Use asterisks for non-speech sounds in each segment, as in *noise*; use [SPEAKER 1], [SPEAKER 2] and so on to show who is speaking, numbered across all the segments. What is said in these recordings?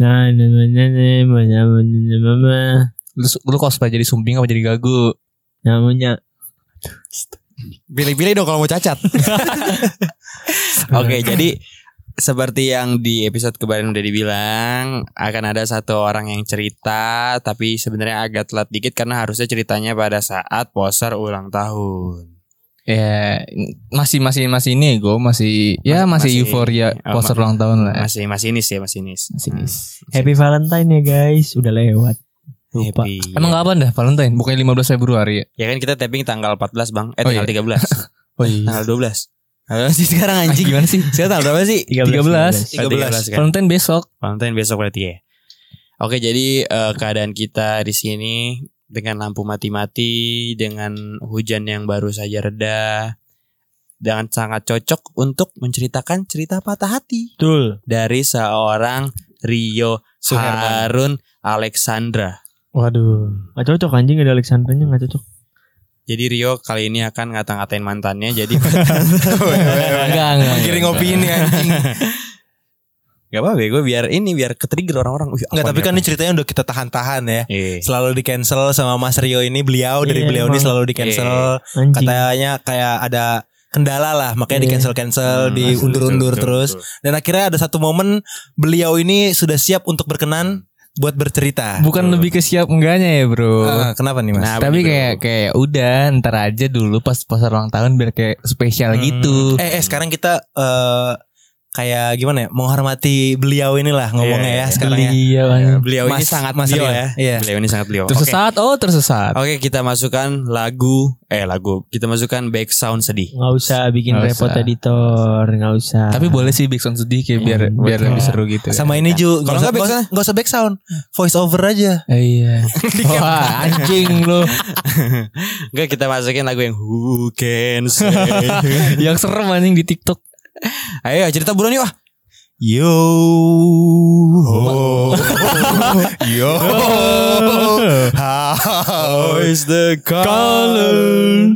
[SPEAKER 1] Nah, nah, nah, nah, nah, nah, nah, nah, nah, nah, nah.
[SPEAKER 2] Lu, lu cosplay jadi sumbing apa jadi gagu?
[SPEAKER 1] namanya
[SPEAKER 3] Pilih-pilih dong kalau mau
[SPEAKER 2] *laughs*
[SPEAKER 3] cacat. Oke, jadi seperti yang di episode kemarin udah dibilang akan ada satu orang yang cerita tapi sebenarnya agak telat dikit karena harusnya ceritanya pada saat poser ulang tahun.
[SPEAKER 2] Ya masih masih masih ini gue masih ya
[SPEAKER 3] Mas- masih-
[SPEAKER 2] masih, euforia
[SPEAKER 3] oh,
[SPEAKER 2] poster
[SPEAKER 3] ma-
[SPEAKER 2] ulang tahun lah.
[SPEAKER 3] Masih masih nis ya, masih nis.
[SPEAKER 2] Masih nis.
[SPEAKER 1] Happy Valentine ya guys, udah lewat. Lupa.
[SPEAKER 3] Happy.
[SPEAKER 2] Emang kapan dah Valentine? Bukannya 15 Februari ya?
[SPEAKER 3] ya kan kita tapping tanggal 14, Bang. Eh
[SPEAKER 2] Oh,
[SPEAKER 3] tanggal
[SPEAKER 2] iya. *laughs*
[SPEAKER 3] 13.
[SPEAKER 2] Oh iya.
[SPEAKER 3] tanggal 12. Tanggal sih sekarang anjing.
[SPEAKER 2] Ah, *laughs* Gimana sih?
[SPEAKER 3] Sekarang tanggal berapa sih? 13 kan.
[SPEAKER 2] 13. Valentine besok.
[SPEAKER 3] Valentine besok berarti ya. Oke, jadi eh, keadaan kita di sini dengan lampu mati-mati, dengan hujan yang baru saja reda, dengan sangat cocok untuk menceritakan cerita patah hati
[SPEAKER 1] Betul.
[SPEAKER 3] dari seorang Rio
[SPEAKER 2] Suherman.
[SPEAKER 3] Harun Alexandra.
[SPEAKER 1] Waduh, nggak cocok anjing ada Alexandernya nggak cocok.
[SPEAKER 3] Jadi Rio kali ini akan ngata-ngatain mantannya, *laughs* jadi
[SPEAKER 2] Enggak enggak.
[SPEAKER 3] Menggiring opini, *laughs*
[SPEAKER 2] anjing.
[SPEAKER 3] Gak apa-apa, gue biar ini biar ketrigger orang-orang. Wih,
[SPEAKER 4] Enggak,
[SPEAKER 3] apa
[SPEAKER 4] tapi
[SPEAKER 3] nih,
[SPEAKER 4] kan
[SPEAKER 3] apa
[SPEAKER 4] ini ceritanya udah kita tahan-tahan ya.
[SPEAKER 3] nih? Eh.
[SPEAKER 4] Selalu di cancel sama Mas Rio ini beliau dari
[SPEAKER 1] Iya,
[SPEAKER 4] beliau ini
[SPEAKER 1] emang.
[SPEAKER 4] selalu di cancel.
[SPEAKER 3] Iya,
[SPEAKER 1] Anjing.
[SPEAKER 4] Katanya kayak ada kendala lah, makanya di
[SPEAKER 1] Iya.
[SPEAKER 4] cancel cancel,
[SPEAKER 3] Hmm,
[SPEAKER 4] diundur-undur
[SPEAKER 3] betul,
[SPEAKER 4] terus.
[SPEAKER 3] betul.
[SPEAKER 4] Dan akhirnya ada satu momen beliau ini sudah siap untuk berkenan buat bercerita.
[SPEAKER 2] Bukan lebih ke siap enggaknya ya, Bro.
[SPEAKER 4] Ah, kenapa nih mas?
[SPEAKER 3] Nah,
[SPEAKER 2] Tapi
[SPEAKER 3] bener.
[SPEAKER 2] kayak kayak udah ntar aja dulu pas poster ulang tahun biar kayak spesial
[SPEAKER 4] Hmm.
[SPEAKER 2] gitu.
[SPEAKER 4] Eh, eh sekarang kita eh, kayak gimana ya? Menghormati beliau inilah ngomongnya
[SPEAKER 3] Iya,
[SPEAKER 4] ya
[SPEAKER 3] iya.
[SPEAKER 4] sekarang ya.
[SPEAKER 2] Iya,
[SPEAKER 3] Ya,
[SPEAKER 2] Bang.
[SPEAKER 3] beliau ini
[SPEAKER 4] Mas-
[SPEAKER 3] sangat
[SPEAKER 4] Mas
[SPEAKER 3] beliau
[SPEAKER 4] Rio.
[SPEAKER 3] ya.
[SPEAKER 4] Iya.
[SPEAKER 3] Beliau ini sangat beliau. Oke,
[SPEAKER 2] Tersesat, oh tersesat.
[SPEAKER 3] Oke, kita masukkan lagu eh lagu. Kita masukkan back sound sedih.
[SPEAKER 1] Nggak usah bikin
[SPEAKER 2] Nggak
[SPEAKER 1] repot
[SPEAKER 2] usah.
[SPEAKER 1] editor, nggak usah.
[SPEAKER 2] Tapi
[SPEAKER 4] Ah.
[SPEAKER 2] boleh sih backsound sedih kayak biar
[SPEAKER 1] Hmm,
[SPEAKER 2] biar
[SPEAKER 1] betul.
[SPEAKER 2] lebih seru gitu. ya.
[SPEAKER 4] Sama ini Ju, nggak
[SPEAKER 3] Nah, Kalau
[SPEAKER 4] usah,
[SPEAKER 3] nggak kan? back
[SPEAKER 4] nggak usah- nggak usah back sound, voice over
[SPEAKER 3] *laughs*
[SPEAKER 4] aja.
[SPEAKER 2] Iya.
[SPEAKER 4] *laughs*
[SPEAKER 2] Wah, anjing lu.
[SPEAKER 3] Enggak, kita masukin lagu yang Who Can Say. *laughs*
[SPEAKER 2] Yang serem anjing di TikTok.
[SPEAKER 3] Ayo cerita buruan yuk. ah.
[SPEAKER 4] Yo,
[SPEAKER 3] Oh.
[SPEAKER 4] ho, yo, how is the color?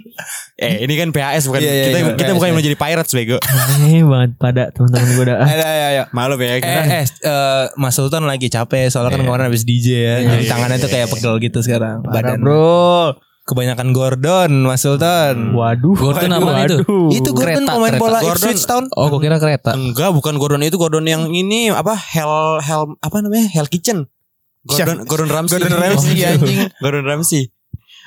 [SPEAKER 3] Eh, ini kan PHS bukan
[SPEAKER 4] Iya, iya,
[SPEAKER 3] kita
[SPEAKER 4] iya,
[SPEAKER 3] kita
[SPEAKER 4] PHS,
[SPEAKER 3] bukan
[SPEAKER 4] iya.
[SPEAKER 3] mau jadi pirates bego.
[SPEAKER 1] Aneh banget pada teman-teman gue dah.
[SPEAKER 4] Ayo, ayo, ayo.
[SPEAKER 3] Malu ya kita.
[SPEAKER 4] Eh, eh, eh, Mas Sultan lagi capek soalnya kan kemarin habis DJ ya. Jadi
[SPEAKER 3] Iya.
[SPEAKER 4] tangannya tuh kayak pegel gitu sekarang.
[SPEAKER 1] Parah,
[SPEAKER 4] Badan
[SPEAKER 1] bro.
[SPEAKER 4] kebanyakan Gordon, Mas Sultan.
[SPEAKER 1] Waduh.
[SPEAKER 2] Gordon
[SPEAKER 1] waduh,
[SPEAKER 2] apaan itu?
[SPEAKER 1] waduh.
[SPEAKER 4] Itu Gordon
[SPEAKER 2] Kereta,
[SPEAKER 4] pemain
[SPEAKER 2] kereta.
[SPEAKER 4] bola
[SPEAKER 3] Gordon.
[SPEAKER 4] Ipswich Town.
[SPEAKER 2] Oh, gua kira kereta.
[SPEAKER 3] Enggak, bukan Gordon itu Gordon yang ini apa Hell Hell apa namanya? Hell Kitchen. Gordon Gordon Ramsay. Iya,
[SPEAKER 4] Gordon Ramsay, anjing.
[SPEAKER 3] *laughs* Gordon Ramsay.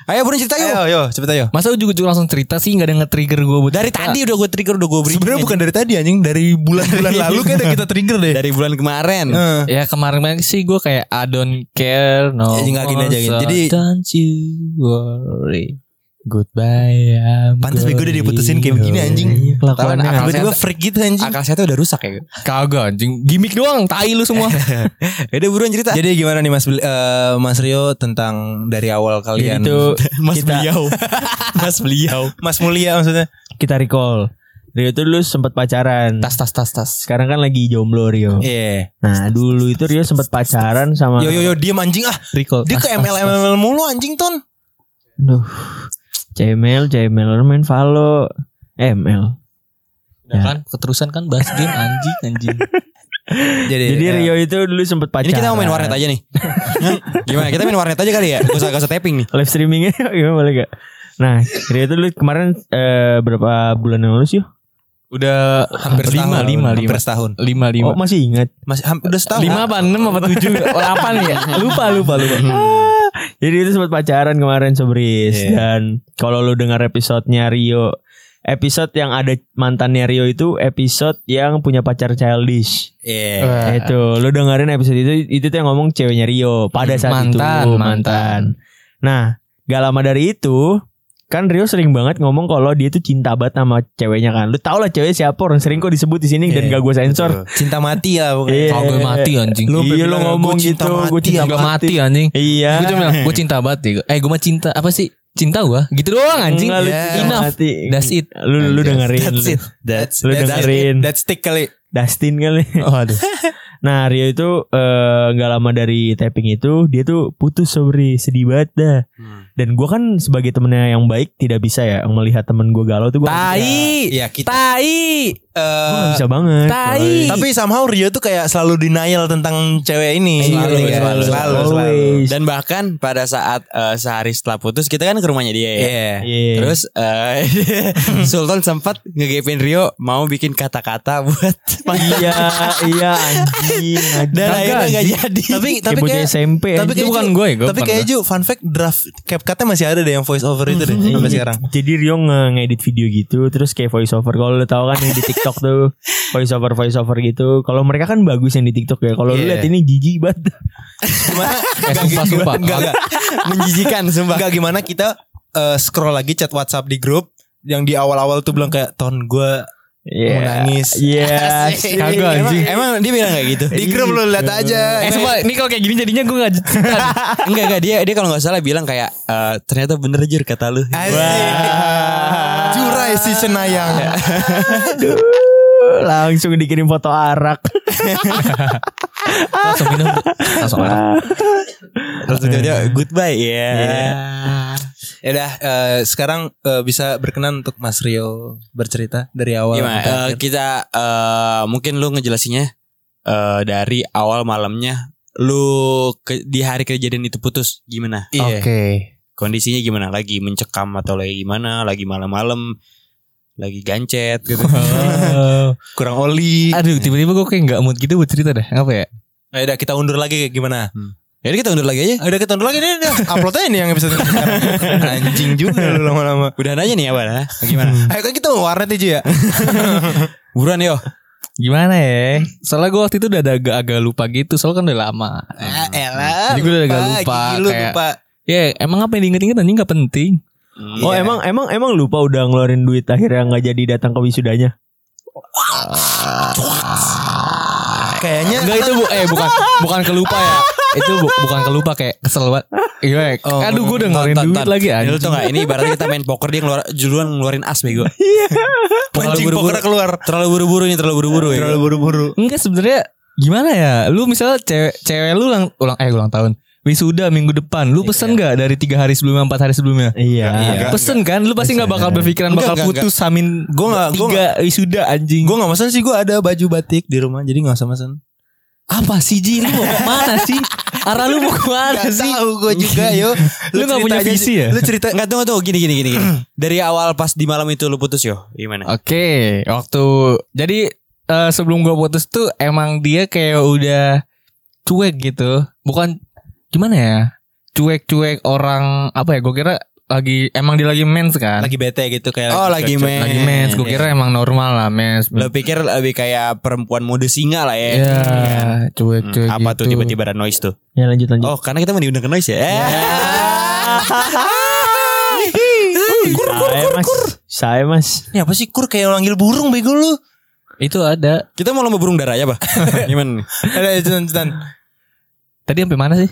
[SPEAKER 3] Ayo buruan cerita yuk.
[SPEAKER 4] Ayo, yo, cepet ayo.
[SPEAKER 2] Masa ujuk-ujuk langsung cerita sih nggak ada yang nge-trigger gue buat
[SPEAKER 3] Dari
[SPEAKER 2] cerita.
[SPEAKER 3] tadi udah gue trigger udah gue beri.
[SPEAKER 4] Sebenarnya bukan dari tadi anjing, dari *laughs* bulan-bulan lalu kayaknya kita trigger deh.
[SPEAKER 3] dari bulan kemarin.
[SPEAKER 4] Eh.
[SPEAKER 2] *laughs* Ya kemarin kemarin sih gue kayak I don't care no.
[SPEAKER 4] Ya, nggak, gini aja, gini.
[SPEAKER 2] more, so
[SPEAKER 4] Jadi-
[SPEAKER 2] don't you worry. Goodbye. I'm
[SPEAKER 4] Pantes bego dia diputusin kayak begini, anjing.
[SPEAKER 1] Iya,
[SPEAKER 2] Tahu,
[SPEAKER 1] Kelakuannya
[SPEAKER 2] anak-
[SPEAKER 1] aneh.
[SPEAKER 4] Tiba-tiba freak gitu anjing.
[SPEAKER 3] Akal sehatnya udah rusak ya.
[SPEAKER 2] Kagak anjing, gimmick doang, tai lu semua.
[SPEAKER 3] Ya Udah buruan cerita.
[SPEAKER 4] Jadi gimana nih Mas Bel- eh, Mas Rio tentang dari awal kalian?
[SPEAKER 1] Jadi tuh
[SPEAKER 3] Mas
[SPEAKER 1] kita-
[SPEAKER 3] beliau. *laughs* Mas beliau.
[SPEAKER 4] Mas Mulia maksudnya.
[SPEAKER 1] kita recall. Rio tuh dulu sempat pacaran.
[SPEAKER 2] *laughs* tas tas tas tas.
[SPEAKER 1] Sekarang kan lagi jomblo Rio.
[SPEAKER 4] Iya.
[SPEAKER 1] Nah dulu itu Rio sempat pacaran sama.
[SPEAKER 4] Yo yo yo diam anjing ah.
[SPEAKER 2] Recall.
[SPEAKER 4] Dia
[SPEAKER 2] Tas,
[SPEAKER 4] ke
[SPEAKER 2] tas,
[SPEAKER 4] ML
[SPEAKER 2] tas.
[SPEAKER 4] ML mulu anjing ton.
[SPEAKER 1] Duh. CML, CML orang main Valo. ML.
[SPEAKER 2] Ya kan keterusan kan bahas game anjing anjing.
[SPEAKER 4] Iya,
[SPEAKER 1] Jadi
[SPEAKER 4] eh,
[SPEAKER 1] Rio itu dulu sempat
[SPEAKER 3] Ini
[SPEAKER 1] pacaran.
[SPEAKER 3] kita mau main warnet aja nih. *laughs* Gimana? Kita main warnet aja kali ya. Gak usah gak usah tapping nih.
[SPEAKER 1] Live *laughs* streamingnya gimana boleh gak? Nah Rio itu dulu kemarin eh, berapa bulan yang lalu sih?
[SPEAKER 2] Udah
[SPEAKER 4] hampir
[SPEAKER 2] lima
[SPEAKER 4] setahun.
[SPEAKER 2] lima lima
[SPEAKER 4] hampir setahun.
[SPEAKER 2] lima lima.
[SPEAKER 1] Oh masih ingat.
[SPEAKER 4] Masih hampir udah setahun.
[SPEAKER 2] lima apa enam apa tujuh Oh. *laughs* delapan ya lupa lupa
[SPEAKER 1] *laughs*
[SPEAKER 2] lupa
[SPEAKER 1] Ah, Jadi itu sempat pacaran kemarin Sobris
[SPEAKER 4] Iya.
[SPEAKER 1] dan kalau lu dengar episodenya Rio episode yang ada mantannya Rio itu episode yang punya pacar childish.
[SPEAKER 2] Eh,
[SPEAKER 4] Iya.
[SPEAKER 1] *laughs* Itu lu dengerin episode itu itu tuh yang ngomong ceweknya Rio pada saat
[SPEAKER 2] Mantan,
[SPEAKER 1] itu
[SPEAKER 2] mantan.
[SPEAKER 1] Nah, gak lama dari itu kan Rio sering banget ngomong kalau dia tuh cinta banget sama ceweknya kan. Lu tau lah cewek siapa orang sering kok disebut di sini dan
[SPEAKER 4] Iya,
[SPEAKER 1] gak gue sensor.
[SPEAKER 4] Cinta mati lah pokoknya.
[SPEAKER 1] Iya.
[SPEAKER 2] kalau gue mati anjing
[SPEAKER 1] Lu
[SPEAKER 4] Iya,
[SPEAKER 1] iya,
[SPEAKER 4] lu
[SPEAKER 1] lu ngomong
[SPEAKER 4] ngomong gitu,
[SPEAKER 1] gitu,
[SPEAKER 4] gua
[SPEAKER 1] gue
[SPEAKER 4] cinta
[SPEAKER 1] cinta
[SPEAKER 2] Gak Iya, mati anjing
[SPEAKER 1] Iya.
[SPEAKER 2] gue cuma
[SPEAKER 4] *laughs*
[SPEAKER 2] gue cinta banget ya eh gue mah cinta apa sih cinta gue gitu doang anjing
[SPEAKER 1] Enggak, lu
[SPEAKER 4] Ya.
[SPEAKER 1] cinta
[SPEAKER 2] Enough.
[SPEAKER 1] mati.
[SPEAKER 2] that's it
[SPEAKER 1] Lu lu
[SPEAKER 2] Anjing.
[SPEAKER 1] dengerin.
[SPEAKER 4] That's
[SPEAKER 1] lu.
[SPEAKER 4] it. That's,
[SPEAKER 1] Lu
[SPEAKER 4] that's,
[SPEAKER 1] dengerin.
[SPEAKER 4] That's stick kali.
[SPEAKER 1] Dustin kali.
[SPEAKER 2] Waduh.
[SPEAKER 1] *laughs* Nah, Rio itu eh, nggak lama dari taping itu dia tuh putus Sobri, sedih banget dah.
[SPEAKER 3] Hmm.
[SPEAKER 1] Dan gua kan sebagai temennya yang baik tidak bisa ya melihat temen gua galau tuh gua.
[SPEAKER 2] tai
[SPEAKER 4] Iya kita.
[SPEAKER 2] tai
[SPEAKER 1] Gua
[SPEAKER 4] eh
[SPEAKER 1] nggak bisa banget.
[SPEAKER 3] tai.
[SPEAKER 1] coy.
[SPEAKER 4] tapi somehow Rio tuh kayak selalu denial tentang cewek ini.
[SPEAKER 3] Selalu,
[SPEAKER 4] Iya,
[SPEAKER 3] selalu,
[SPEAKER 4] selalu, selalu.
[SPEAKER 1] Always.
[SPEAKER 3] Dan bahkan pada saat eh, sehari setelah putus kita kan ke rumahnya dia ya.
[SPEAKER 4] Iya.
[SPEAKER 1] Iya.
[SPEAKER 3] Terus eh, *laughs* Sultan sempat ngegepin Rio mau bikin kata-kata buat
[SPEAKER 1] iya, iya
[SPEAKER 4] *laughs*
[SPEAKER 1] anjing. anjing.
[SPEAKER 4] Dan
[SPEAKER 1] Kagak,
[SPEAKER 4] akhirnya nggak
[SPEAKER 1] anjing.
[SPEAKER 4] jadi. Ya, Tapi
[SPEAKER 1] Kayak
[SPEAKER 4] tapi
[SPEAKER 1] bocah
[SPEAKER 4] kayak
[SPEAKER 1] SMP.
[SPEAKER 4] tapi
[SPEAKER 1] anjing.
[SPEAKER 4] kayak
[SPEAKER 2] bukan
[SPEAKER 4] Ju-
[SPEAKER 2] gue, gue
[SPEAKER 4] tapi
[SPEAKER 2] bukan
[SPEAKER 4] kayak Ju, fun fact draft CapCut-nya masih ada deh yang voice over itu deh
[SPEAKER 1] Iya.
[SPEAKER 4] *laughs* sampai sekarang.
[SPEAKER 1] Jadi Rio nge- ngedit video gitu terus kayak voice over. Kalau lu tahu kan yang di TikTok tuh
[SPEAKER 4] *laughs*
[SPEAKER 1] voice over voice over gitu. Kalau mereka kan bagus yang di TikTok ya. Kalau lu
[SPEAKER 4] Iya.
[SPEAKER 1] lihat ini jijik banget.
[SPEAKER 2] Eh, sumpah sumpah.
[SPEAKER 4] Enggak, *laughs* enggak.
[SPEAKER 3] menjijikan sumpah.
[SPEAKER 4] Enggak gimana kita eh, scroll lagi chat WhatsApp di grup yang di awal-awal tuh bilang kayak ton gue mau
[SPEAKER 1] Iya.
[SPEAKER 4] nangis.
[SPEAKER 1] Iya. *laughs*
[SPEAKER 4] Asik.
[SPEAKER 1] Kagak
[SPEAKER 4] Emang-
[SPEAKER 1] anjing.
[SPEAKER 4] Emang dia bilang kayak gitu. Di grup lu lihat aja.
[SPEAKER 2] Eh sumpah ini kalau kayak gini jadinya gue gak
[SPEAKER 4] Iya.
[SPEAKER 3] Enggak enggak dia dia kalau nggak salah bilang kayak eh, ternyata bener jur kata lu.
[SPEAKER 4] Asik. Curai si
[SPEAKER 3] Ya.
[SPEAKER 4] *laughs* Cenayang.
[SPEAKER 1] Aduh. Langsung dikirim foto arak.
[SPEAKER 2] langsung minum. Langsung marah.
[SPEAKER 3] Terus tiba-tiba goodbye ya.
[SPEAKER 4] Iya. Ya udah eh, sekarang eh, bisa berkenan untuk Mas Rio bercerita dari awal.
[SPEAKER 3] Gimana?
[SPEAKER 4] sampai
[SPEAKER 3] Eh,
[SPEAKER 4] akhir.
[SPEAKER 3] kita eh, mungkin lu ngejelasinnya eh, dari awal malamnya lu ke- di hari kejadian itu putus gimana? Oh,
[SPEAKER 4] Iya.
[SPEAKER 3] Kondisinya gimana? Lagi mencekam atau lagi gimana? Lagi malam-malam lagi gancet
[SPEAKER 4] *laughs*
[SPEAKER 3] gitu.
[SPEAKER 2] Wow.
[SPEAKER 4] Kurang oli.
[SPEAKER 2] Aduh tiba-tiba gue kayak gak mood gitu buat cerita dah. Apa ya?
[SPEAKER 4] Ya udah kita undur lagi kayak gimana?
[SPEAKER 3] Jadi kita undur lagi aja.
[SPEAKER 4] Ah, Udah Hmm. kita undur lagi nih udah. Upload aja nih yang episode ini sekarang. Anjing juga lu lama-lama.
[SPEAKER 3] Udah aja nih ya, Bang. Hah? Gimana?
[SPEAKER 4] Ayo kan kita mau warnet aja ya.
[SPEAKER 3] *laughs* Buruan yo.
[SPEAKER 2] Gimana ya? Soalnya gue waktu itu udah ada agak, agak lupa gitu. Soalnya kan udah lama.
[SPEAKER 4] Eh, elah.
[SPEAKER 2] Jadi gue udah agak
[SPEAKER 4] lupa,
[SPEAKER 2] lupa,
[SPEAKER 4] gigi lu
[SPEAKER 2] kayak-
[SPEAKER 4] lupa.
[SPEAKER 2] Ya emang apa yang diinget-inget anjing gak penting.
[SPEAKER 1] Oh
[SPEAKER 4] Iya.
[SPEAKER 1] emang emang emang lupa udah ngeluarin duit akhirnya nggak jadi datang ke wisudanya.
[SPEAKER 4] Kayaknya
[SPEAKER 2] Enggak itu bu, eh bukan bukan kelupa ya. Itu bu- bukan kelupa kayak kesel banget. Iya.
[SPEAKER 4] Oh,
[SPEAKER 2] aduh gue udah
[SPEAKER 4] tonton,
[SPEAKER 2] ngeluarin duit
[SPEAKER 4] tonton.
[SPEAKER 2] lagi
[SPEAKER 3] Ini
[SPEAKER 2] anjing.
[SPEAKER 3] Iya, lu tau gak? Ini ibaratnya kita main poker dia ngeluar, duluan ngeluarin as bego.
[SPEAKER 2] Terlalu
[SPEAKER 4] pancing
[SPEAKER 2] buru-buru.
[SPEAKER 4] poker keluar.
[SPEAKER 3] Terlalu buru-buru nih, terlalu buru-buru. ya.
[SPEAKER 4] Terlalu buru-buru.
[SPEAKER 2] Enggak sebenarnya gimana ya? Lu misalnya cewek cewek lu ulang ulang eh ulang tahun. Wisuda minggu depan. Lu pesen nggak dari tiga hari sebelumnya empat hari sebelumnya?
[SPEAKER 1] Iya.
[SPEAKER 2] pesen kan? Lu pasti nggak bakal berpikiran
[SPEAKER 4] Enggak,
[SPEAKER 2] bakal
[SPEAKER 4] enggak,
[SPEAKER 2] putus samin
[SPEAKER 4] Gue gak, gue
[SPEAKER 2] tiga wisuda anjing.
[SPEAKER 4] Gue gak mesen sih Gue ada baju batik di rumah Jadi gak usah mesen
[SPEAKER 2] apa sih Ji? Lu mau kemana *laughs* sih? Arah lu mau kemana
[SPEAKER 4] Gak
[SPEAKER 2] sih?
[SPEAKER 4] tau gue
[SPEAKER 3] *laughs*
[SPEAKER 4] juga yo
[SPEAKER 2] Lu nggak punya
[SPEAKER 4] cerita aja
[SPEAKER 2] visi
[SPEAKER 4] sih.
[SPEAKER 2] ya?
[SPEAKER 4] Lu cerita
[SPEAKER 3] Enggak tunggu tunggu gini gini gini gini. Dari awal pas di malam itu lu putus yo. Gimana?
[SPEAKER 2] Oke, waktu jadi eh, sebelum gua putus tuh emang dia kayak udah cuek gitu, bukan gimana ya? Cuek-cuek orang apa ya? Gue kira lagi emang dia lagi mens kan?
[SPEAKER 4] Lagi bete gitu kayak
[SPEAKER 3] Oh, lagi
[SPEAKER 4] cocok.
[SPEAKER 3] mens.
[SPEAKER 2] Lagi mens, gue kira emang normal lah mens.
[SPEAKER 3] Lu pikir lebih kayak perempuan mode singa lah ya.
[SPEAKER 2] Ya,
[SPEAKER 3] Hmm,
[SPEAKER 2] cuek-cuek
[SPEAKER 3] apa tuh
[SPEAKER 2] gitu.
[SPEAKER 3] tiba-tiba ada noise tuh?
[SPEAKER 1] Ya lanjut lanjut.
[SPEAKER 3] Oh, karena kita mau diundang ke noise ya. Eh.
[SPEAKER 1] saya mas, saya mas.
[SPEAKER 4] Ini apa sih kur Kayak manggil burung bego lu
[SPEAKER 2] Itu ada.
[SPEAKER 3] *laughs* Kita mau lomba burung darah ya, Pak. Gimana? nih?
[SPEAKER 4] Ada itu Tan.
[SPEAKER 2] Tadi sampai mana sih?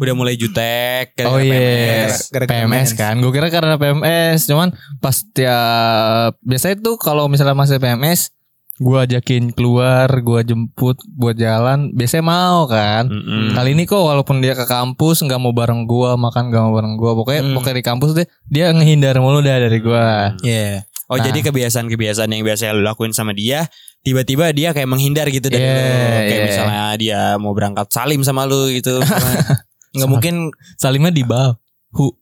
[SPEAKER 3] Udah mulai jutek ya? gara-gara
[SPEAKER 2] Oh iya,
[SPEAKER 3] PMS.
[SPEAKER 4] Gara-gara
[SPEAKER 2] PMS
[SPEAKER 4] PMS.
[SPEAKER 2] kan. Gue kira karena PMS, cuman pas tiap biasanya tuh kalau misalnya masih PMS, gue ajakin keluar, gue jemput buat jalan, biasanya mau kan.
[SPEAKER 3] Mm-mm.
[SPEAKER 2] Kali ini kok walaupun dia ke kampus nggak mau bareng gua makan nggak mau bareng gua pokoknya
[SPEAKER 4] Hmm.
[SPEAKER 2] pokoknya di kampus deh dia ngehindar mulu dah dari gua.
[SPEAKER 4] Iya
[SPEAKER 3] Oh,
[SPEAKER 2] Nah.
[SPEAKER 3] jadi kebiasaan-kebiasaan yang biasanya lu lakuin sama dia, tiba-tiba dia kayak menghindar gitu dari
[SPEAKER 2] Yeah,
[SPEAKER 3] lu. Kayak
[SPEAKER 2] yeah.
[SPEAKER 3] misalnya dia mau berangkat salim sama lu
[SPEAKER 2] *laughs*
[SPEAKER 3] gitu.
[SPEAKER 4] Gak mungkin
[SPEAKER 2] Salimnya di bawah. Hu.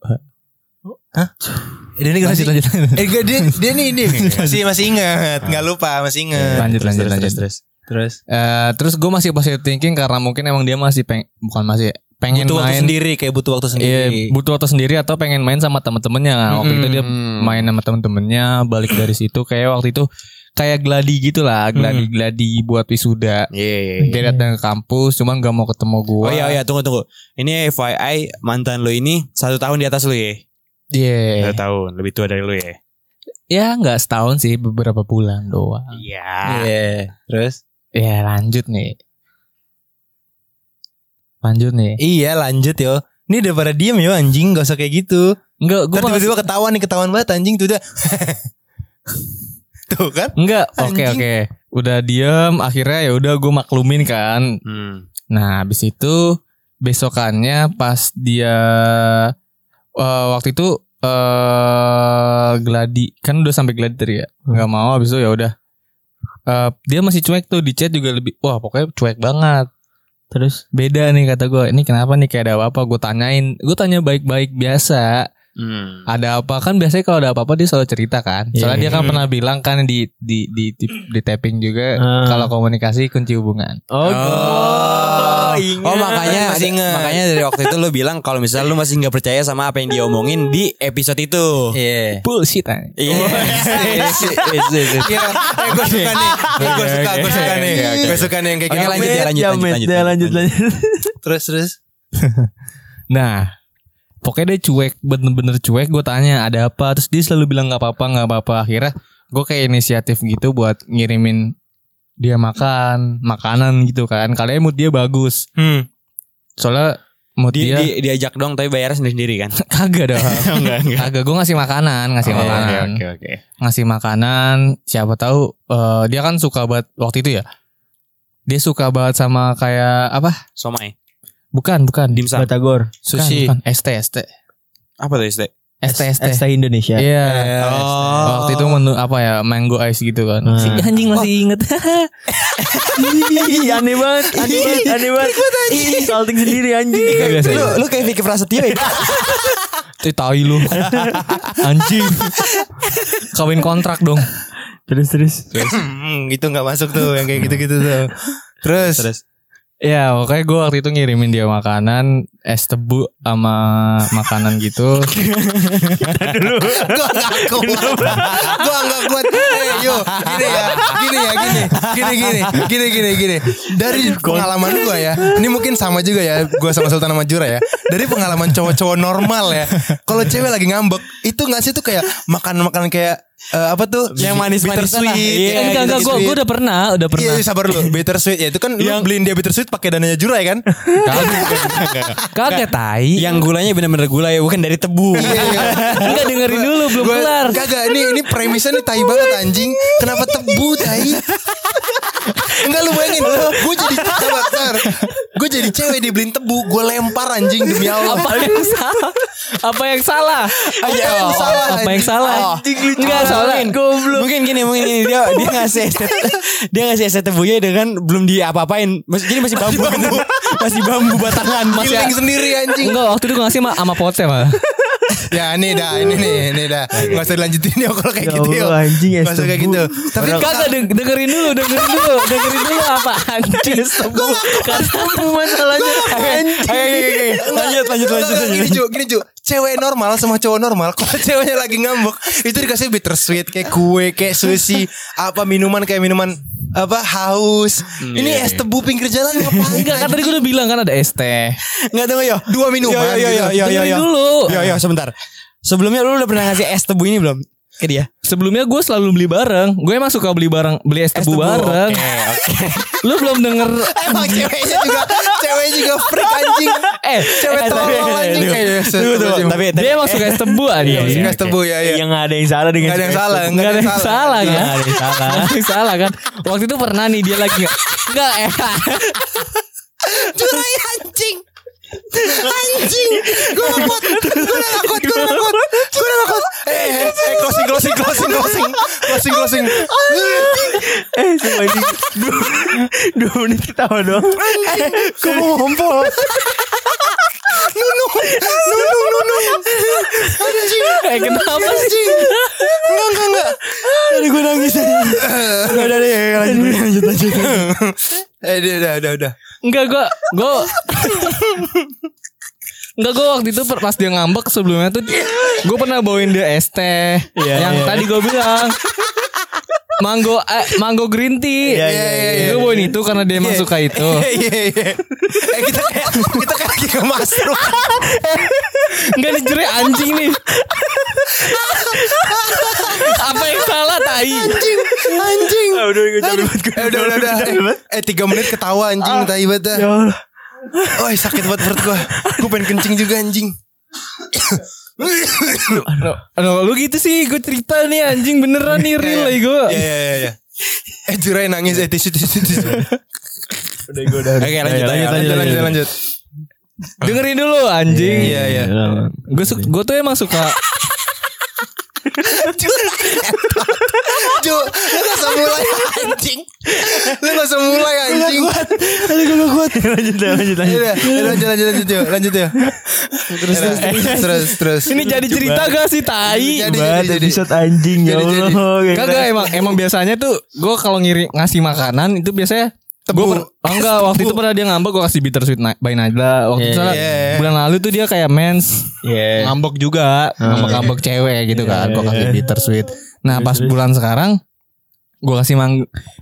[SPEAKER 4] Dia ini
[SPEAKER 2] Lanjut lanjut lanjut.
[SPEAKER 4] Eh gak dia dia nih ini masih masih ingat, nggak lupa masih ingat.
[SPEAKER 2] Iya, lanjut lanjut
[SPEAKER 3] terus,
[SPEAKER 2] lanjut.
[SPEAKER 3] terus,
[SPEAKER 4] Eh, Terus
[SPEAKER 2] Eh, terus gue masih positive thinking karena mungkin emang dia masih peng bukan masih pengen
[SPEAKER 4] butuh waktu
[SPEAKER 2] main
[SPEAKER 4] sendiri kayak butuh waktu
[SPEAKER 2] Iya,
[SPEAKER 4] sendiri.
[SPEAKER 2] butuh waktu sendiri atau pengen main sama teman-temannya. Waktu itu dia
[SPEAKER 3] Hmm.
[SPEAKER 2] main sama teman-temannya, balik
[SPEAKER 3] *coughs*
[SPEAKER 2] dari situ kayak waktu itu kayak gladi gitu lah,
[SPEAKER 3] Hmm.
[SPEAKER 2] gladi-gladi buat
[SPEAKER 3] Iya.
[SPEAKER 2] wisuda.
[SPEAKER 3] iya, iya.
[SPEAKER 2] Dia datang ke kampus, cuman gak mau ketemu gua.
[SPEAKER 3] Oh iya iya tunggu tunggu. Ini FYI mantan lu ini satu tahun di atas lu ya.
[SPEAKER 2] Iya.
[SPEAKER 3] Satu tahun lebih tua dari lu ya.
[SPEAKER 2] Ya nggak setahun sih, beberapa bulan doang.
[SPEAKER 3] Iya.
[SPEAKER 4] Terus
[SPEAKER 2] Ya lanjut nih. Lanjut nih.
[SPEAKER 4] iya lanjut yo. Ini udah pada diem yo anjing gak usah kayak gitu.
[SPEAKER 2] Enggak,
[SPEAKER 4] Ntar
[SPEAKER 3] Kan
[SPEAKER 2] gua malah-
[SPEAKER 4] tiba-tiba ketahuan nih ketahuan banget anjing tuh udah. *laughs* tuh kan?
[SPEAKER 2] Enggak, oke
[SPEAKER 4] Anjing.
[SPEAKER 2] oke. Udah diem, akhirnya ya udah gue maklumin kan.
[SPEAKER 3] Hmm.
[SPEAKER 2] Nah, habis itu besokannya pas dia eh, waktu itu eh gladi kan udah sampai gladi tadi ya
[SPEAKER 1] Hmm.
[SPEAKER 2] nggak mau abis itu ya udah Eh, dia masih cuek tuh di chat juga lebih wah pokoknya cuek banget
[SPEAKER 1] Terus
[SPEAKER 2] beda nih kata gue ini kenapa nih kayak ada apa-apa gue tanyain gue tanya baik-baik biasa
[SPEAKER 3] Hmm.
[SPEAKER 2] ada apa kan biasanya kalau ada apa-apa dia selalu cerita kan soalnya dia kan
[SPEAKER 3] Hmm.
[SPEAKER 2] pernah bilang kan di di di di, di tapping
[SPEAKER 4] Eh,
[SPEAKER 2] juga
[SPEAKER 1] Ah.
[SPEAKER 2] kalau komunikasi kunci hubungan
[SPEAKER 1] Oh,
[SPEAKER 2] iya.
[SPEAKER 3] Oh,
[SPEAKER 1] ingat.
[SPEAKER 3] oh makanya
[SPEAKER 4] Iya, Masih ingat.
[SPEAKER 3] makanya dari waktu itu lu bilang kalau misalnya lu masih nggak percaya sama apa yang dia omongin di episode itu.
[SPEAKER 4] Iya.
[SPEAKER 2] bullshit anjing.
[SPEAKER 3] Iya. Iya.
[SPEAKER 4] Iya, eh, gue suka nih. Gue suka, gue suka nih. Gue suka nih yang kayak gitu. Iya,
[SPEAKER 1] Oke,
[SPEAKER 4] gini.
[SPEAKER 1] lanjut ya, lanjut, lanjut, lanjut, lanjut,
[SPEAKER 4] Terus terus.
[SPEAKER 2] Nah, pokoknya dia cuek, bener-bener cuek. Gue tanya ada apa, terus dia selalu bilang nggak apa-apa, nggak apa-apa. Akhirnya gue kayak inisiatif gitu buat ngirimin dia makan, makanan gitu kan. Kalian mood dia bagus.
[SPEAKER 4] Hmm. Iya.
[SPEAKER 2] Soalnya mood
[SPEAKER 3] Di,
[SPEAKER 2] dia
[SPEAKER 3] di, diajak dong tapi bayarnya sendiri-sendiri
[SPEAKER 4] *laughs*
[SPEAKER 3] kan.
[SPEAKER 2] *laughs* kagak
[SPEAKER 3] *laughs*
[SPEAKER 2] dong. Kagak, gue ngasih makanan, ngasih
[SPEAKER 3] Oh,
[SPEAKER 2] makanan.
[SPEAKER 3] oke.
[SPEAKER 2] Ngasih makanan, siapa tahu eh, dia kan suka banget waktu itu ya. Dia suka banget sama kayak apa?
[SPEAKER 3] Somai.
[SPEAKER 2] Bukan, bukan. Bukan,
[SPEAKER 3] Dimsum.
[SPEAKER 1] Batagor.
[SPEAKER 4] Sushi.
[SPEAKER 2] bukan. ST, ST.
[SPEAKER 3] Apa tuh Iste?
[SPEAKER 2] ST, ST.
[SPEAKER 1] ST Indonesia.
[SPEAKER 2] Iya.
[SPEAKER 3] Oh.
[SPEAKER 2] Waktu itu menu apa ya Mango ice gitu kan
[SPEAKER 1] Hmm.
[SPEAKER 2] Si
[SPEAKER 4] Nah.
[SPEAKER 2] anjing masih
[SPEAKER 4] Oh,
[SPEAKER 2] inget
[SPEAKER 1] *laughs* Ih, aneh banget, aneh banget,
[SPEAKER 4] Iya,
[SPEAKER 1] aneh banget. Ih, salting sendiri anjing.
[SPEAKER 2] Kagak
[SPEAKER 3] Lu
[SPEAKER 2] saya
[SPEAKER 3] lu kayak Vicky Prasetyo ya?
[SPEAKER 2] Eh, Tai lu Anjing Kawin kontrak dong
[SPEAKER 1] Terus terus.
[SPEAKER 4] Hmm, itu nggak masuk tuh yang kayak gitu-gitu
[SPEAKER 3] *laughs*
[SPEAKER 4] tuh. Terus.
[SPEAKER 3] Terus.
[SPEAKER 2] Ya pokoknya gue waktu itu ngirimin dia makanan Es tebu sama makanan gitu
[SPEAKER 4] Gua gak kuat. Gua gak kuat. Eh, yo, gini ya, gini ya, gini, gini, gini, gini, gini, gini. Dari pengalaman gua ya, ini mungkin sama juga ya, gua sama Sultan sama Jura ya. Dari pengalaman cowok-cowok normal ya, kalau cewek lagi ngambek, itu nggak sih tuh kayak makan-makan kayak eh, apa tuh?
[SPEAKER 3] Yang manis-manisan lah.
[SPEAKER 4] Bittersweet. ya,
[SPEAKER 3] Iya,
[SPEAKER 2] Enggak enggak gue
[SPEAKER 4] bittersweet.
[SPEAKER 2] udah pernah Udah pernah
[SPEAKER 4] Iya sabar lu Bittersweet ya Itu kan lu beliin dia bittersweet pakai dananya Jura ya kan
[SPEAKER 2] Kagak tai
[SPEAKER 3] Yang gulanya bener-bener gula ya bukan dari tebu.
[SPEAKER 4] Iya,
[SPEAKER 2] Enggak dengerin dulu Belum
[SPEAKER 4] Gua-
[SPEAKER 2] kelar
[SPEAKER 3] oh.
[SPEAKER 4] Kagak ini ini premisnya nih tai banget anjing. Kenapa tebu tai? Enggak lu bayangin Gue jadi Sabar Gue jadi cewek dibeliin tebu Gue lempar anjing *laughs* demi Allah
[SPEAKER 2] Apa yang salah Apa yang salah
[SPEAKER 4] Apa yang salah,
[SPEAKER 2] Apa yang
[SPEAKER 4] anjing?
[SPEAKER 2] salah
[SPEAKER 3] Oh,
[SPEAKER 2] Enggak salah
[SPEAKER 1] Goblok.
[SPEAKER 3] Mungkin gini, mungkin gini dia dia ngasih estet, dia ngasih estet tebunya dengan belum diapa-apain. Mas- Jadi masih bambu, kan? masih bambu batangan. ya. Masih
[SPEAKER 4] Giling sendiri anjing
[SPEAKER 2] Enggak waktu itu gue ngasih sama, sama pote mah
[SPEAKER 4] *laughs* Ya ini dah Ini nih ini dah Gak usah dilanjutin yuk Kalau kayak
[SPEAKER 1] Ya
[SPEAKER 4] gitu yuk
[SPEAKER 1] Allah, anjing, es
[SPEAKER 4] Nggak usah kayak
[SPEAKER 1] tebu.
[SPEAKER 4] gitu Tapi
[SPEAKER 2] Tapi kagak deng- dengerin dulu, dengerin dulu, dengerin dulu apa anjing sembuh.
[SPEAKER 3] Kan?
[SPEAKER 1] Kamu
[SPEAKER 3] *laughs*
[SPEAKER 1] masalahnya anjing.
[SPEAKER 3] lanjut,
[SPEAKER 4] Enggak,
[SPEAKER 3] lanjut, lanjut,
[SPEAKER 4] enggak,
[SPEAKER 3] lanjut.
[SPEAKER 4] Gini Ju, gini Ju. Cewek normal sama cowok normal Kalau ceweknya lagi ngambek Itu dikasih bittersweet Kayak kue, kayak sushi Apa minuman kayak minuman Apa haus
[SPEAKER 3] Hmm,
[SPEAKER 4] Ini
[SPEAKER 3] Iya,
[SPEAKER 4] es tebu pinggir jalan ngapain
[SPEAKER 2] Enggak kan tadi gue udah bilang kan ada ST.
[SPEAKER 3] Enggak tunggu yo.
[SPEAKER 4] Dua minuman
[SPEAKER 3] Yo yo yo yo yo
[SPEAKER 2] Dengerin
[SPEAKER 3] yo.
[SPEAKER 2] dulu.
[SPEAKER 3] Yo yo sebentar. Sebelumnya lu udah pernah ngasih es tebu ini belum? Ke dia.
[SPEAKER 2] Sebelumnya gue selalu beli bareng. Gue emang suka beli bareng, beli es tebu bareng. Lu belum denger
[SPEAKER 4] Emang ceweknya juga Cewek juga freak anjing
[SPEAKER 2] eh
[SPEAKER 4] Cewek
[SPEAKER 2] eh, tapi-
[SPEAKER 4] tolol anjing
[SPEAKER 3] tunggu,
[SPEAKER 4] Kayak es
[SPEAKER 3] Tunggu,
[SPEAKER 4] tebu,
[SPEAKER 3] tunggu.
[SPEAKER 4] Ju.
[SPEAKER 3] Tapi
[SPEAKER 2] dia emang suka es tebu aja.
[SPEAKER 4] Iya, Es tebu ya ya
[SPEAKER 1] Eh, Yang nggak ada yang salah dengan
[SPEAKER 4] Gak ada yang
[SPEAKER 1] cewek.
[SPEAKER 4] salah
[SPEAKER 2] Enggak ada yang salah
[SPEAKER 1] Nggak
[SPEAKER 2] ya.
[SPEAKER 1] ada yang salah.
[SPEAKER 2] Nggak ada
[SPEAKER 4] *laughs*
[SPEAKER 2] yang salah kan. Waktu itu pernah nih dia lagi enggak eh.
[SPEAKER 4] Curai anjing Anjing Gue gak kuat Gue gak kuat Gue gak kuat Gue gak kuat Eh eh, eh, closing closing closing closing Closing closing
[SPEAKER 1] *laughs* Eh, cuma
[SPEAKER 4] *laughs*
[SPEAKER 1] ini dua, dua menit ketawa dong.
[SPEAKER 3] Gue mau ngompol.
[SPEAKER 4] Nunung Nunung Nunung Anjing
[SPEAKER 2] Eh kenapa sih?
[SPEAKER 4] Iya, Anjing Enggak enggak enggak
[SPEAKER 3] Aduh gue nangis. Udah udah deh lanjut lanjut lanjut.
[SPEAKER 4] Eh dia- udah udah udah
[SPEAKER 2] Enggak gua gua Enggak gua waktu itu per- pas dia ngambek sebelumnya tuh Gua pernah bawain dia es teh
[SPEAKER 4] Iya,
[SPEAKER 2] yang tadi gua bilang Mango eh, mango green tea.
[SPEAKER 4] iya, iya, iya.
[SPEAKER 2] Gua bawain itu karena dia emang
[SPEAKER 4] Iya.
[SPEAKER 2] suka itu.
[SPEAKER 4] Iya iya iya Eh kita kayak Kita kayak lagi ke mushroom
[SPEAKER 2] Enggak dijerit anjing nih. Apa yang salah tai?
[SPEAKER 4] Anjing Anjing
[SPEAKER 1] Ah, udah, gue capek banget, gue
[SPEAKER 4] Eh udah udah udah Eh 3 menit ketawa anjing Tai bata
[SPEAKER 1] Ya Allah.
[SPEAKER 4] Oh sakit banget perut gua Gua pengen kencing juga anjing
[SPEAKER 2] Aduh, lu gitu sih gua cerita nih anjing beneran nih real lah gua.
[SPEAKER 4] Iya iya iya, iya. Eh Jurai nangis Eh tisu tisu tisu
[SPEAKER 1] Udah gue udah.
[SPEAKER 3] Oke lanjut
[SPEAKER 1] Lanjut,
[SPEAKER 3] lanjut
[SPEAKER 4] Lanjut lanjut lanjut
[SPEAKER 2] Dengerin dulu anjing.
[SPEAKER 4] Iya iya
[SPEAKER 1] Iya.
[SPEAKER 2] Gue tuh emang suka
[SPEAKER 4] Ju, lu gak usah mulai anjing. *laughs* Lu gak usah mulai anjing.
[SPEAKER 1] *laughs* lanjut lanjut lanjut.
[SPEAKER 4] Yaudah, Iya, lanjut lanjut lanjut yuk, lanjut yuk. Terus terus terus terus.
[SPEAKER 2] Ini jadi cerita gak sih tai?
[SPEAKER 4] Jadi,
[SPEAKER 1] Banget
[SPEAKER 4] jadi, jadi.
[SPEAKER 1] episode anjing ya
[SPEAKER 4] Jadi, ya. jadi.
[SPEAKER 1] Allah. kayak
[SPEAKER 2] Kagak emang emang biasanya tuh gue kalau ngiri ngasih makanan itu biasanya
[SPEAKER 4] Tebu.
[SPEAKER 2] Gua per- oh, enggak waktu itu pernah dia ngambek gue kasih bittersweet na- by Najla waktu itu
[SPEAKER 1] Iya,
[SPEAKER 2] salah,
[SPEAKER 4] iya, iya.
[SPEAKER 2] bulan lalu tuh dia kayak mens
[SPEAKER 1] Iya.
[SPEAKER 2] ngambek juga ngambek ngambek cewek gitu
[SPEAKER 1] Iya,
[SPEAKER 2] kan gue
[SPEAKER 1] iya,
[SPEAKER 2] kasih
[SPEAKER 1] iya.
[SPEAKER 2] bittersweet nah
[SPEAKER 1] Terus,
[SPEAKER 2] pas
[SPEAKER 1] terus.
[SPEAKER 2] bulan sekarang gue kasih mang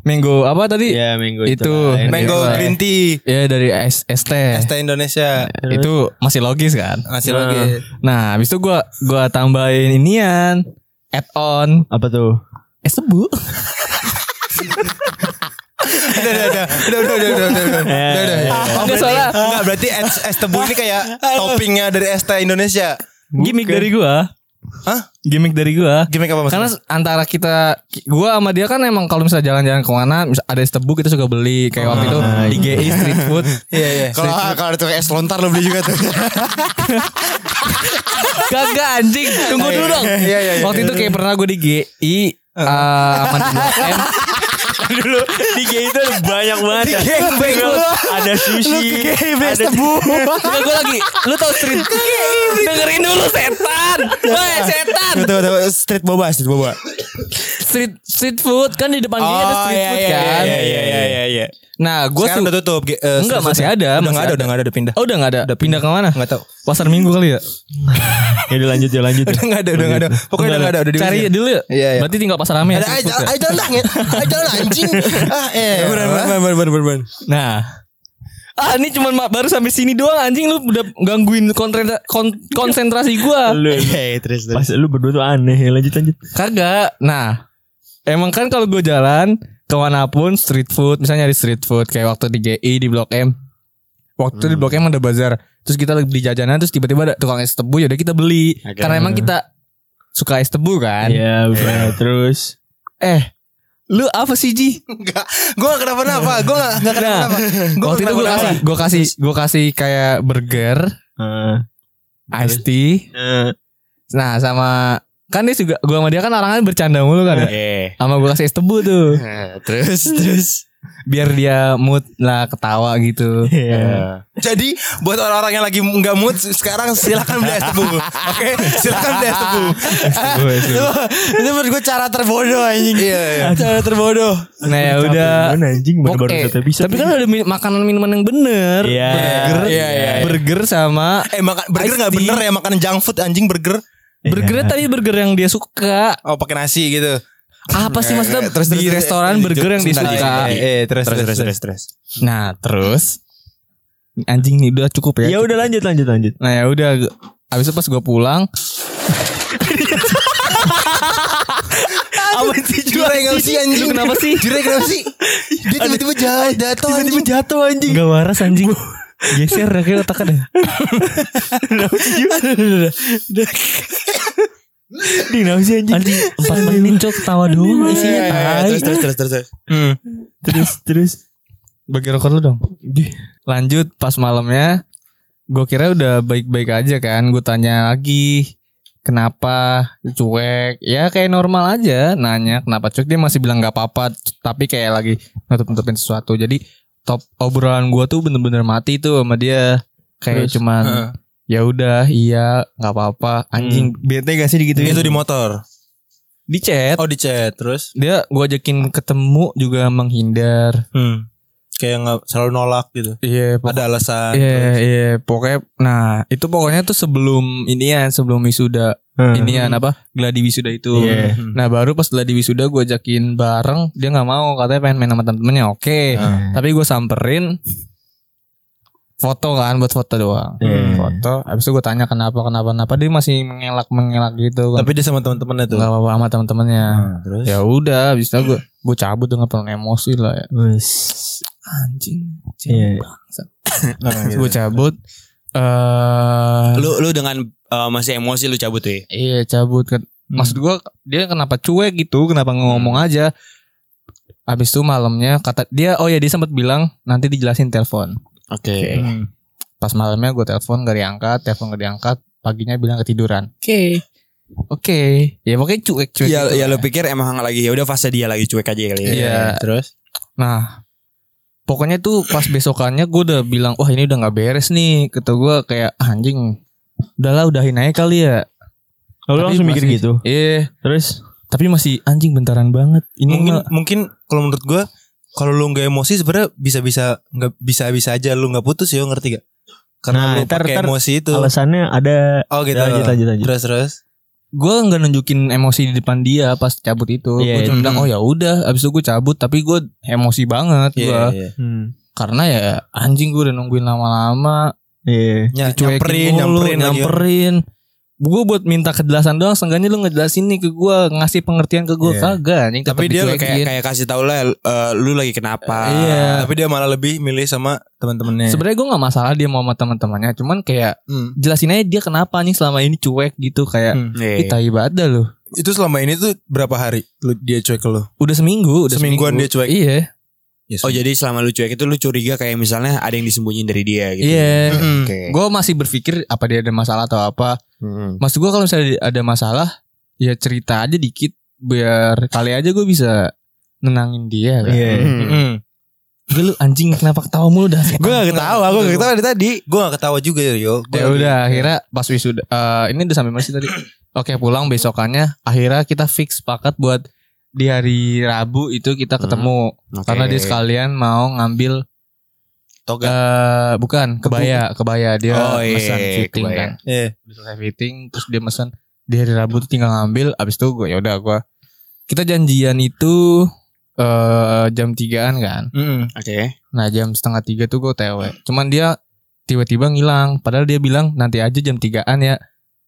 [SPEAKER 2] minggu apa tadi
[SPEAKER 1] Iya minggu
[SPEAKER 2] Itu.
[SPEAKER 1] lah. Eh,
[SPEAKER 4] Mango
[SPEAKER 2] Iya.
[SPEAKER 4] green tea.
[SPEAKER 2] ya dari S- ST
[SPEAKER 4] ST Indonesia.
[SPEAKER 2] itu masih logis kan
[SPEAKER 4] Masih
[SPEAKER 1] Nah.
[SPEAKER 4] lagi.
[SPEAKER 2] nah habis itu gue gua tambahin inian add on
[SPEAKER 1] Apa tuh?
[SPEAKER 2] es tebu
[SPEAKER 4] Udah udah udah udah udah udah udah udah.
[SPEAKER 1] Eh,
[SPEAKER 4] udah, udah. Oh,
[SPEAKER 2] Enggak,
[SPEAKER 4] berarti-
[SPEAKER 2] soalnya-
[SPEAKER 4] Enggak berarti es, es tebu ini kayak toppingnya dari ST Indonesia.
[SPEAKER 2] gimmick dari gue
[SPEAKER 4] Hah?
[SPEAKER 2] gimmick dari gue
[SPEAKER 4] Gimana apa
[SPEAKER 2] Karena
[SPEAKER 4] maksudnya?
[SPEAKER 2] s- antara kita gua sama dia kan emang kalau misalnya jalan-jalan kemana misal ada es tebu kita suka beli kayak waktu itu di GI street food.
[SPEAKER 4] Iya iya. Kalau kalau ada tukang es lontar lo beli juga *laughs* tuh.
[SPEAKER 2] Kagak anjing, tunggu dulu dong.
[SPEAKER 4] Iya, iya, iya.
[SPEAKER 2] Waktu itu kayak pernah gue di GI eh, sama di
[SPEAKER 4] *laughs*
[SPEAKER 2] Blok
[SPEAKER 4] Iya,
[SPEAKER 2] M.
[SPEAKER 1] *laughs* dulu di GI itu ada banyak banget. ya.
[SPEAKER 2] Iya,
[SPEAKER 4] Gangbang lu.
[SPEAKER 1] Ada sushi.
[SPEAKER 4] es
[SPEAKER 1] Ada
[SPEAKER 4] tebu.
[SPEAKER 2] Enggak gue lagi, lu tau street
[SPEAKER 4] Iya,
[SPEAKER 2] Dengerin dulu setan. Woi, setan.
[SPEAKER 4] Tuh, tuh, tuh, street boba, street boba. Oh,
[SPEAKER 2] Street street food kan di depan GI ada street food kan.
[SPEAKER 4] iya iya.
[SPEAKER 2] Nah, gue
[SPEAKER 4] Sekarang
[SPEAKER 2] tuh
[SPEAKER 4] udah tutup. ge- eh,
[SPEAKER 2] Enggak,
[SPEAKER 4] street
[SPEAKER 2] masih
[SPEAKER 4] foodnya. Udah
[SPEAKER 2] ada, masih
[SPEAKER 4] enggak ada,
[SPEAKER 2] ada.
[SPEAKER 4] udah enggak ada udah pindah.
[SPEAKER 2] Oh udah gak ada Udah pindah kemana
[SPEAKER 4] Enggak tahu.
[SPEAKER 2] Pasar minggu kali ya
[SPEAKER 1] Ya udah lanjut ya lanjut. ya.
[SPEAKER 4] Udah enggak ada, udah enggak ada. Pokoknya udah enggak ada, udah di
[SPEAKER 2] Cari dulu ya
[SPEAKER 4] Iya, iya.
[SPEAKER 2] Berarti tinggal pasar rame ya,
[SPEAKER 4] Ada
[SPEAKER 2] street
[SPEAKER 4] aja,
[SPEAKER 2] food ya.
[SPEAKER 4] aja lah, aja lah anjing. Ah, *laughs* eh. Benar, benar, benar, benar.
[SPEAKER 2] Nah. Ah ini cuman ma- baru sampai sini doang anjing lu udah gangguin kontre- kon- konsentrasi gua.
[SPEAKER 1] Lu
[SPEAKER 3] Iya, terus
[SPEAKER 1] pas lu berdua tuh aneh. Ya, lanjut lanjut.
[SPEAKER 2] Kagak. Nah, emang kan kalau gua jalan kemanapun street food, misalnya di street food kayak waktu di GI di Blok M. Waktu itu di Blok M ada bazar. Terus kita lagi beli jajanan terus tiba-tiba ada tukang es tebu ya udah kita beli.
[SPEAKER 3] Oke.
[SPEAKER 2] Karena emang kita suka es tebu kan.
[SPEAKER 1] Iya, bener. terus
[SPEAKER 2] Eh, lu apa sih Ji?
[SPEAKER 4] Enggak. Gua enggak kenapa-napa. Gua enggak enggak
[SPEAKER 2] Nah,
[SPEAKER 4] kenapa-napa. Gua
[SPEAKER 2] waktu itu gue
[SPEAKER 4] kenapa-napa.
[SPEAKER 2] kasih, gue kasih, gue kasih kayak burger,
[SPEAKER 1] eh,
[SPEAKER 2] iced tea,
[SPEAKER 1] eh,
[SPEAKER 2] Nah sama kan dia juga gua sama dia kan larangan bercanda mulu kan ya.
[SPEAKER 3] Iya.
[SPEAKER 4] *laughs*
[SPEAKER 2] Sama gua kasih es tebu tuh
[SPEAKER 3] Terus terus.
[SPEAKER 2] biar dia mood lah ketawa gitu.
[SPEAKER 1] iya.
[SPEAKER 4] Jadi buat orang-orang yang lagi enggak mood sekarang silakan beli es tebu. Oke, silakan beli es tebu. Itu menurut gue cara terbodoh anjing. Iya, iya. Cara terbodoh.
[SPEAKER 2] Nah ya
[SPEAKER 1] Capek
[SPEAKER 2] udah.
[SPEAKER 1] gimana, anjing baru baru
[SPEAKER 2] Oke.
[SPEAKER 1] satu episode.
[SPEAKER 2] Tapi kan ada min- makanan minuman yang bener.
[SPEAKER 1] Iya.
[SPEAKER 2] Burger,
[SPEAKER 4] Iya, iya, iya.
[SPEAKER 2] burger sama
[SPEAKER 4] Eh makan burger
[SPEAKER 2] Ice
[SPEAKER 4] enggak
[SPEAKER 2] tea.
[SPEAKER 4] bener ya makanan junk food anjing burger.
[SPEAKER 2] burgernya tadi burger yang dia suka.
[SPEAKER 4] Oh, pakai nasi gitu.
[SPEAKER 2] Apa sih
[SPEAKER 4] iya.
[SPEAKER 2] maksudnya di restoran burger yang dia suka.
[SPEAKER 4] Eh, terus terus terus terus. terus.
[SPEAKER 2] Nah terus anjing nih udah cukup
[SPEAKER 1] Ya
[SPEAKER 2] ya.
[SPEAKER 1] udah lanjut lanjut lanjut.
[SPEAKER 2] Nah ya udah Abis itu pas gue pulang
[SPEAKER 4] Apa sih jureng sih anjing?
[SPEAKER 2] Lu kenapa sih?
[SPEAKER 4] Jureng kenapa sih? Dia tiba-tiba jatuh, jatuh anjing.
[SPEAKER 1] jatuh anjing.
[SPEAKER 2] Gak waras anjing Geser ya kayak otaknya deh
[SPEAKER 1] Di kenapa sih anjing.
[SPEAKER 2] Anjing 4 menit cok ketawa doang isinya
[SPEAKER 4] Iya,
[SPEAKER 3] Ah,
[SPEAKER 4] iya,
[SPEAKER 2] tai
[SPEAKER 4] Terus terus terus terus. terus.
[SPEAKER 1] Terus terus.
[SPEAKER 2] Bagi rokok lu dong Lanjut pas malamnya Gue kira udah baik-baik aja kan Gue tanya lagi Kenapa cuek Ya kayak normal aja Nanya kenapa cuek Dia masih bilang gak apa-apa Tapi kayak lagi nutup-nutupin sesuatu Jadi top obrolan gue tuh bener-bener mati tuh sama dia Kayak
[SPEAKER 1] Terus?
[SPEAKER 2] cuman
[SPEAKER 4] Heeh.
[SPEAKER 2] ya udah iya nggak apa-apa anjing bete gak sih gitu
[SPEAKER 4] Itu di motor.
[SPEAKER 2] di chat
[SPEAKER 4] Oh di chat terus.
[SPEAKER 2] dia gua ajakin ketemu juga menghindar
[SPEAKER 4] Hmm. Kayak nggak selalu nolak gitu.
[SPEAKER 2] iya
[SPEAKER 4] Ada alasan.
[SPEAKER 2] iya iya pokoknya nah itu pokoknya tuh sebelum ini ya sebelum wisuda ini ya apa gladi wisuda itu
[SPEAKER 1] Hmm. Iya.
[SPEAKER 2] nah baru pas gladi wisuda gua ajakin bareng dia nggak mau katanya pengen main sama temen-temennya oke tapi gue samperin foto kan buat foto doang
[SPEAKER 1] Hmm.
[SPEAKER 2] foto habis itu gue tanya kenapa kenapa kenapa dia masih mengelak mengelak gitu
[SPEAKER 4] Tapi dia sama teman-temannya tuh.
[SPEAKER 2] nggak apa-apa sama teman-temannya
[SPEAKER 4] terus.
[SPEAKER 2] ya udah abis itu gue gue cabut dengan penuh emosi lah ya
[SPEAKER 1] Wes.
[SPEAKER 2] anjing
[SPEAKER 1] Iya.
[SPEAKER 4] Oh, iya,
[SPEAKER 2] gue cabut eh
[SPEAKER 3] Lu lu dengan eh, masih emosi lu cabut tuh. ya?
[SPEAKER 2] iya cabut kan
[SPEAKER 4] Hmm.
[SPEAKER 2] maksud gue dia kenapa cuek gitu kenapa nggak ngomong aja abis itu malamnya kata dia oh ya dia sempat bilang nanti dijelasin telepon
[SPEAKER 3] Oke.
[SPEAKER 1] Hmm.
[SPEAKER 2] pas malamnya gue telepon gak diangkat telepon gak diangkat paginya bilang ketiduran oke Oke. Ya pokoknya cuek-cuek.
[SPEAKER 3] ya,
[SPEAKER 2] gitu
[SPEAKER 3] ya
[SPEAKER 2] lah.
[SPEAKER 3] lu pikir emang lagi ya udah fase dia lagi cuek aja kali ya.
[SPEAKER 2] Iya.
[SPEAKER 3] Terus
[SPEAKER 2] Nah, pokoknya tuh pas besokannya gue udah bilang, wah ini udah nggak beres nih. Kata gue kayak "Ah, anjing. Udahlah udahin aja kali ya.
[SPEAKER 1] Lalu
[SPEAKER 2] Tapi
[SPEAKER 1] langsung mikir
[SPEAKER 2] masih-
[SPEAKER 1] gitu.
[SPEAKER 2] Iya.
[SPEAKER 1] Terus
[SPEAKER 2] Tapi masih anjing bentaran banget. Ini
[SPEAKER 4] mungkin
[SPEAKER 2] mah-
[SPEAKER 4] mungkin kalau menurut gua kalau lu nggak emosi sebenarnya bisa-bisa nggak bisa-bisa aja lu nggak putus ya ngerti gak?
[SPEAKER 1] Nah,
[SPEAKER 4] Karena lu
[SPEAKER 1] ntar-
[SPEAKER 4] pakai
[SPEAKER 1] ntar
[SPEAKER 4] emosi itu.
[SPEAKER 1] alasannya ada
[SPEAKER 4] Oh gitu.
[SPEAKER 1] Ya, lanjut lanjut lanjut.
[SPEAKER 4] Terus terus.
[SPEAKER 2] gue nggak nunjukin emosi di depan dia pas cabut itu.
[SPEAKER 1] Iya,
[SPEAKER 2] gue cuma
[SPEAKER 4] iya.
[SPEAKER 2] bilang, oh ya udah. Abis itu gue cabut, tapi gue emosi banget gue.
[SPEAKER 4] Iya. iya.
[SPEAKER 1] Hmm.
[SPEAKER 2] Karena ya anjing gue udah nungguin lama-lama.
[SPEAKER 1] Iya.
[SPEAKER 4] Ny-
[SPEAKER 2] cuekin
[SPEAKER 4] nyamperin,
[SPEAKER 2] mulu,
[SPEAKER 4] nyamperin, lagi.
[SPEAKER 2] nyamperin. Gue buat minta kejelasan doang, seenggaknya lu ngejelasin nih ke gue, ngasih pengertian ke gue
[SPEAKER 4] Iya.
[SPEAKER 2] kagak anjing. tetep
[SPEAKER 3] tapi dia
[SPEAKER 2] dicuekin.
[SPEAKER 3] kayak kayak kasih tau lah eh, lu lagi kenapa.
[SPEAKER 2] Iya.
[SPEAKER 4] Tapi dia malah lebih milih sama teman-temannya.
[SPEAKER 2] Sebenarnya gue nggak masalah dia mau sama teman-temannya, cuman kayak
[SPEAKER 4] Hmm.
[SPEAKER 2] jelasin aja dia kenapa nih selama ini cuek gitu kayak
[SPEAKER 4] Hmm.
[SPEAKER 3] Iya.
[SPEAKER 2] kita ibadah loh.
[SPEAKER 4] Itu selama ini tuh berapa hari lu dia cuek ke lu?
[SPEAKER 2] Udah seminggu, udah
[SPEAKER 4] Semingguan dia cuek.
[SPEAKER 2] Iya,
[SPEAKER 3] Oh jadi selama lu cuek itu lu curiga kayak misalnya ada yang disembunyiin dari dia gitu.
[SPEAKER 2] iya.
[SPEAKER 4] Mm-mm.
[SPEAKER 3] Oke.
[SPEAKER 2] Gue masih berpikir apa dia ada masalah atau apa.
[SPEAKER 3] Mm-mm.
[SPEAKER 2] Maksud gue kalau misalnya ada masalah, ya cerita aja dikit biar kali aja gue bisa nenangin dia. Kan?
[SPEAKER 1] Iya.
[SPEAKER 3] Mm-mm.
[SPEAKER 4] Mm.
[SPEAKER 2] Gue lu anjing kenapa ketawa mulu dah.
[SPEAKER 4] Gue gak ketawa, gue gak
[SPEAKER 2] *laughs* Gua-
[SPEAKER 4] ketawa dari tadi. Gue gak ketawa juga yo. Gua
[SPEAKER 2] Ya
[SPEAKER 4] lagi-
[SPEAKER 2] udah akhirnya pas wisuda eh, ini udah sampai mana sih tadi? Oke pulang besokannya akhirnya kita fix sepakat buat di hari Rabu itu kita
[SPEAKER 3] Hmm,
[SPEAKER 2] ketemu
[SPEAKER 3] Oke.
[SPEAKER 2] karena dia sekalian mau ngambil
[SPEAKER 4] Toga.
[SPEAKER 2] eh bukan kebaya kebaya dia
[SPEAKER 3] Oh, iya,
[SPEAKER 2] mesen fitting
[SPEAKER 3] kebaya.
[SPEAKER 2] kan
[SPEAKER 4] Iya.
[SPEAKER 2] Udah selesai fitting terus dia mesen di hari Rabu tuh tinggal ngambil abis itu gue ya udah gue kita janjian itu eh jam tigaan kan
[SPEAKER 4] Mm-mm.
[SPEAKER 3] Oke.
[SPEAKER 2] Nah jam setengah tiga tuh gue tewe Cuman dia tiba-tiba ngilang Padahal dia bilang nanti aja jam tigaan ya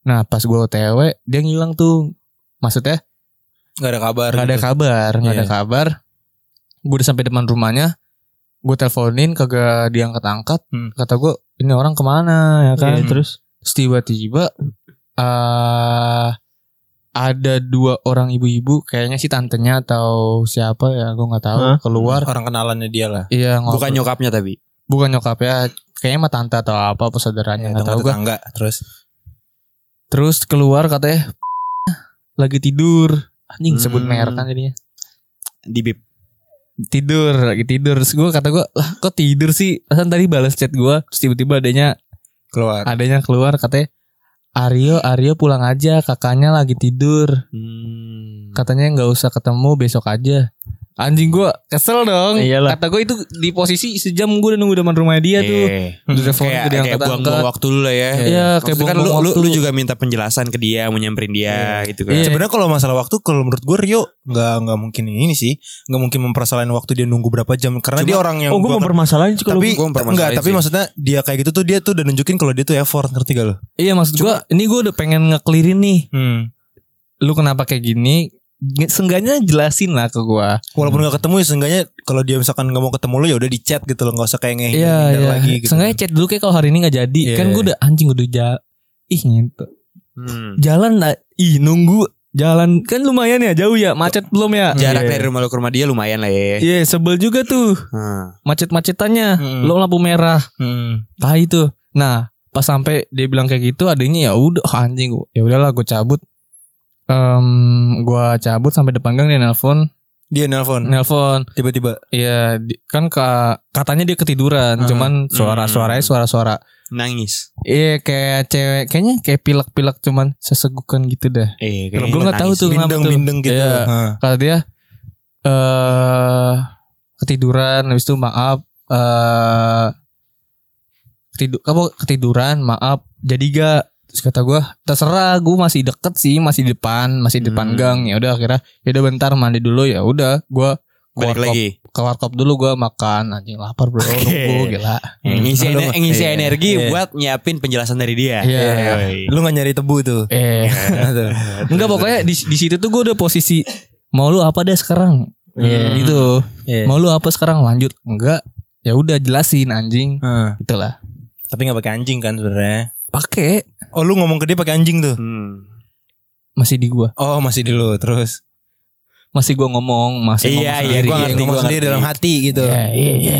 [SPEAKER 2] Nah pas gue tewe dia ngilang tuh Maksudnya
[SPEAKER 4] Gak ada kabar.
[SPEAKER 2] gak ada
[SPEAKER 4] gitu.
[SPEAKER 2] kabar Gak ada
[SPEAKER 4] Iya.
[SPEAKER 2] kabar Gue udah sampai depan rumahnya Gue teleponin kagak diangkat-angkat
[SPEAKER 4] Hmm.
[SPEAKER 2] Kata gue ini orang kemana ya kan
[SPEAKER 1] Iya, terus
[SPEAKER 2] Terus tiba-tiba eh ada dua orang ibu-ibu kayaknya si tantenya atau siapa ya gue nggak tahu
[SPEAKER 1] Hah?
[SPEAKER 2] keluar
[SPEAKER 4] Orang kenalannya dia lah.
[SPEAKER 2] iya ngobrol.
[SPEAKER 3] Bukan nyokapnya tapi.
[SPEAKER 2] bukan nyokapnya kayaknya mah tante atau apa apa saudaranya nggak
[SPEAKER 4] Tetangga,
[SPEAKER 2] tahu gua.
[SPEAKER 4] tetangga. Terus.
[SPEAKER 2] terus keluar katanya *laughs* lagi tidur anjing sebut
[SPEAKER 3] Hmm.
[SPEAKER 2] merek kan jadinya
[SPEAKER 3] Di bib.
[SPEAKER 2] tidur lagi tidur terus gue kata gue lah kok tidur sih Perasaan tadi balas chat gue terus tiba-tiba adanya
[SPEAKER 4] Keluar.
[SPEAKER 2] adanya keluar katanya Aryo Aryo pulang aja kakaknya lagi tidur
[SPEAKER 3] Hmm.
[SPEAKER 2] katanya nggak usah ketemu besok aja anjing gue kesel
[SPEAKER 4] Hmm.
[SPEAKER 2] dong
[SPEAKER 3] Iya
[SPEAKER 1] Iyalah.
[SPEAKER 2] kata gue itu di posisi sejam gue udah nunggu depan rumah dia Iya tuh
[SPEAKER 3] Eh,
[SPEAKER 2] Udah telepon
[SPEAKER 3] kayak,
[SPEAKER 2] gue
[SPEAKER 3] kayak
[SPEAKER 2] diangkat
[SPEAKER 3] buang-buang
[SPEAKER 2] angkat
[SPEAKER 3] waktu lu lah ya.
[SPEAKER 2] Iya,
[SPEAKER 3] Maksudnya
[SPEAKER 2] kayak
[SPEAKER 3] kan lu,
[SPEAKER 2] buang-buang
[SPEAKER 3] lu,
[SPEAKER 2] waktu.
[SPEAKER 3] lu juga minta penjelasan ke dia, mau nyamperin dia gitu kan.
[SPEAKER 2] Iya.
[SPEAKER 4] Sebenarnya kalau masalah waktu kalau menurut gue Rio nggak nggak mungkin ini sih nggak mungkin mempermasalahin waktu dia nunggu berapa jam karena
[SPEAKER 3] Cuma-
[SPEAKER 4] dia orang yang
[SPEAKER 1] oh gue
[SPEAKER 4] gua-
[SPEAKER 1] mempermasalahin sih kalau
[SPEAKER 4] tapi
[SPEAKER 3] gua mempermasalahin
[SPEAKER 4] enggak tapi
[SPEAKER 3] sih.
[SPEAKER 4] maksudnya dia kayak gitu tuh dia tuh udah nunjukin kalau dia tuh effort ngerti gak lo?
[SPEAKER 2] iya maksud gue ini gue udah pengen ngeklirin nih
[SPEAKER 4] Hmm.
[SPEAKER 2] lu kenapa kayak gini Nge- Seenggaknya jelasin lah ke gua
[SPEAKER 4] Walaupun nggak ketemu ya seenggaknya kalau dia misalkan nggak mau ketemu lo ya udah di chat gitu loh nggak usah kayak ngeh ngehindar lagi gitu.
[SPEAKER 2] Iya, Seenggaknya chat dulu kayak kalau hari ini nggak jadi
[SPEAKER 4] Iya.
[SPEAKER 2] Kan gua udah anjing udah jalan Ih nyentuh
[SPEAKER 3] Hmm.
[SPEAKER 2] Jalan lah Ih nunggu Jalan Kan lumayan ya jauh ya Macet belum ya
[SPEAKER 3] Jarak
[SPEAKER 4] Iya.
[SPEAKER 3] dari rumah lu ke rumah dia lumayan lah ya.
[SPEAKER 2] Iya sebel juga tuh
[SPEAKER 3] Hmm.
[SPEAKER 2] Macet-macetannya
[SPEAKER 4] Hmm.
[SPEAKER 2] Belum lampu merah
[SPEAKER 4] Hmm.
[SPEAKER 2] Tai itu Nah pas sampai dia bilang kayak gitu adanya ya udah ah, anjing gua ya udahlah gua cabut Em gua cabut sampai depan gang dia nelpon
[SPEAKER 4] Dia nelpon
[SPEAKER 2] nelpon
[SPEAKER 4] tiba-tiba.
[SPEAKER 2] Iya, di- kan ka- katanya dia ketiduran,
[SPEAKER 4] Hmm.
[SPEAKER 2] cuman suara-suaranya
[SPEAKER 3] Hmm.
[SPEAKER 2] suara-suara.
[SPEAKER 3] Nangis.
[SPEAKER 2] Iya, kayak cewek, kayaknya kayak pilek-pilek cuman sesegukan gitu dah.
[SPEAKER 3] Eh,
[SPEAKER 2] Gue
[SPEAKER 3] kayaknya lu
[SPEAKER 2] nggak tahu
[SPEAKER 3] nangis.
[SPEAKER 2] tuh kenapa tuh.
[SPEAKER 4] Bindeng-bindeng gitu.
[SPEAKER 2] Iya.
[SPEAKER 4] Hah.
[SPEAKER 2] Kata dia eh ketiduran, habis itu maaf eh ketidu- kamu ketiduran, maaf. Jadi gak terus kata gua terserah gue masih deket sih masih di depan masih di depan
[SPEAKER 3] Hmm.
[SPEAKER 2] gang ya udah akhirnya ya udah bentar mandi dulu ya udah gua
[SPEAKER 3] Balik
[SPEAKER 2] keluar kop-
[SPEAKER 3] lagi.
[SPEAKER 2] keluar kop dulu gua makan anjing lapar bro nunggu gila
[SPEAKER 4] Hmm.
[SPEAKER 3] Eh,
[SPEAKER 1] Hmm.
[SPEAKER 3] Ngisi,
[SPEAKER 4] Aduh,
[SPEAKER 3] ener- ngisi
[SPEAKER 4] iya.
[SPEAKER 3] energi
[SPEAKER 4] Iya.
[SPEAKER 3] buat nyiapin penjelasan dari dia.
[SPEAKER 2] Iya.
[SPEAKER 3] Yoi.
[SPEAKER 4] Lu nggak nyari tebu tuh.
[SPEAKER 2] eh
[SPEAKER 3] Iya.
[SPEAKER 4] Tuh.
[SPEAKER 2] Enggak pokoknya di, di situ tuh gue udah posisi mau lu apa deh sekarang
[SPEAKER 4] Iya.
[SPEAKER 2] gitu.
[SPEAKER 4] Iya.
[SPEAKER 2] Mau lu apa sekarang lanjut? Enggak. Ya udah jelasin anjing.
[SPEAKER 4] Hah.
[SPEAKER 2] Itulah.
[SPEAKER 4] Tapi nggak pakai anjing kan sebenarnya.
[SPEAKER 2] Pakai
[SPEAKER 4] Oh lu ngomong ke dia pakai anjing
[SPEAKER 2] Iya.
[SPEAKER 4] tuh.
[SPEAKER 3] Hmm.
[SPEAKER 2] masih di gua.
[SPEAKER 4] Oh masih di lu terus.
[SPEAKER 2] Masih gua ngomong,
[SPEAKER 3] Iya,
[SPEAKER 2] masih ngomong
[SPEAKER 3] iya,
[SPEAKER 2] sendiri.
[SPEAKER 3] gua ngerti,
[SPEAKER 4] ngomong
[SPEAKER 3] gua
[SPEAKER 4] sendiri
[SPEAKER 3] ngerti.
[SPEAKER 4] dalam hati gitu.
[SPEAKER 2] Iya, iya, iya.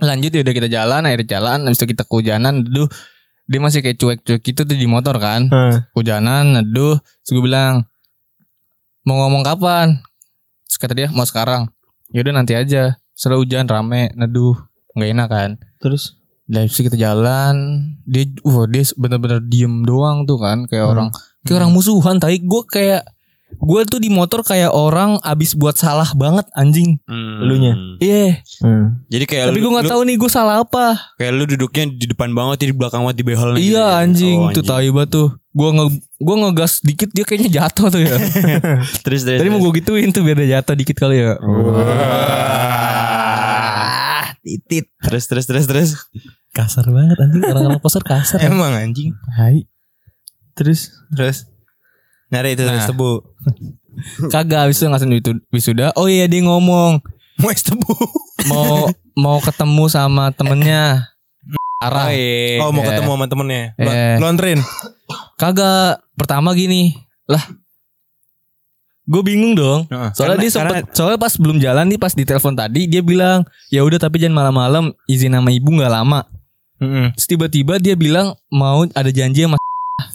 [SPEAKER 2] Lanjut ya udah kita jalan, akhirnya jalan, habis itu kita kehujanan, dulu dia masih kayak cuek-cuek gitu tuh di motor kan
[SPEAKER 1] Heeh.
[SPEAKER 2] hujanan aduh terus gue bilang mau ngomong kapan terus kata dia mau sekarang yaudah nanti aja setelah hujan rame neduh nggak enak kan
[SPEAKER 1] Terus
[SPEAKER 2] dari situ kita jalan dia wah dia bener-bener diem doang tuh kan
[SPEAKER 4] Hmm.
[SPEAKER 2] kayak orang kayak orang musuhan tapi gue kayak gue tuh di motor kayak orang abis buat salah banget anjing
[SPEAKER 3] Hmm.
[SPEAKER 1] Elunya.
[SPEAKER 2] iya
[SPEAKER 1] hmm.
[SPEAKER 3] Jadi kayak
[SPEAKER 2] tapi
[SPEAKER 3] lu-
[SPEAKER 2] gue nggak
[SPEAKER 3] lu-
[SPEAKER 2] tahu nih gue salah apa
[SPEAKER 3] Kayak lu duduknya di depan banget di belakang banget di behel Oh,
[SPEAKER 2] Iya anjing, tuh tai banget tuh. Gua nge gua ngegas dikit dia kayaknya jatuh tuh
[SPEAKER 3] *laughs*
[SPEAKER 2] ya.
[SPEAKER 3] Terus terus.
[SPEAKER 2] Tadi mau gua gituin tuh biar dia jatuh dikit kali ya.
[SPEAKER 3] Ah,
[SPEAKER 1] titit.
[SPEAKER 3] Terus terus terus terus.
[SPEAKER 2] Kasar banget anjing orang-orang pasar kasar. ya.
[SPEAKER 4] Emang anjing.
[SPEAKER 1] Hai. Terus
[SPEAKER 4] Terus nyari itu
[SPEAKER 2] Nah.
[SPEAKER 4] es tebu.
[SPEAKER 2] *laughs* Kagak habis itu langsung itu wisuda. Oh iya dia ngomong
[SPEAKER 4] Mau es tebu.
[SPEAKER 2] mau mau ketemu sama temennya. Arah.
[SPEAKER 3] iya.
[SPEAKER 4] Oh mau
[SPEAKER 2] Iya.
[SPEAKER 4] ketemu sama temennya. Lo-
[SPEAKER 2] Iya.
[SPEAKER 4] Lontrin.
[SPEAKER 2] Kagak pertama gini lah. Gue bingung dong.
[SPEAKER 4] Heeh.
[SPEAKER 2] Soalnya
[SPEAKER 3] Karena-
[SPEAKER 2] dia sempet, soalnya pas belum jalan nih pas ditelepon tadi dia bilang ya udah tapi jangan malam-malam izin sama ibu nggak lama.
[SPEAKER 1] Hmm.
[SPEAKER 4] Mm-mm.
[SPEAKER 2] Terus tiba-tiba dia bilang mau ada janji sama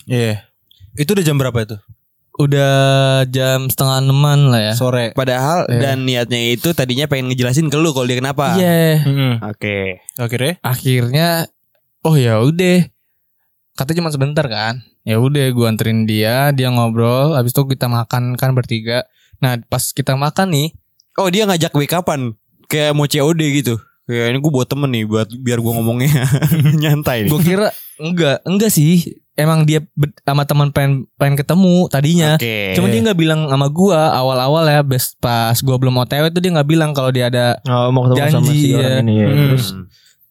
[SPEAKER 4] Iya. Itu udah jam berapa itu?
[SPEAKER 2] udah jam setengah enaman lah ya.
[SPEAKER 4] Sore.
[SPEAKER 3] Padahal dan niatnya itu tadinya pengen ngejelasin ke lu kalau dia kenapa.
[SPEAKER 2] Iya.
[SPEAKER 1] Hmm.
[SPEAKER 4] Mm-mm.
[SPEAKER 3] Oke.
[SPEAKER 4] Akhirnya
[SPEAKER 2] Akhirnya oh ya udah. Katanya cuma sebentar kan. Ya udah gua anterin dia, dia ngobrol, habis itu kita makan kan bertiga. Nah, pas kita makan nih,
[SPEAKER 3] Oh dia ngajak wake upan kayak mau COD gitu. Kayak ini gue buat temen nih buat biar gue ngomongnya *laughs* nyantai. *laughs* nih.
[SPEAKER 2] gua kira enggak, enggak sih. Emang dia be- sama teman pengen pengen ketemu tadinya.
[SPEAKER 3] Oke.
[SPEAKER 2] Cuma dia nggak bilang sama gua awal-awal ya bes- pas gua belum OTW tuh dia nggak bilang kalau dia ada
[SPEAKER 1] oh, mau ketemu sama
[SPEAKER 2] Janji,
[SPEAKER 1] si orang
[SPEAKER 2] ya.
[SPEAKER 1] ini ya.
[SPEAKER 4] Hmm.
[SPEAKER 1] Terus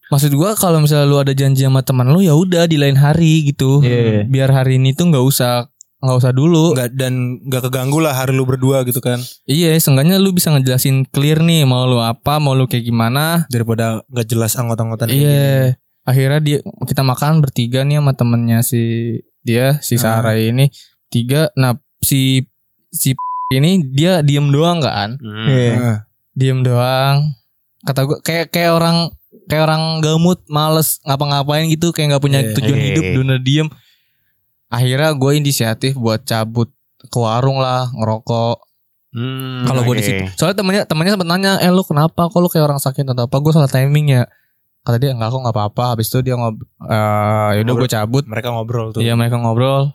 [SPEAKER 2] maksud gua kalau misalnya lu ada janji sama teman lu ya udah di lain hari gitu.
[SPEAKER 1] Iya.
[SPEAKER 2] Biar hari ini tuh nggak usah nggak usah dulu.
[SPEAKER 4] nggak dan nggak keganggu lah hari lu berdua gitu kan
[SPEAKER 2] Iya, seenggaknya lu bisa ngejelasin clear nih mau lu apa, mau lu kayak gimana.
[SPEAKER 4] daripada nggak jelas anggota-anggotan. kayak gini.
[SPEAKER 2] Iya. Akhirnya dia kita makan bertiga nih sama temennya si dia si
[SPEAKER 4] Ah.
[SPEAKER 2] Sarah ini tiga. Nah si si *laughs* ini dia diem doang kan?
[SPEAKER 3] Hmm.
[SPEAKER 1] Iya.
[SPEAKER 4] Heeh.
[SPEAKER 2] diem doang kata gue kayak kayak orang kayak orang gamut males ngapa-ngapain gitu kayak nggak punya
[SPEAKER 4] Iya.
[SPEAKER 2] tujuan
[SPEAKER 3] Iya.
[SPEAKER 2] hidup dunia diem akhirnya gue inisiatif buat cabut ke warung lah ngerokok
[SPEAKER 3] Hmm,
[SPEAKER 2] kalau gue
[SPEAKER 3] oke.
[SPEAKER 2] di situ soalnya temennya temennya sempat nanya eh lu kenapa kok lu kayak orang sakit atau apa gue salah timing ya kata dia enggak kok nggak apa-apa habis itu dia ngob eh, yaudah gue cabut
[SPEAKER 4] Mereka ngobrol tuh.
[SPEAKER 2] Iya mereka ngobrol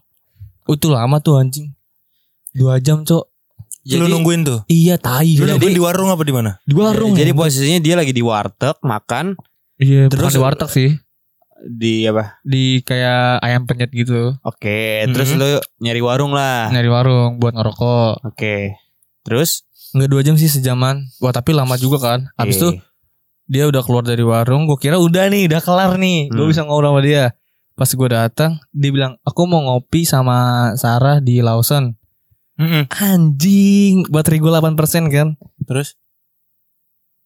[SPEAKER 2] "Uh, itu lama tuh anjing dua jam cok
[SPEAKER 4] Lu
[SPEAKER 3] Jadi,
[SPEAKER 4] nungguin tuh.
[SPEAKER 2] iya tai
[SPEAKER 4] Lu
[SPEAKER 2] Jadi-
[SPEAKER 4] nungguin di warung apa di mana?
[SPEAKER 2] di warung
[SPEAKER 3] jadi
[SPEAKER 2] ya.
[SPEAKER 3] posisinya dia lagi di warteg makan
[SPEAKER 2] iya terus
[SPEAKER 3] terus-
[SPEAKER 2] di warteg sih
[SPEAKER 3] di apa?
[SPEAKER 2] di kayak ayam penyet gitu
[SPEAKER 3] Oke, terus
[SPEAKER 4] Mhm.
[SPEAKER 3] lu nyari warung lah.
[SPEAKER 2] nyari warung buat ngerokok
[SPEAKER 3] Oke. Terus
[SPEAKER 2] nggak dua jam sih sejaman wah tapi lama juga kan
[SPEAKER 4] Iya.
[SPEAKER 2] habis itu
[SPEAKER 3] eh,
[SPEAKER 2] dia udah keluar dari warung gue kira udah nih udah kelar nih gue
[SPEAKER 3] Hmm.
[SPEAKER 2] bisa ngobrol sama dia pas gue datang dia bilang aku mau ngopi sama Sarah di Lawson
[SPEAKER 4] Hmm.
[SPEAKER 2] anjing baterai gue 8% kan
[SPEAKER 4] Terus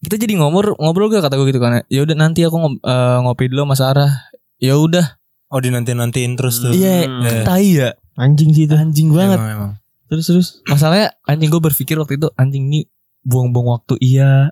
[SPEAKER 2] kita jadi ngomor ngobrol gak kata gue gitu kan ya udah nanti aku ngob- eh, ngopi dulu sama Sarah ya udah
[SPEAKER 4] oh dinanti-nantiin terus tuh.
[SPEAKER 3] Iya.
[SPEAKER 4] Iya.
[SPEAKER 2] tai ya
[SPEAKER 1] anjing sih itu.
[SPEAKER 2] anjing banget
[SPEAKER 4] Emang, emang.
[SPEAKER 2] Terus terus masalahnya anjing gue berpikir waktu itu anjing ini buang-buang waktu iya.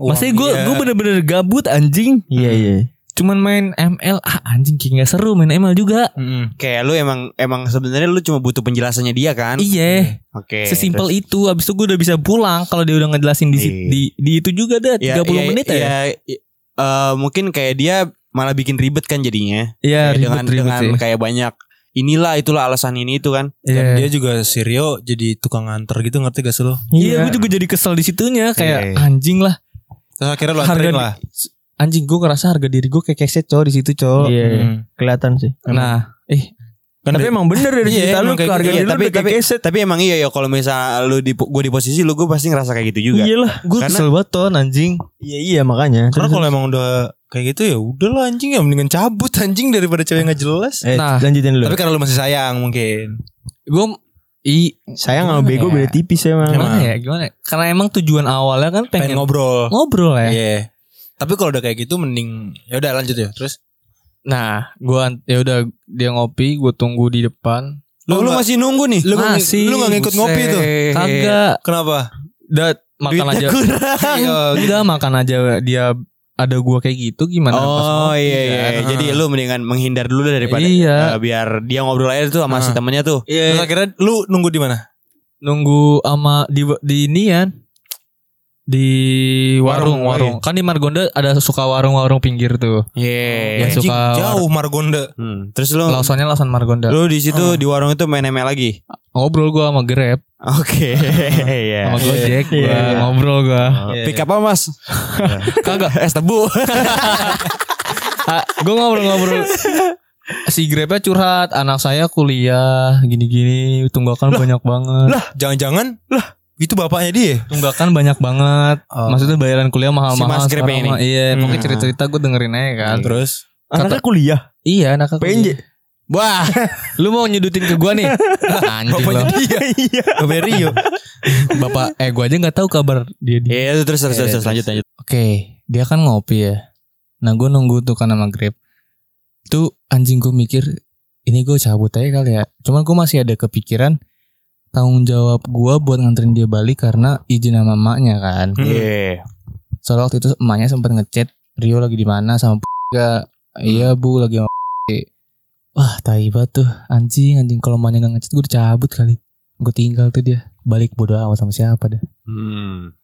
[SPEAKER 4] Uang
[SPEAKER 2] Maksudnya gue
[SPEAKER 4] iya.
[SPEAKER 2] gue bener-bener gabut anjing.
[SPEAKER 1] Iya iya.
[SPEAKER 2] Cuman main ML ah anjing kayak gak seru main ML juga.
[SPEAKER 4] Mm-mm.
[SPEAKER 3] kayak lu emang emang sebenarnya lu cuma butuh penjelasannya dia kan?
[SPEAKER 2] Iya,
[SPEAKER 3] Oke.
[SPEAKER 2] sesimpel itu. Abis itu gue udah bisa pulang kalau dia udah ngejelasin di sit-
[SPEAKER 3] Iya.
[SPEAKER 2] di, di itu juga dah 30
[SPEAKER 3] Ya, ya,
[SPEAKER 2] menit ya.
[SPEAKER 3] ya, i- eh, mungkin kayak dia malah bikin ribet kan jadinya. Kayak
[SPEAKER 2] Iya, ribet
[SPEAKER 3] dengan dengan
[SPEAKER 2] ribet sih.
[SPEAKER 3] kayak banyak inilah itulah alasan ini itu kan.
[SPEAKER 4] Dan dia
[SPEAKER 2] Iya.
[SPEAKER 4] juga si Rio jadi tukang antar gitu ngerti gak sih lo?
[SPEAKER 2] Iya, gue juga jadi kesel di situnya
[SPEAKER 3] Iya.
[SPEAKER 2] kayak anjing lah.
[SPEAKER 4] Terus akhirnya lo
[SPEAKER 2] Harga
[SPEAKER 4] anterin
[SPEAKER 2] di-
[SPEAKER 4] lah.
[SPEAKER 2] Anjing gue ngerasa harga diri gue kayak keset cowok di situ cowok.
[SPEAKER 1] Iya,
[SPEAKER 4] Mm.
[SPEAKER 1] kelihatan sih.
[SPEAKER 2] Nah, eh
[SPEAKER 4] Kan
[SPEAKER 1] tapi
[SPEAKER 4] dari-
[SPEAKER 1] emang bener dari
[SPEAKER 4] Iya,
[SPEAKER 1] cerita lu
[SPEAKER 4] emang kayak
[SPEAKER 1] harga
[SPEAKER 4] gitu.
[SPEAKER 1] diri
[SPEAKER 3] Iya,
[SPEAKER 1] lu
[SPEAKER 3] tapi
[SPEAKER 1] udah kayak
[SPEAKER 3] tapi
[SPEAKER 1] keset.
[SPEAKER 3] tapi emang iya ya kalau misal lu di gue di posisi lu gue pasti ngerasa kayak gitu juga.
[SPEAKER 1] Iya lah.
[SPEAKER 2] gue
[SPEAKER 3] Karena-
[SPEAKER 2] kesel banget ton anjing.
[SPEAKER 1] Iya iya makanya.
[SPEAKER 4] karena
[SPEAKER 1] Terus-
[SPEAKER 4] kalau emang udah kayak gitu ya udah lah anjing ya mendingan cabut anjing daripada cewek nggak jelas.
[SPEAKER 1] eh,
[SPEAKER 2] Nah.
[SPEAKER 1] lanjutin dulu.
[SPEAKER 4] Tapi karena lu masih sayang mungkin.
[SPEAKER 2] Gue i
[SPEAKER 1] Sayang sama
[SPEAKER 2] Gimana
[SPEAKER 1] bego
[SPEAKER 2] ya?
[SPEAKER 1] beda tipis emang.
[SPEAKER 4] Emang.
[SPEAKER 2] Gimana ya? Gimana? ya? Karena emang tujuan awalnya kan
[SPEAKER 4] Pengen
[SPEAKER 2] pengen,
[SPEAKER 4] ngobrol.
[SPEAKER 2] ngobrol
[SPEAKER 4] Iya.
[SPEAKER 2] ya.
[SPEAKER 4] Tapi kalau udah kayak gitu mending ya udah lanjut ya. Terus
[SPEAKER 2] Nah, gua ya udah dia ngopi, gue tunggu di depan.
[SPEAKER 3] Lu, lu
[SPEAKER 4] nggak-
[SPEAKER 3] masih nunggu nih.
[SPEAKER 4] lu nggak ngik- lu nggak ngikut ngopi tuh.
[SPEAKER 3] Buset.
[SPEAKER 2] Kagak,
[SPEAKER 4] Kenapa?
[SPEAKER 2] dat makan
[SPEAKER 3] Duitnya
[SPEAKER 2] aja.
[SPEAKER 3] Iya, kurang.
[SPEAKER 2] Enggak makan aja dia ada gua kayak gitu gimana pas
[SPEAKER 3] Oh
[SPEAKER 2] ngopi,
[SPEAKER 3] iya iya.
[SPEAKER 2] kan?
[SPEAKER 3] Jadi lu mendingan menghindar dulu daripada
[SPEAKER 2] Iya.
[SPEAKER 3] eh, biar dia ngobrol aja tuh sama si
[SPEAKER 4] Ah.
[SPEAKER 3] temennya tuh.
[SPEAKER 2] Iya,
[SPEAKER 4] Terus akhirnya lu nunggu di mana?
[SPEAKER 2] nunggu sama di di nian di warung
[SPEAKER 4] Warung,
[SPEAKER 2] warung. Kan di Margonda ada suka warung-warung pinggir tuh.
[SPEAKER 3] Iya.
[SPEAKER 2] Yang
[SPEAKER 4] Anjing,
[SPEAKER 2] suka
[SPEAKER 4] jauh Margonda.
[SPEAKER 3] Hmm. Terus lu
[SPEAKER 2] Lausannya lausan Margonda.
[SPEAKER 3] lu di situ di warung itu main ML lagi.
[SPEAKER 2] Ngobrol gua sama Grab,
[SPEAKER 3] Oke.
[SPEAKER 2] sama
[SPEAKER 3] Iya.
[SPEAKER 2] Gojek, gua
[SPEAKER 1] Iya.
[SPEAKER 2] ngobrol gua.
[SPEAKER 4] Pick up apa mas?
[SPEAKER 2] *laughs* Kagak,
[SPEAKER 4] Es tebu.
[SPEAKER 2] Ah, gue ngobrol-ngobrol si Grabnya curhat anak saya kuliah gini-gini tunggakan banyak banget
[SPEAKER 4] Jangan-jangan lah itu bapaknya dia. Oh.
[SPEAKER 2] tunggakan banyak banget maksudnya bayaran kuliah
[SPEAKER 3] Si Mas
[SPEAKER 2] mahal-mahal
[SPEAKER 3] Grab
[SPEAKER 2] sekarang
[SPEAKER 3] ini.
[SPEAKER 2] mah. iya
[SPEAKER 3] Hmm.
[SPEAKER 2] pokoknya cerita-cerita gue dengerin aja kan
[SPEAKER 4] Terus
[SPEAKER 1] Anaknya kuliah
[SPEAKER 2] iya anak aku
[SPEAKER 1] PNJ
[SPEAKER 2] wah *laughs* lu mau nyudutin ke
[SPEAKER 4] *laughs*
[SPEAKER 2] gue nih anjing lo *laughs*
[SPEAKER 4] dia.
[SPEAKER 1] Iya
[SPEAKER 4] Bapaknya Rio.
[SPEAKER 2] bapak eh gue aja nggak tahu kabar dia di
[SPEAKER 3] Iya terus terus terus, terus lanjut lanjut.
[SPEAKER 2] oke dia kan ngopi ya nah gue nunggu tuh kan sama Grab tuh anjing gue mikir ini gue cabut aja kali ya cuman gue masih ada kepikiran tanggung jawab gue buat nganterin dia balik karena izin sama emaknya kan
[SPEAKER 3] Iya.
[SPEAKER 2] soalnya waktu itu emaknya sempat ngechat Rio lagi di mana sama gak iya bu lagi sama wah taiba tuh anjing anjing kalau emaknya gak ngechat gue dicabut kali gue tinggal tuh dia balik bodo amat sama siapa dah
[SPEAKER 3] Hmm.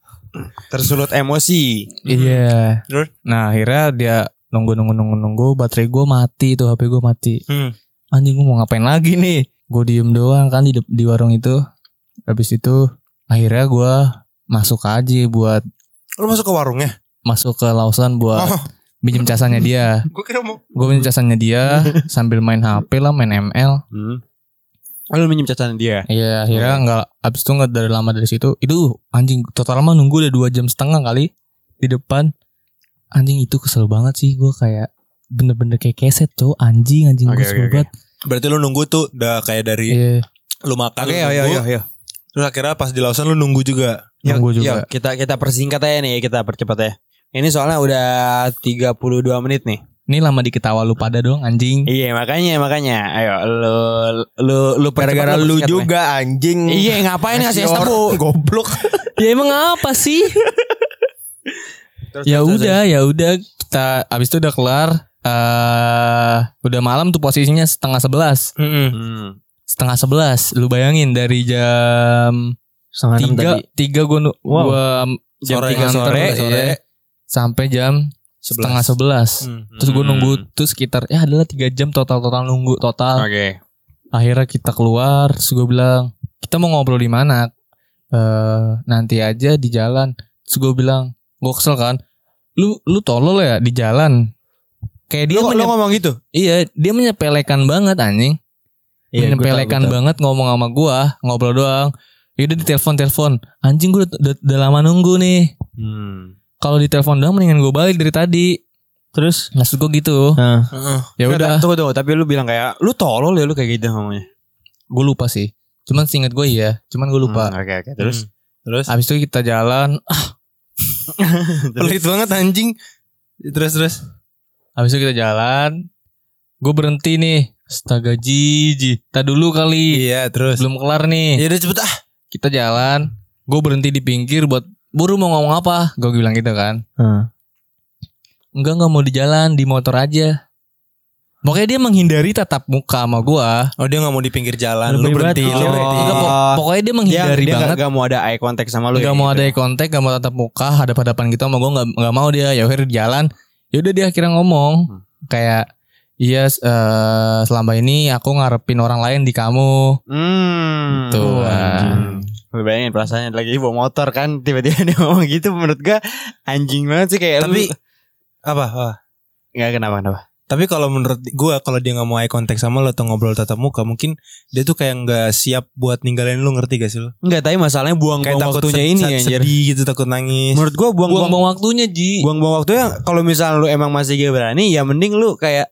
[SPEAKER 3] Tersulut emosi.
[SPEAKER 4] Mhm.
[SPEAKER 2] Iya.
[SPEAKER 3] Terus?
[SPEAKER 2] Nah akhirnya dia nunggu nunggu nunggu nunggu baterai gue mati tuh HP gue mati.
[SPEAKER 4] Hmm.
[SPEAKER 2] Anjing gue mau ngapain lagi nih? Gue diem doang kan di de- di warung itu. Habis itu akhirnya gue masuk aja buat
[SPEAKER 4] Lu masuk ke warungnya?
[SPEAKER 2] masuk ke Lausan buat
[SPEAKER 4] Oh,
[SPEAKER 2] pinjem casannya dia.
[SPEAKER 4] gue kira mau.
[SPEAKER 2] Gue pinjem casannya dia
[SPEAKER 4] *laughs*
[SPEAKER 2] sambil main HP lah, main ML.
[SPEAKER 3] Hmm. Lu minjem catatan dia.
[SPEAKER 2] Iya akhirnya nggak abis itu nggak dari lama dari situ. Itu uh, anjing total mah nunggu udah dua jam setengah kali di depan. Anjing itu kesel banget sih gue kayak bener-bener kayak keset cowok anjing anjing
[SPEAKER 3] Oke,
[SPEAKER 2] gue
[SPEAKER 3] oke,
[SPEAKER 2] sebel
[SPEAKER 3] oke.
[SPEAKER 2] banget.
[SPEAKER 4] Berarti lu nunggu tuh udah kayak dari
[SPEAKER 2] Iya
[SPEAKER 4] lu makan.
[SPEAKER 3] Oke,
[SPEAKER 4] lu
[SPEAKER 3] ayo,
[SPEAKER 4] nunggu.
[SPEAKER 3] ayo, ayo.
[SPEAKER 4] Terus akhirnya pas di Lausan lu nunggu juga.
[SPEAKER 2] nunggu juga.
[SPEAKER 3] Yuk, Ya, kita kita persingkat aja nih, kita percepat ya. Ini soalnya udah 32 menit nih.
[SPEAKER 2] Ini lama diketawa lu pada dong anjing.
[SPEAKER 3] Iya, makanya makanya. Ayo lu lu lu
[SPEAKER 1] Gara-gara
[SPEAKER 3] percepat,
[SPEAKER 1] lu
[SPEAKER 3] persingkat,
[SPEAKER 1] juga anjing
[SPEAKER 3] Meh. Iya,
[SPEAKER 4] *laughs*
[SPEAKER 3] ngapain ngasih es tebu?
[SPEAKER 1] Goblok
[SPEAKER 2] *laughs* ya emang apa sih?
[SPEAKER 3] *laughs*
[SPEAKER 2] ya udah ya udah kita abis itu udah kelar. eh udah malam tuh posisinya setengah sebelas.
[SPEAKER 3] Hmm.
[SPEAKER 2] Setengah sebelas. Lu bayangin dari jam
[SPEAKER 1] Setengah enam
[SPEAKER 2] tiga
[SPEAKER 1] tadi Iya,
[SPEAKER 2] tiga gue nu-
[SPEAKER 1] Wow.
[SPEAKER 2] gua
[SPEAKER 3] Jam
[SPEAKER 2] Sore,
[SPEAKER 3] tiga
[SPEAKER 2] nganter,
[SPEAKER 3] sore,
[SPEAKER 2] sore.
[SPEAKER 3] iya.
[SPEAKER 2] sampai jam setengah sebelas terus gue nunggu
[SPEAKER 1] Hmm.
[SPEAKER 2] tuh sekitar ya adalah tiga jam total total nunggu
[SPEAKER 3] Hmm.
[SPEAKER 2] total
[SPEAKER 3] Oke.
[SPEAKER 2] akhirnya kita keluar terus gue bilang kita mau ngobrol di mana eh nanti aja di jalan terus gue bilang gue kesel kan lu lu tolol ya di jalan kayak dia
[SPEAKER 4] Lu, lu
[SPEAKER 2] menye-
[SPEAKER 4] ngomong gitu?
[SPEAKER 2] iya dia menyepelekan banget anjing
[SPEAKER 1] Iya, gua tahu,
[SPEAKER 2] menyepelekan
[SPEAKER 1] gua tahu.
[SPEAKER 2] banget ngomong sama gua ngobrol doang yaudah ditelepon telepon anjing gua udah, udah- udah lama nunggu nih
[SPEAKER 3] Hmm.
[SPEAKER 2] kalau ditelepon doang mendingan gua balik dari tadi
[SPEAKER 1] Terus
[SPEAKER 2] maksud gua gitu
[SPEAKER 1] Nah
[SPEAKER 2] ya udah
[SPEAKER 3] Tunggu tunggu, tapi lu bilang kayak lu tolol ya lu kayak gitu ngomongnya.
[SPEAKER 2] gua lupa sih cuman singkat gua iya cuman gua lupa
[SPEAKER 3] Hmm, Oke oke. Terus
[SPEAKER 4] Terus?
[SPEAKER 2] abis itu kita jalan *clears throat*
[SPEAKER 4] Pelit banget anjing. Terus terus.
[SPEAKER 2] abis itu kita jalan gua berhenti nih astaga jiji tak dulu kali
[SPEAKER 4] Iya terus.
[SPEAKER 2] belum kelar nih
[SPEAKER 4] Ya udah cepet ah.
[SPEAKER 2] kita jalan gua berhenti di pinggir buat buru mau ngomong apa gua bilang gitu kan
[SPEAKER 1] Heeh.
[SPEAKER 4] Hmm.
[SPEAKER 2] Enggak enggak mau di jalan di motor aja. Pokoknya dia menghindari tatap muka sama gua.
[SPEAKER 4] Oh dia nggak mau di pinggir jalan.
[SPEAKER 1] Lebih
[SPEAKER 4] lu berhenti.
[SPEAKER 1] banget,
[SPEAKER 4] Lu
[SPEAKER 1] oh.
[SPEAKER 4] berhenti.
[SPEAKER 2] Enggak, pok- pokoknya dia
[SPEAKER 3] dia,
[SPEAKER 2] menghindari
[SPEAKER 3] dia
[SPEAKER 2] banget.
[SPEAKER 3] gak, mau ada eye contact sama lu. gitu.
[SPEAKER 2] Enggak mau
[SPEAKER 3] ya.
[SPEAKER 2] ada eye contact, enggak mau tatap muka, hadap hadapan gitu sama gua enggak enggak mau dia. Ya akhirnya di jalan. Ya udah dia akhirnya ngomong
[SPEAKER 3] Hmm.
[SPEAKER 2] kayak Iya, s- eh, selama ini aku ngarepin orang lain di kamu.
[SPEAKER 3] Hmm.
[SPEAKER 2] Tuh.
[SPEAKER 3] anjing. Lu bayangin perasaannya lagi bawa motor kan tiba-tiba *laughs* dia ngomong gitu menurut gua anjing banget sih kayak
[SPEAKER 4] Tapi
[SPEAKER 3] lu
[SPEAKER 4] apa? apa?
[SPEAKER 3] nggak kenapa kenapa.
[SPEAKER 4] Tapi kalau menurut gua kalau dia nggak mau eye contact sama lo atau ngobrol tatap muka mungkin dia tuh kayak nggak siap buat ninggalin lu ngerti gak sih lo?
[SPEAKER 3] Enggak, tapi masalahnya
[SPEAKER 4] Kayak
[SPEAKER 3] buang-buang
[SPEAKER 4] takut
[SPEAKER 3] waktunya
[SPEAKER 4] sed-
[SPEAKER 3] ini
[SPEAKER 4] sed-
[SPEAKER 3] anjir.
[SPEAKER 4] sedih gitu takut nangis.
[SPEAKER 3] Menurut gua buang-buang
[SPEAKER 2] Buang-buang waktunya, Ji.
[SPEAKER 3] buang-buang waktunya kalau misalnya lu emang masih gak berani ya mending lu kayak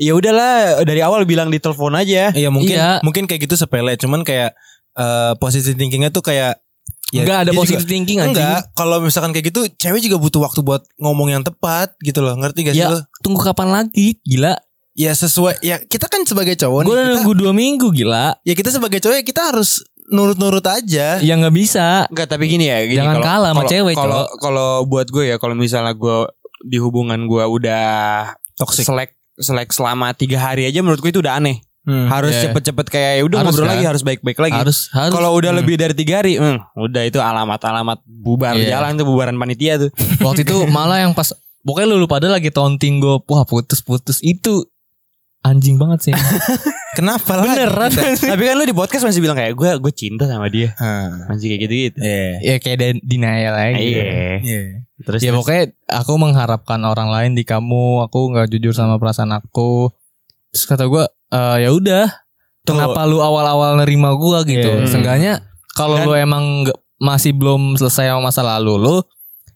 [SPEAKER 3] ya udahlah dari awal bilang di telepon aja.
[SPEAKER 4] Iya mungkin
[SPEAKER 2] Iya.
[SPEAKER 4] mungkin kayak gitu sepele cuman kayak eh positive thinkingnya tuh kayak
[SPEAKER 3] ya
[SPEAKER 2] Enggak ada
[SPEAKER 4] dia juga-
[SPEAKER 2] positive thinking anjing.
[SPEAKER 4] Enggak, kalau misalkan kayak gitu cewek juga butuh waktu buat ngomong yang tepat gitu loh. Ngerti gak sih
[SPEAKER 2] Ya.
[SPEAKER 4] lo?
[SPEAKER 2] Tunggu kapan lagi? Gila.
[SPEAKER 4] Ya sesuai ya kita kan sebagai cowok nih,
[SPEAKER 2] Gua udah
[SPEAKER 4] kita,
[SPEAKER 2] nunggu 2 minggu, gila.
[SPEAKER 4] ya kita sebagai cowok ya kita harus nurut-nurut
[SPEAKER 3] Eh.
[SPEAKER 4] aja.
[SPEAKER 2] Ya nggak bisa.
[SPEAKER 3] Enggak, tapi gini ya, gini
[SPEAKER 2] Jangan
[SPEAKER 3] kalau-
[SPEAKER 2] kalah sama
[SPEAKER 3] kalau-
[SPEAKER 2] cewek,
[SPEAKER 3] Kalau
[SPEAKER 2] Cok.
[SPEAKER 3] kalau buat gue ya kalau misalnya gue di hubungan gua udah
[SPEAKER 2] Toxic.
[SPEAKER 3] selek selek selama tiga hari aja menurut gua itu udah aneh. harus
[SPEAKER 2] iya.
[SPEAKER 3] cepet-cepet kayak ya udah
[SPEAKER 2] Harus
[SPEAKER 3] ngobrol
[SPEAKER 2] kan?
[SPEAKER 3] lagi harus baik-baik lagi.
[SPEAKER 2] Harus harus
[SPEAKER 3] Kalau udah
[SPEAKER 2] Hmm.
[SPEAKER 3] lebih dari tiga hari, hmm, udah itu alamat-alamat bubar
[SPEAKER 2] Iya.
[SPEAKER 3] jalan tuh bubaran panitia tuh.
[SPEAKER 2] waktu itu malah yang pas pokoknya lu pada lagi taunting gue wah putus-putus itu anjing banget
[SPEAKER 3] *laughs*
[SPEAKER 2] sih
[SPEAKER 4] Kenapa lah?
[SPEAKER 2] beneran
[SPEAKER 3] Tapi kan lu di podcast masih bilang kayak gue gue cinta sama dia, masih kayak gitu-gitu.
[SPEAKER 4] Iya.
[SPEAKER 2] ya kayak dan- denial aja gitu.
[SPEAKER 3] Iya.
[SPEAKER 4] Iya.
[SPEAKER 3] Terus
[SPEAKER 2] Ya pokoknya aku mengharapkan orang lain di kamu, aku nggak jujur sama perasaan aku. Terus kata gua, "Eh, ya udah,
[SPEAKER 3] Tuh.
[SPEAKER 2] kenapa lu awal-awal nerima gua gitu?
[SPEAKER 4] Hmm.
[SPEAKER 1] Iya.
[SPEAKER 2] Seenggaknya kalau
[SPEAKER 3] Dan-
[SPEAKER 2] lu emang nggak- masih belum selesai sama masa lalu lu,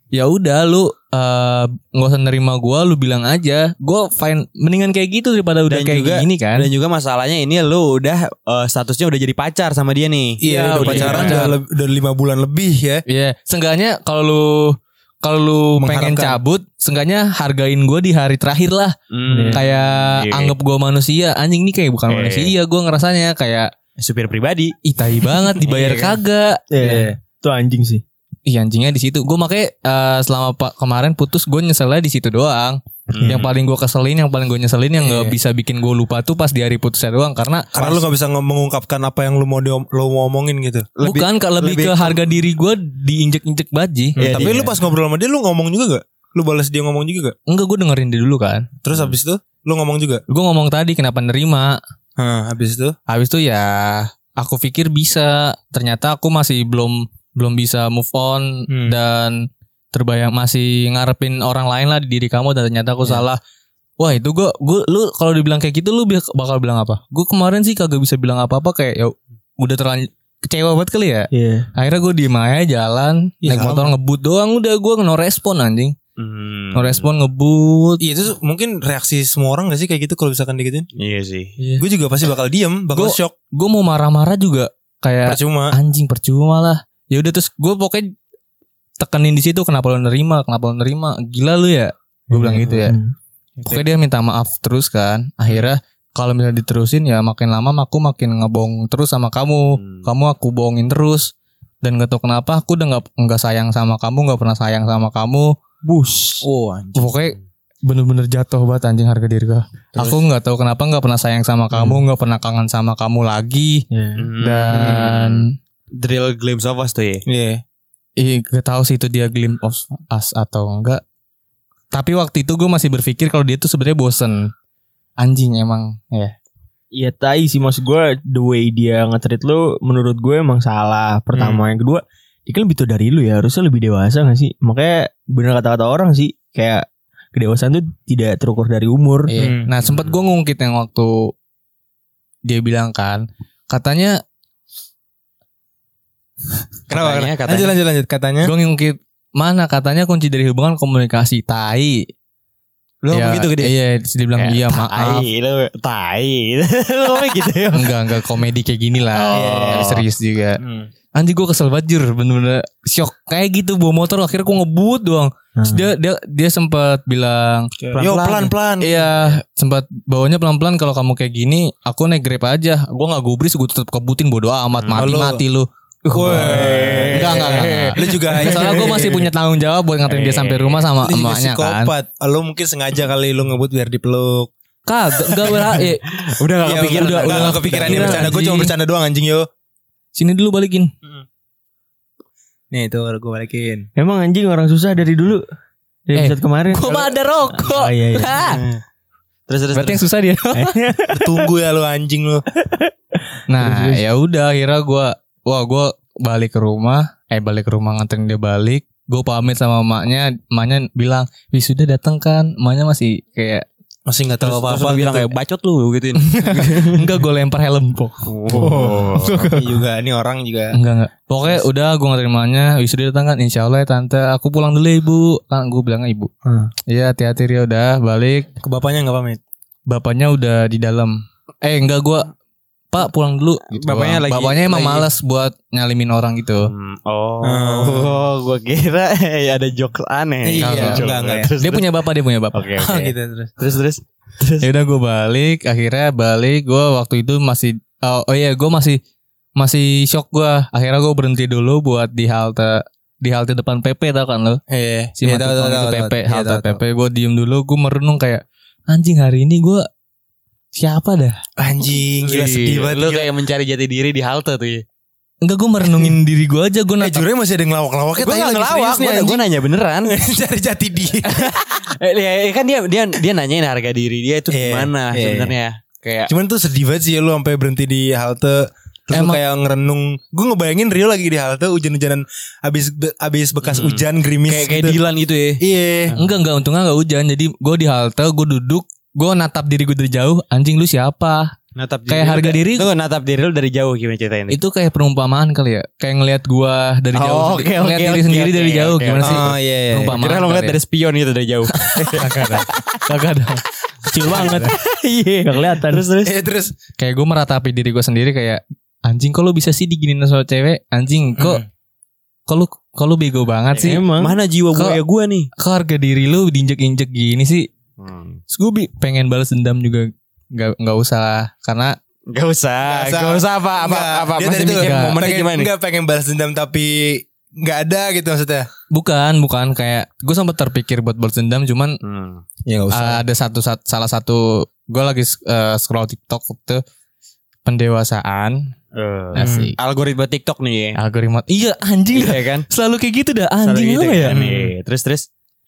[SPEAKER 2] ya udah lu eh, nggak usah nerima gua, lu bilang aja, gua fine mendingan kayak gitu daripada udah
[SPEAKER 3] Dan
[SPEAKER 2] kayak
[SPEAKER 3] juga-
[SPEAKER 2] gini kan.
[SPEAKER 3] Dan juga masalahnya ini lu udah eh, statusnya udah jadi pacar sama dia nih.
[SPEAKER 2] Iya,
[SPEAKER 4] Udah
[SPEAKER 2] udah
[SPEAKER 4] pacaran
[SPEAKER 2] pacaran.
[SPEAKER 4] udah, leb- udah lima bulan lebih ya.
[SPEAKER 2] Iya, seenggaknya kalau lu kalau lu pengen
[SPEAKER 4] Mengharapkan.
[SPEAKER 2] cabut, seenggaknya hargain gua di hari terakhir lah.
[SPEAKER 3] Hmm.
[SPEAKER 2] kayak
[SPEAKER 3] Iya.
[SPEAKER 2] anggap gue manusia anjing nih kayak bukan
[SPEAKER 3] Iya.
[SPEAKER 2] manusia gue ngerasanya kayak
[SPEAKER 3] supir pribadi.
[SPEAKER 2] ih tai banget dibayar
[SPEAKER 4] Iya kan?
[SPEAKER 2] kagak
[SPEAKER 1] Iya. Itu anjing sih.
[SPEAKER 2] Ih anjingnya di situ gue makanya eh, selama pa- kemarin putus gue nyeselnya di situ doang
[SPEAKER 3] Hmm.
[SPEAKER 2] yang paling gue keselin yang paling gue nyeselin yang nggak
[SPEAKER 4] Iya.
[SPEAKER 2] bisa bikin gue lupa tuh pas di hari putusnya doang karena
[SPEAKER 4] Karena lu gak bisa nge- mengungkapkan apa yang lu mau diom- lu mau omongin gitu.
[SPEAKER 2] bukan ke- lebih,
[SPEAKER 3] lebih
[SPEAKER 2] ke harga diri gue diinjek-injek baji
[SPEAKER 1] Iya,
[SPEAKER 4] Hmm, tapi lu pas ngobrol sama dia lu ngomong juga gak? Lu balas dia ngomong juga gak?
[SPEAKER 2] enggak gue dengerin dia dulu kan
[SPEAKER 4] Terus habis itu lu ngomong juga?
[SPEAKER 2] gue ngomong tadi kenapa nerima
[SPEAKER 4] Hah, habis itu
[SPEAKER 2] Habis itu ya aku pikir bisa, ternyata aku masih belum belum bisa move
[SPEAKER 1] Mm.
[SPEAKER 2] on
[SPEAKER 4] Hmm.
[SPEAKER 2] dan terbayang masih ngarepin orang lain lah di diri kamu dan ternyata aku
[SPEAKER 4] Iya.
[SPEAKER 2] salah. Wah itu gue gue lu kalau dibilang kayak gitu lu bi- bakal bilang apa? Gue kemarin sih kagak bisa bilang apa-apa kayak ya udah terlanjur kecewa banget kali ya.
[SPEAKER 1] Iya.
[SPEAKER 2] Akhirnya gue diem aja jalan
[SPEAKER 4] Iya,
[SPEAKER 2] naik
[SPEAKER 4] sama.
[SPEAKER 2] motor ngebut doang udah gue no respon anjing.
[SPEAKER 3] Hmm.
[SPEAKER 2] No respon ngebut.
[SPEAKER 4] Iya itu mungkin reaksi semua orang gak sih kayak gitu kalau misalkan digituin?
[SPEAKER 3] Iya sih.
[SPEAKER 4] Gue juga pasti bakal diem, bakal
[SPEAKER 2] Gua- ya
[SPEAKER 4] shock,
[SPEAKER 2] Gue mau marah-marah juga kayak
[SPEAKER 4] percuma.
[SPEAKER 2] anjing percuma lah ya udah terus gue pokoknya tekenin di situ kenapa lo nerima kenapa lo nerima gila lu ya gue bilang gitu ya
[SPEAKER 1] Hmm.
[SPEAKER 2] pokoknya dia minta maaf terus kan akhirnya kalau misalnya diterusin ya makin lama aku makin ngebohong terus sama kamu
[SPEAKER 3] Hmm.
[SPEAKER 2] kamu aku bohongin terus dan gak tau kenapa aku udah nggak nggak sayang sama kamu nggak pernah sayang sama kamu
[SPEAKER 1] Bus.
[SPEAKER 4] Oh anjir.
[SPEAKER 2] pokoknya bener-bener jatuh banget anjing harga diri gue
[SPEAKER 4] Terus?
[SPEAKER 2] aku nggak tahu kenapa nggak pernah sayang sama kamu nggak pernah kangen sama kamu lagi
[SPEAKER 1] Iya.
[SPEAKER 3] Hmm.
[SPEAKER 2] dan
[SPEAKER 3] The real glimpse of us tuh ya.
[SPEAKER 4] Iya.
[SPEAKER 2] Ih, gak tahu sih itu dia glimpse of us atau enggak. Tapi waktu itu gue masih berpikir kalau dia tuh sebenarnya bosen. Anjing emang. Ya.
[SPEAKER 1] Iya tai sih maksud gue the way dia nge-treat lu menurut gue emang salah. Pertama yang
[SPEAKER 2] Hmm.
[SPEAKER 1] kedua, dia kan lebih tua dari lu ya, harusnya lebih dewasa gak sih? Makanya bener kata-kata orang sih, kayak kedewasaan tuh tidak terukur dari umur.
[SPEAKER 2] Iya.
[SPEAKER 4] Hmm.
[SPEAKER 2] Nah sempet gue ngungkit yang waktu dia bilang kan, katanya
[SPEAKER 4] Kenapa?
[SPEAKER 3] Katanya,
[SPEAKER 4] Katanya,
[SPEAKER 3] katanya.
[SPEAKER 4] Lanjut lanjut lanjut katanya.
[SPEAKER 2] gue ngungkit mana katanya kunci dari hubungan komunikasi tai.
[SPEAKER 4] Lu
[SPEAKER 2] Ya,
[SPEAKER 4] ngomong gitu ke dia. Eh,
[SPEAKER 2] Iya, terus dia bilang iya maaf.
[SPEAKER 3] Tai lu, tai. *laughs* Lu ngomong gitu ya.
[SPEAKER 2] Enggak, enggak komedi kayak gini lah. Eh,
[SPEAKER 3] Oh.
[SPEAKER 2] Serius juga.
[SPEAKER 4] Hmm.
[SPEAKER 2] Anjing gue kesel banget jur Bener-bener shock Kayak gitu bawa motor Akhirnya gue ngebut doang Terus
[SPEAKER 1] Hmm.
[SPEAKER 2] dia, dia, dia sempat bilang
[SPEAKER 4] Yo pelan-pelan.
[SPEAKER 2] Iya sempat bawanya pelan-pelan Kalau kamu kayak gini Aku naik grab aja Gue gak gubris Gue tetep kebutin bodo amat
[SPEAKER 3] Hmm.
[SPEAKER 2] Mati-mati lu
[SPEAKER 4] Woi.
[SPEAKER 2] Enggak, enggak, enggak, enggak.
[SPEAKER 4] Lu
[SPEAKER 2] *laughs*
[SPEAKER 4] juga *laughs*
[SPEAKER 2] Soalnya gue masih punya tanggung jawab Buat nganterin dia sampai rumah sama
[SPEAKER 4] Lu juga
[SPEAKER 2] emaknya kan
[SPEAKER 4] psikopat. Lu mungkin sengaja kali lu ngebut biar dipeluk.
[SPEAKER 2] Kagak Enggak berhak eh,
[SPEAKER 3] Udah gak
[SPEAKER 4] Iya,
[SPEAKER 3] kepikiran.
[SPEAKER 4] udah, udah,
[SPEAKER 2] udah
[SPEAKER 4] gak kepikiran dia
[SPEAKER 2] kepikiran,
[SPEAKER 4] bercanda. Gue
[SPEAKER 2] anjing.
[SPEAKER 4] cuma bercanda doang anjing yo.
[SPEAKER 2] Sini dulu balikin
[SPEAKER 4] Nih itu gue balikin.
[SPEAKER 1] Emang anjing orang susah dari dulu. Dari
[SPEAKER 2] Eh,
[SPEAKER 1] episode kemarin.
[SPEAKER 2] Gue mah ada
[SPEAKER 1] Oh,
[SPEAKER 2] rokok
[SPEAKER 1] iya, iya.
[SPEAKER 2] Hah.
[SPEAKER 3] Terus terus.
[SPEAKER 2] Berarti
[SPEAKER 3] terus.
[SPEAKER 2] yang susah dia
[SPEAKER 4] Tunggu ya lu anjing lu.
[SPEAKER 2] *laughs* Nah
[SPEAKER 1] Terus, terus.
[SPEAKER 2] ya udah akhirnya gue Wah gue balik ke rumah Eh balik ke rumah nganterin dia balik Gue pamit sama emaknya Emaknya bilang Wih sudah datang kan Emaknya masih kayak
[SPEAKER 4] Masih gak
[SPEAKER 3] Terus
[SPEAKER 4] tahu apa-apa
[SPEAKER 3] lu bilang
[SPEAKER 4] gitu.
[SPEAKER 3] kayak bacot lu *laughs* gituin.
[SPEAKER 2] Enggak gue lempar helm Pok."
[SPEAKER 4] Oh. Ini juga nih orang juga.
[SPEAKER 2] Enggak enggak Pokoknya udah gue nganterin emaknya Wih sudah datang kan Insya Allah ya tante Aku pulang dulu ya, ibu Kan gue bilangnya ibu
[SPEAKER 1] Hmm.
[SPEAKER 2] Iya hati-hati Ria udah balik
[SPEAKER 4] Ke bapaknya gak pamit.
[SPEAKER 2] Bapaknya udah di dalam Eh enggak gue Pak pulang dulu gitu
[SPEAKER 3] Bapaknya
[SPEAKER 2] doang.
[SPEAKER 3] lagi-
[SPEAKER 2] Bapaknya emang
[SPEAKER 3] lagi-
[SPEAKER 2] males buat nyalimin orang gitu
[SPEAKER 3] Hmm, Oh, *laughs*
[SPEAKER 4] Hmm.
[SPEAKER 3] oh gue kira eh, ada jokes aneh.
[SPEAKER 4] Iya,
[SPEAKER 3] Jokes.
[SPEAKER 4] enggak, enggak ya.
[SPEAKER 3] Terus,
[SPEAKER 2] Dia
[SPEAKER 3] terus.
[SPEAKER 2] punya bapak Dia punya
[SPEAKER 1] *laughs*
[SPEAKER 2] bapak
[SPEAKER 3] Oke,
[SPEAKER 4] Ah,
[SPEAKER 3] oke.
[SPEAKER 4] gitu terus.
[SPEAKER 3] Terus terus.
[SPEAKER 2] ya udah gue balik akhirnya balik gue waktu itu masih oh, oh iya gue masih masih shock gue akhirnya gue berhenti dulu buat di halte di halte depan PP tau kan lo
[SPEAKER 4] Iya,
[SPEAKER 2] si
[SPEAKER 4] iya,
[SPEAKER 2] Matumpang
[SPEAKER 4] tahu, tahu,
[SPEAKER 2] itu
[SPEAKER 4] tahu,
[SPEAKER 2] PP
[SPEAKER 4] tahu. Iya,
[SPEAKER 2] halte
[SPEAKER 4] tahu, tahu.
[SPEAKER 2] PP gue diem dulu gue merenung kayak anjing hari ini gue siapa dah
[SPEAKER 4] Anjing, gila
[SPEAKER 3] Gila
[SPEAKER 4] sedih banget.
[SPEAKER 3] Lu kayak mencari jati diri di halte tuh ya.
[SPEAKER 2] enggak gue *laughs* merenungin diri gue aja gue
[SPEAKER 4] Eh,
[SPEAKER 2] nanya
[SPEAKER 4] jurnya masih ada yang ngelawak-ngelawaknya.
[SPEAKER 3] Gue
[SPEAKER 4] tai,
[SPEAKER 3] gak
[SPEAKER 4] lagi
[SPEAKER 3] ngelawak,
[SPEAKER 4] serius nih,
[SPEAKER 3] gue
[SPEAKER 4] anjing.
[SPEAKER 3] gue nanya beneran.
[SPEAKER 4] *laughs* Cari jati diri.
[SPEAKER 3] *laughs* Eh, iya, iya, kan dia dia dia nanyain harga diri dia itu
[SPEAKER 4] Iya, iya.
[SPEAKER 3] gimana sebenarnya. Kayak
[SPEAKER 4] Cuman tuh sedih banget sih ya, lu sampai berhenti di halte Terus lu
[SPEAKER 2] Emang-
[SPEAKER 4] kayak ngerenung Gue ngebayangin Rio lagi di halte Hujan-hujanan Abis, be- abis bekas
[SPEAKER 3] Hmm.
[SPEAKER 4] hujan Gerimis
[SPEAKER 3] kayak kayak
[SPEAKER 4] gitu.
[SPEAKER 3] Dilan gitu ya.
[SPEAKER 4] Iya
[SPEAKER 2] enggak enggak untungnya enggak hujan jadi gue di halte gue duduk gue natap diri gue dari jauh anjing lu siapa
[SPEAKER 3] Natap
[SPEAKER 2] Kayak
[SPEAKER 3] lu
[SPEAKER 2] harga
[SPEAKER 3] da-
[SPEAKER 2] diri-
[SPEAKER 3] Lu natap diri lu dari jauh gimana ceritain?
[SPEAKER 2] itu kayak perumpamaan kali ya kayak ngelihat gue dari jauh
[SPEAKER 3] Oh,
[SPEAKER 2] sendiri.
[SPEAKER 3] oke,
[SPEAKER 2] ngelihat
[SPEAKER 3] oke,
[SPEAKER 2] diri
[SPEAKER 3] oke,
[SPEAKER 2] sendiri
[SPEAKER 3] oke,
[SPEAKER 2] dari jauh
[SPEAKER 3] oke.
[SPEAKER 2] gimana sih
[SPEAKER 4] Oh iya iya
[SPEAKER 2] Perumpamaan
[SPEAKER 3] Kira lu
[SPEAKER 2] kali
[SPEAKER 3] ngeliat
[SPEAKER 2] ya.
[SPEAKER 3] dari spion gitu dari jauh.
[SPEAKER 2] kagak ada kagak ada
[SPEAKER 1] Kecil banget.
[SPEAKER 3] Iya.
[SPEAKER 1] Gak kelihatan.
[SPEAKER 3] Terus terus.
[SPEAKER 4] Iya terus
[SPEAKER 2] kayak gue meratapi diri gue sendiri kayak anjing kok lu bisa sih diginin sama cewek anjing kok kok lu kok lu bego banget sih
[SPEAKER 1] Emang.
[SPEAKER 3] Mana jiwa
[SPEAKER 2] Kok-
[SPEAKER 1] Ya
[SPEAKER 3] buaya gue nih?
[SPEAKER 2] kok harga diri lu diinjek-injek gini sih
[SPEAKER 3] Hmm.
[SPEAKER 2] Terus gue bi- pengen balas dendam juga nggak nggak usah lah. karena
[SPEAKER 3] Gak usah,
[SPEAKER 4] Gak usah.
[SPEAKER 3] gak usah apa apa
[SPEAKER 4] Enggak,
[SPEAKER 3] apa.
[SPEAKER 4] Dia
[SPEAKER 3] Masih
[SPEAKER 4] tadi tuh
[SPEAKER 3] mikir
[SPEAKER 2] enggak.
[SPEAKER 3] momennya
[SPEAKER 4] pengen,
[SPEAKER 3] gimana? nih?
[SPEAKER 4] Enggak pengen balas dendam Tapi Gak ada gitu maksudnya
[SPEAKER 2] bukan bukan kayak gue sempat terpikir buat balas dendam cuman
[SPEAKER 3] Hmm.
[SPEAKER 4] Ya gak
[SPEAKER 2] uh, ada satu sat- salah satu gue lagi uh, scroll TikTok tuh pendewasaan
[SPEAKER 3] Eh,
[SPEAKER 2] Asik.
[SPEAKER 3] Algoritma TikTok nih.
[SPEAKER 2] algoritma iya anjing dah.
[SPEAKER 3] Iya kan?
[SPEAKER 2] selalu kayak gitu dah
[SPEAKER 3] Selalu
[SPEAKER 2] anjing
[SPEAKER 3] gitu
[SPEAKER 2] apa ya
[SPEAKER 3] kan, iya. Terus terus.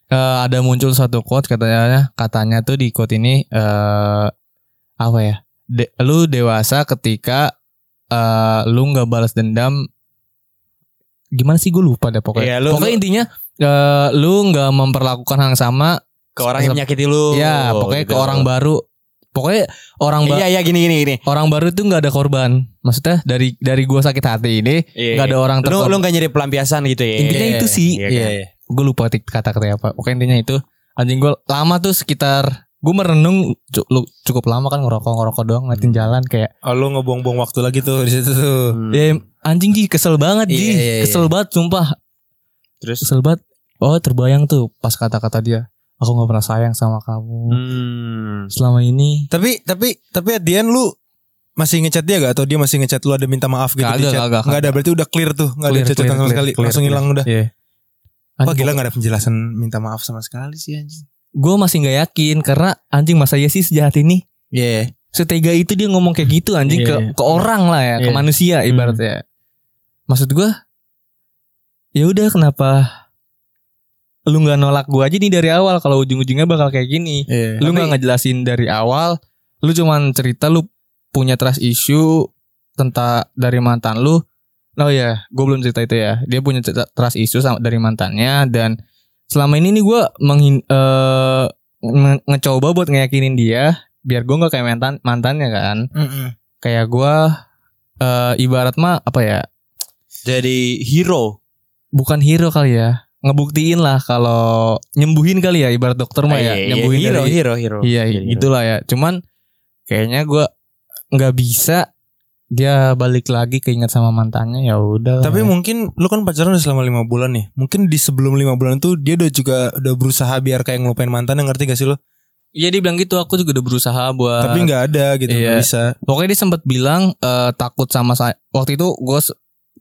[SPEAKER 2] Eh, ada muncul satu quote katanya katanya tuh di quote ini eh apa ya De- lu dewasa ketika eh, lu nggak balas dendam gimana sih gue lupa deh pokoknya
[SPEAKER 3] Iya, lu-
[SPEAKER 2] pokoknya
[SPEAKER 3] lu-
[SPEAKER 2] intinya eh, lu nggak memperlakukan hal yang sama
[SPEAKER 3] Ke orang yang menyakiti lu. gitu.
[SPEAKER 2] ya pokoknya ke orang baru pokoknya orang
[SPEAKER 3] Oh,
[SPEAKER 2] ba-
[SPEAKER 3] Iya iya gini gini gini.
[SPEAKER 2] orang baru tuh nggak ada korban maksudnya dari dari gua sakit hati ini
[SPEAKER 3] Iya,
[SPEAKER 2] nggak ada orang
[SPEAKER 3] Lu lu
[SPEAKER 2] terkorban
[SPEAKER 3] gak nyari pelampiasan gitu ya.
[SPEAKER 2] intinya
[SPEAKER 4] Iya,
[SPEAKER 2] itu sih
[SPEAKER 3] iya,
[SPEAKER 2] Iya. gue lupa tik- kata-katanya apa pokoknya intinya itu anjing gue lama tuh sekitar gue merenung cu- lu- cukup lama kan ngerokok ngerokok doang ngeliatin jalan kayak
[SPEAKER 4] Oh lu ngebuang-buang waktu lagi tuh di situ tuh
[SPEAKER 3] Hmm.
[SPEAKER 2] "Eh, anjing ji kesel banget ji
[SPEAKER 4] Iya, iya, iya.
[SPEAKER 2] kesel banget sumpah
[SPEAKER 3] Terus
[SPEAKER 2] kesel banget oh terbayang tuh pas kata-kata dia aku nggak pernah sayang sama kamu
[SPEAKER 3] Hmm.
[SPEAKER 2] selama ini
[SPEAKER 4] Tapi Tapi Tapi at the end lu masih ngechat dia gak atau dia masih ngechat lu ada minta maaf gitu
[SPEAKER 2] Kagak,
[SPEAKER 4] di chat?
[SPEAKER 2] kagak,
[SPEAKER 4] Nggak ada berarti udah clear tuh nggak ada
[SPEAKER 2] Clear,
[SPEAKER 4] chat
[SPEAKER 2] clear,
[SPEAKER 4] sama
[SPEAKER 2] clear,
[SPEAKER 4] sekali
[SPEAKER 2] clear,
[SPEAKER 4] langsung
[SPEAKER 2] clear.
[SPEAKER 4] hilang udah
[SPEAKER 2] Iya.
[SPEAKER 4] Wah gila gak ada penjelasan minta maaf sama sekali sih anjing.
[SPEAKER 2] gue masih nggak yakin karena anjing masa iya sih sejahat ini
[SPEAKER 4] Iya.
[SPEAKER 2] setega itu dia ngomong kayak gitu anjing
[SPEAKER 1] Iya.
[SPEAKER 2] ke ke orang lah ya ke
[SPEAKER 1] Iya.
[SPEAKER 2] manusia
[SPEAKER 1] Hmm.
[SPEAKER 2] ibaratnya maksud gua ya udah kenapa lu nggak nolak gua aja nih dari awal kalau ujung-ujungnya bakal kayak gini
[SPEAKER 3] Ya,
[SPEAKER 4] Iya.
[SPEAKER 2] lu nggak ngejelasin dari awal lu cuman cerita lu punya trust issue tentang dari mantan lu oh ya gue belum cerita itu ya dia punya cerita- trust issue sama dari mantannya dan selama ini nih gue menghin eh, nge- ngecoba buat ngeyakinin dia biar gue nggak kayak mantan mantannya kan kayak gue eh, ibarat mah apa ya
[SPEAKER 3] Jadi hero.
[SPEAKER 2] bukan hero kali ya ngebuktiin lah kalau nyembuhin kali ya ibarat dokter mah
[SPEAKER 3] Iya,
[SPEAKER 2] ya
[SPEAKER 3] iya,
[SPEAKER 2] nyembuhin
[SPEAKER 3] hero,
[SPEAKER 2] dari-
[SPEAKER 3] hero, hero.
[SPEAKER 2] Iya
[SPEAKER 3] Jadi
[SPEAKER 4] gitu.
[SPEAKER 3] hero.
[SPEAKER 2] gitulah ya. Cuman kayaknya gua nggak bisa dia balik lagi keinget sama mantannya ya udah.
[SPEAKER 4] Tapi mungkin lu kan pacaran udah selama lima bulan nih. Mungkin di sebelum lima bulan tuh dia udah juga udah berusaha biar kayak ngelupain mantan yang ngerti gak sih lu?
[SPEAKER 2] iya dia bilang gitu aku juga udah berusaha buat.
[SPEAKER 4] Tapi nggak ada gitu nggak
[SPEAKER 2] Ah. iya.
[SPEAKER 4] bisa.
[SPEAKER 2] Pokoknya dia sempat bilang eh, takut sama saya. Waktu itu gue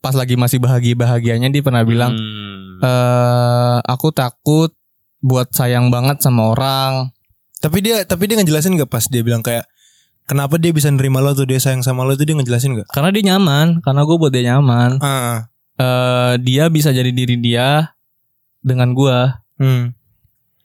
[SPEAKER 2] pas lagi masih bahagia bahagianya dia pernah bilang
[SPEAKER 3] Hmm.
[SPEAKER 2] eh aku takut buat sayang banget sama orang.
[SPEAKER 4] Tapi dia tapi dia ngejelasin gak pas dia bilang kayak kenapa dia bisa nerima lo tuh dia sayang sama lo tuh dia ngejelasin gak?
[SPEAKER 2] Karena dia nyaman, karena gue buat dia nyaman.
[SPEAKER 4] Ah.
[SPEAKER 2] Eh dia bisa jadi diri dia dengan gua
[SPEAKER 4] Hmm.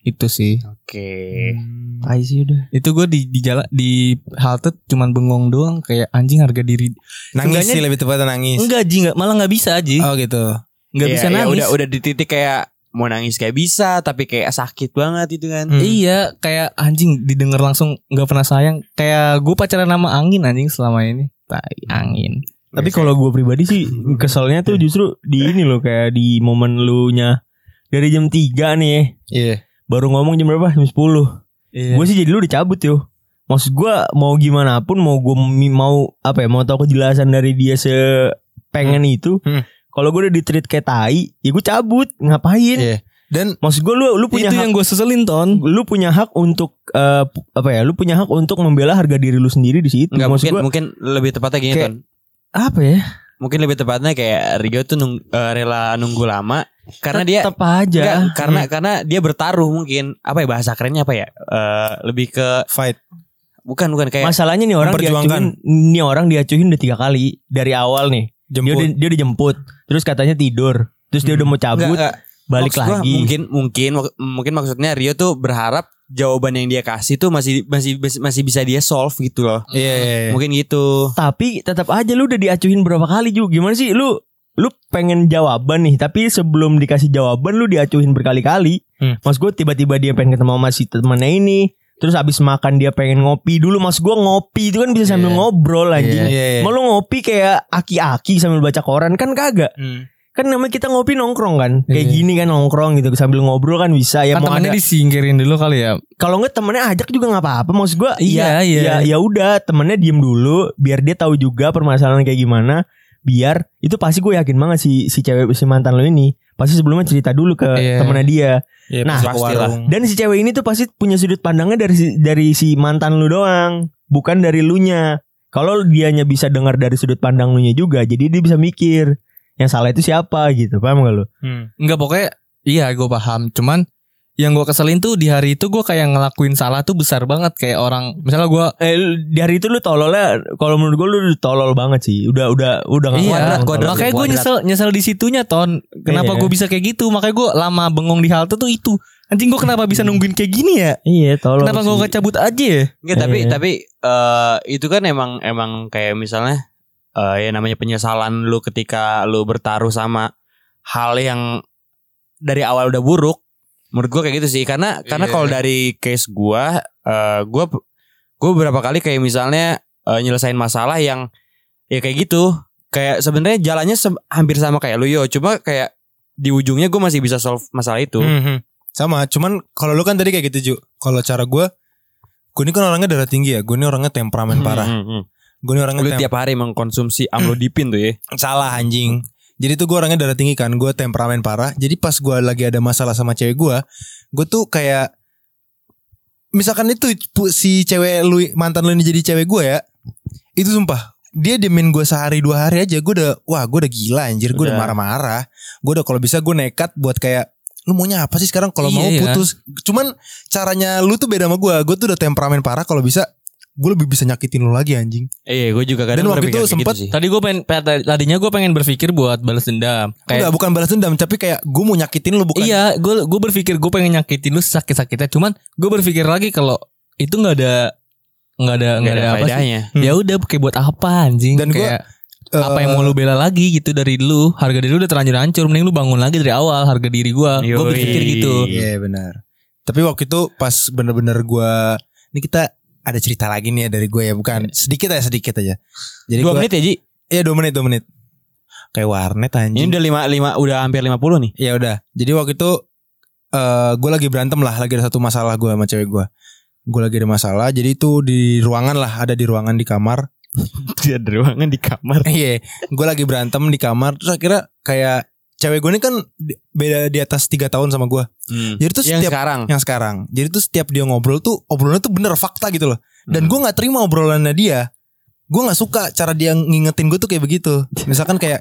[SPEAKER 2] itu sih.
[SPEAKER 3] Oke.
[SPEAKER 1] Tai sih udah.
[SPEAKER 2] itu gue di di jala- di halte cuman bengong doang kayak anjing harga diri
[SPEAKER 4] Nangis
[SPEAKER 2] Seenggaknya-
[SPEAKER 4] sih lebih tepatnya nangis.
[SPEAKER 2] enggak ji enggak malah nggak bisa ji
[SPEAKER 4] Oh gitu.
[SPEAKER 2] nggak
[SPEAKER 3] Iya,
[SPEAKER 2] bisa
[SPEAKER 3] iya,
[SPEAKER 2] nangis
[SPEAKER 3] udah udah di titik kayak mau nangis kayak bisa tapi kayak sakit banget itu kan.
[SPEAKER 4] Hmm.
[SPEAKER 2] iya kayak anjing didengar langsung nggak pernah sayang kayak gue pacaran sama angin anjing selama ini tai angin
[SPEAKER 1] Tapi kalau gue pribadi sih keselnya tuh justru di ini loh kayak di momen lu nya dari jam 3 nih ya.
[SPEAKER 2] iya
[SPEAKER 1] Baru ngomong jam berapa? Jam 10. Gue sih jadi lu dicabut yo. Maksud gue mau gimana pun mau gue mau apa ya mau tahu kejelasan dari dia sepengen itu.
[SPEAKER 4] Hmm.
[SPEAKER 1] Kalau gue udah di treat kayak tai, ya gue cabut. Ngapain?
[SPEAKER 2] Iya.
[SPEAKER 4] Dan
[SPEAKER 1] Maksud gue lu lu punya
[SPEAKER 2] itu
[SPEAKER 1] hak,
[SPEAKER 2] yang gue seselin ton
[SPEAKER 1] lu punya hak untuk eh, pu- apa ya? Lu punya hak untuk membela harga diri lu sendiri di situ.
[SPEAKER 3] Nggak,
[SPEAKER 1] Maksud
[SPEAKER 3] mungkin
[SPEAKER 1] gue
[SPEAKER 3] mungkin lebih tepatnya gini
[SPEAKER 1] Kayak-
[SPEAKER 3] Ton.
[SPEAKER 1] apa ya?
[SPEAKER 3] Mungkin lebih tepatnya kayak Rio tuh nung- eh, rela nunggu lama karena dia
[SPEAKER 1] tetap aja
[SPEAKER 4] Iya.
[SPEAKER 3] Enggak, karena
[SPEAKER 4] Hmm.
[SPEAKER 3] karena dia bertaruh mungkin apa ya bahasa kerennya apa ya Eh, lebih ke
[SPEAKER 4] Fight.
[SPEAKER 3] bukan bukan kayak
[SPEAKER 1] masalahnya nih orang
[SPEAKER 4] Memperjuangkan.
[SPEAKER 1] diacuhin nih orang diacuhin udah tiga kali dari awal nih dia udah
[SPEAKER 4] Jemput.
[SPEAKER 1] dia udah jemput terus katanya tidur terus dia udah mau cabut
[SPEAKER 3] Enggak, enggak.
[SPEAKER 1] balik
[SPEAKER 3] Maksud gua
[SPEAKER 1] lagi
[SPEAKER 3] mungkin mungkin wak- mungkin maksudnya Rio tuh berharap jawaban yang dia kasih tuh masih masih masih bisa dia solve gitu loh
[SPEAKER 4] Iya. iya, iya.
[SPEAKER 3] mungkin gitu
[SPEAKER 1] tapi tetap aja lu udah diacuhin berapa kali juga gimana sih lu lu pengen jawaban nih tapi sebelum dikasih jawaban lu diacuhin berkali-kali
[SPEAKER 2] Hmm.
[SPEAKER 1] mas gue tiba-tiba dia pengen ketemu sama si temannya ini terus abis makan dia pengen ngopi dulu mas gue ngopi itu kan bisa sambil
[SPEAKER 2] Iya.
[SPEAKER 1] ngobrol anjing
[SPEAKER 4] Iya, iya.
[SPEAKER 1] Mau lu ngopi kayak aki-aki sambil baca koran kan kagak kan namanya kita ngopi nongkrong kan kayak
[SPEAKER 2] Hmm. Iya.
[SPEAKER 1] gini kan nongkrong gitu sambil ngobrol kan bisa ya
[SPEAKER 2] kan
[SPEAKER 1] mau
[SPEAKER 2] temennya
[SPEAKER 1] ada
[SPEAKER 2] disingkirin dulu kali ya
[SPEAKER 1] kalau nggak temennya ajak juga nggak apa-apa maksud gua ya
[SPEAKER 2] Iya, iya.
[SPEAKER 1] ya ya udah temennya diem dulu biar dia tahu juga permasalahan kayak gimana biar itu pasti gue yakin banget si si cewek si mantan lo ini pasti sebelumnya cerita dulu ke
[SPEAKER 2] Iya.
[SPEAKER 1] temennya dia
[SPEAKER 4] Iya,
[SPEAKER 1] Nah,
[SPEAKER 4] pas ke
[SPEAKER 3] pastilah.
[SPEAKER 4] warung.
[SPEAKER 1] dan si cewek ini tuh pasti punya sudut pandangnya dari si, dari si mantan lu doang bukan dari lu nya kalau dianya bisa dengar dari sudut pandang lu nya juga jadi dia bisa mikir yang salah itu siapa gitu paham gak lu
[SPEAKER 2] Enggak pokoknya iya gue paham cuman yang gue keselin tuh di hari itu gue kayak ngelakuin salah tuh besar banget kayak orang misalnya gue
[SPEAKER 1] eh lu- dari itu lu tololnya kalau menurut gue lu tolol banget sih udah udah udah nggak kuat
[SPEAKER 2] Iya,
[SPEAKER 1] sama
[SPEAKER 3] kuadrat.
[SPEAKER 1] tolol.
[SPEAKER 2] makanya gue nyesel nyesel di situnya ton. Kenapa
[SPEAKER 1] Iya.
[SPEAKER 2] gue bisa kayak gitu? Makanya gue lama bengong di halte tuh itu. Anjing gue kenapa bisa nungguin kayak gini ya?
[SPEAKER 1] Iya, tolong.
[SPEAKER 2] Kenapa gue gak cabut aja ya?
[SPEAKER 3] Nggak, tapi
[SPEAKER 1] Iya.
[SPEAKER 3] tapi eh, itu kan emang emang kayak misalnya eh, ya namanya penyesalan lu ketika lu bertaruh sama hal yang dari awal udah buruk. Menurut gua kayak gitu sih karena karena
[SPEAKER 2] Iya.
[SPEAKER 3] kalau dari case gua eh, gua gua beberapa kali kayak misalnya eh, nyelesain masalah yang ya kayak gitu. Kayak sebenarnya jalannya sem- hampir sama kayak lu yo, cuma kayak di ujungnya gua masih bisa solve masalah itu.
[SPEAKER 4] gitu.
[SPEAKER 2] Hmm.
[SPEAKER 4] Sama, cuman kalau lu kan tadi kayak gitu Ju. Kalau cara gue, gue ini kan orangnya darah tinggi ya. Gue ini orangnya temperamen parah.
[SPEAKER 3] Hmm, hmm,
[SPEAKER 4] Gue ini
[SPEAKER 3] hmm.
[SPEAKER 4] orangnya
[SPEAKER 3] Lu
[SPEAKER 4] tem-
[SPEAKER 3] tiap hari mengkonsumsi amlodipin tuh ya.
[SPEAKER 4] salah anjing. Jadi tuh gue orangnya darah tinggi kan, gue temperamen parah. Jadi pas gue lagi ada masalah sama cewek gue, gue tuh kayak misalkan itu pu- si cewek lu mantan lu ini jadi cewek gue ya, itu sumpah dia demin gue sehari dua hari aja gue udah wah gue udah gila anjir gue udah
[SPEAKER 3] Udah.
[SPEAKER 4] marah-marah gue udah kalau bisa gue nekat buat kayak lu maunya apa sih sekarang kalau
[SPEAKER 2] Iya,
[SPEAKER 4] mau
[SPEAKER 2] iya.
[SPEAKER 4] putus cuman caranya lu tuh beda sama gue gue tuh udah temperamen parah kalau bisa gue lebih bisa nyakitin lu lagi anjing
[SPEAKER 3] Iya, gue juga kadang
[SPEAKER 4] Dan waktu
[SPEAKER 3] berpikir
[SPEAKER 4] itu
[SPEAKER 3] kayak
[SPEAKER 4] sempet-
[SPEAKER 3] gitu sih.
[SPEAKER 2] Tadi gue pengen tadinya gue pengen berpikir buat balas dendam.
[SPEAKER 4] Enggak
[SPEAKER 2] Kayak
[SPEAKER 4] bukan balas dendam tapi kayak gue mau nyakitin lu bukan
[SPEAKER 2] iya, gue gue berpikir gue pengen nyakitin lu sakit-sakitnya. Cuman gue berpikir lagi kalau itu nggak ada nggak ada nggak ada, apa sih?
[SPEAKER 3] faedahnya.
[SPEAKER 2] Ya udah pakai buat apa anjing?
[SPEAKER 4] Dan gua,
[SPEAKER 2] kayak
[SPEAKER 4] eh,
[SPEAKER 2] apa yang mau lu bela lagi gitu dari lu? Harga diri lu udah terlanjur hancur, mending lu bangun lagi dari awal harga diri gua. Gue
[SPEAKER 3] Yoi.
[SPEAKER 2] berpikir gitu.
[SPEAKER 4] Iya benar. Tapi waktu itu pas bener-bener gue, ini kita ada cerita lagi nih ya dari gue ya, bukan sedikit aja sedikit aja. Jadi
[SPEAKER 3] Iya. Dua
[SPEAKER 4] gua-
[SPEAKER 3] menit ya Ji
[SPEAKER 4] Iya dua menit dua menit. Kayak warnet
[SPEAKER 3] Ini
[SPEAKER 4] anjing.
[SPEAKER 3] udah lima, lima Udah hampir 50 nih
[SPEAKER 4] Ya udah. Jadi waktu itu gue lagi berantem lah, lagi ada satu masalah gue sama cewek gue. Gue lagi ada masalah, jadi itu di ruangan lah, ada di ruangan di kamar.
[SPEAKER 3] Dia *laughs* di ruangan di kamar
[SPEAKER 4] *laughs* Iya, gue lagi berantem di kamar. Terus akhirnya kayak cewek gue ini kan di- beda di atas tiga tahun sama gue. Jadi tuh
[SPEAKER 3] Yang
[SPEAKER 4] setiap Eh,
[SPEAKER 3] sekarang
[SPEAKER 4] yang sekarang. Jadi tuh setiap dia ngobrol tuh obrolannya tuh bener fakta gitu loh. Dan
[SPEAKER 3] Hmm.
[SPEAKER 4] gue nggak terima obrolannya dia. Gue nggak suka cara dia ngingetin gue tuh kayak begitu. Misalkan kayak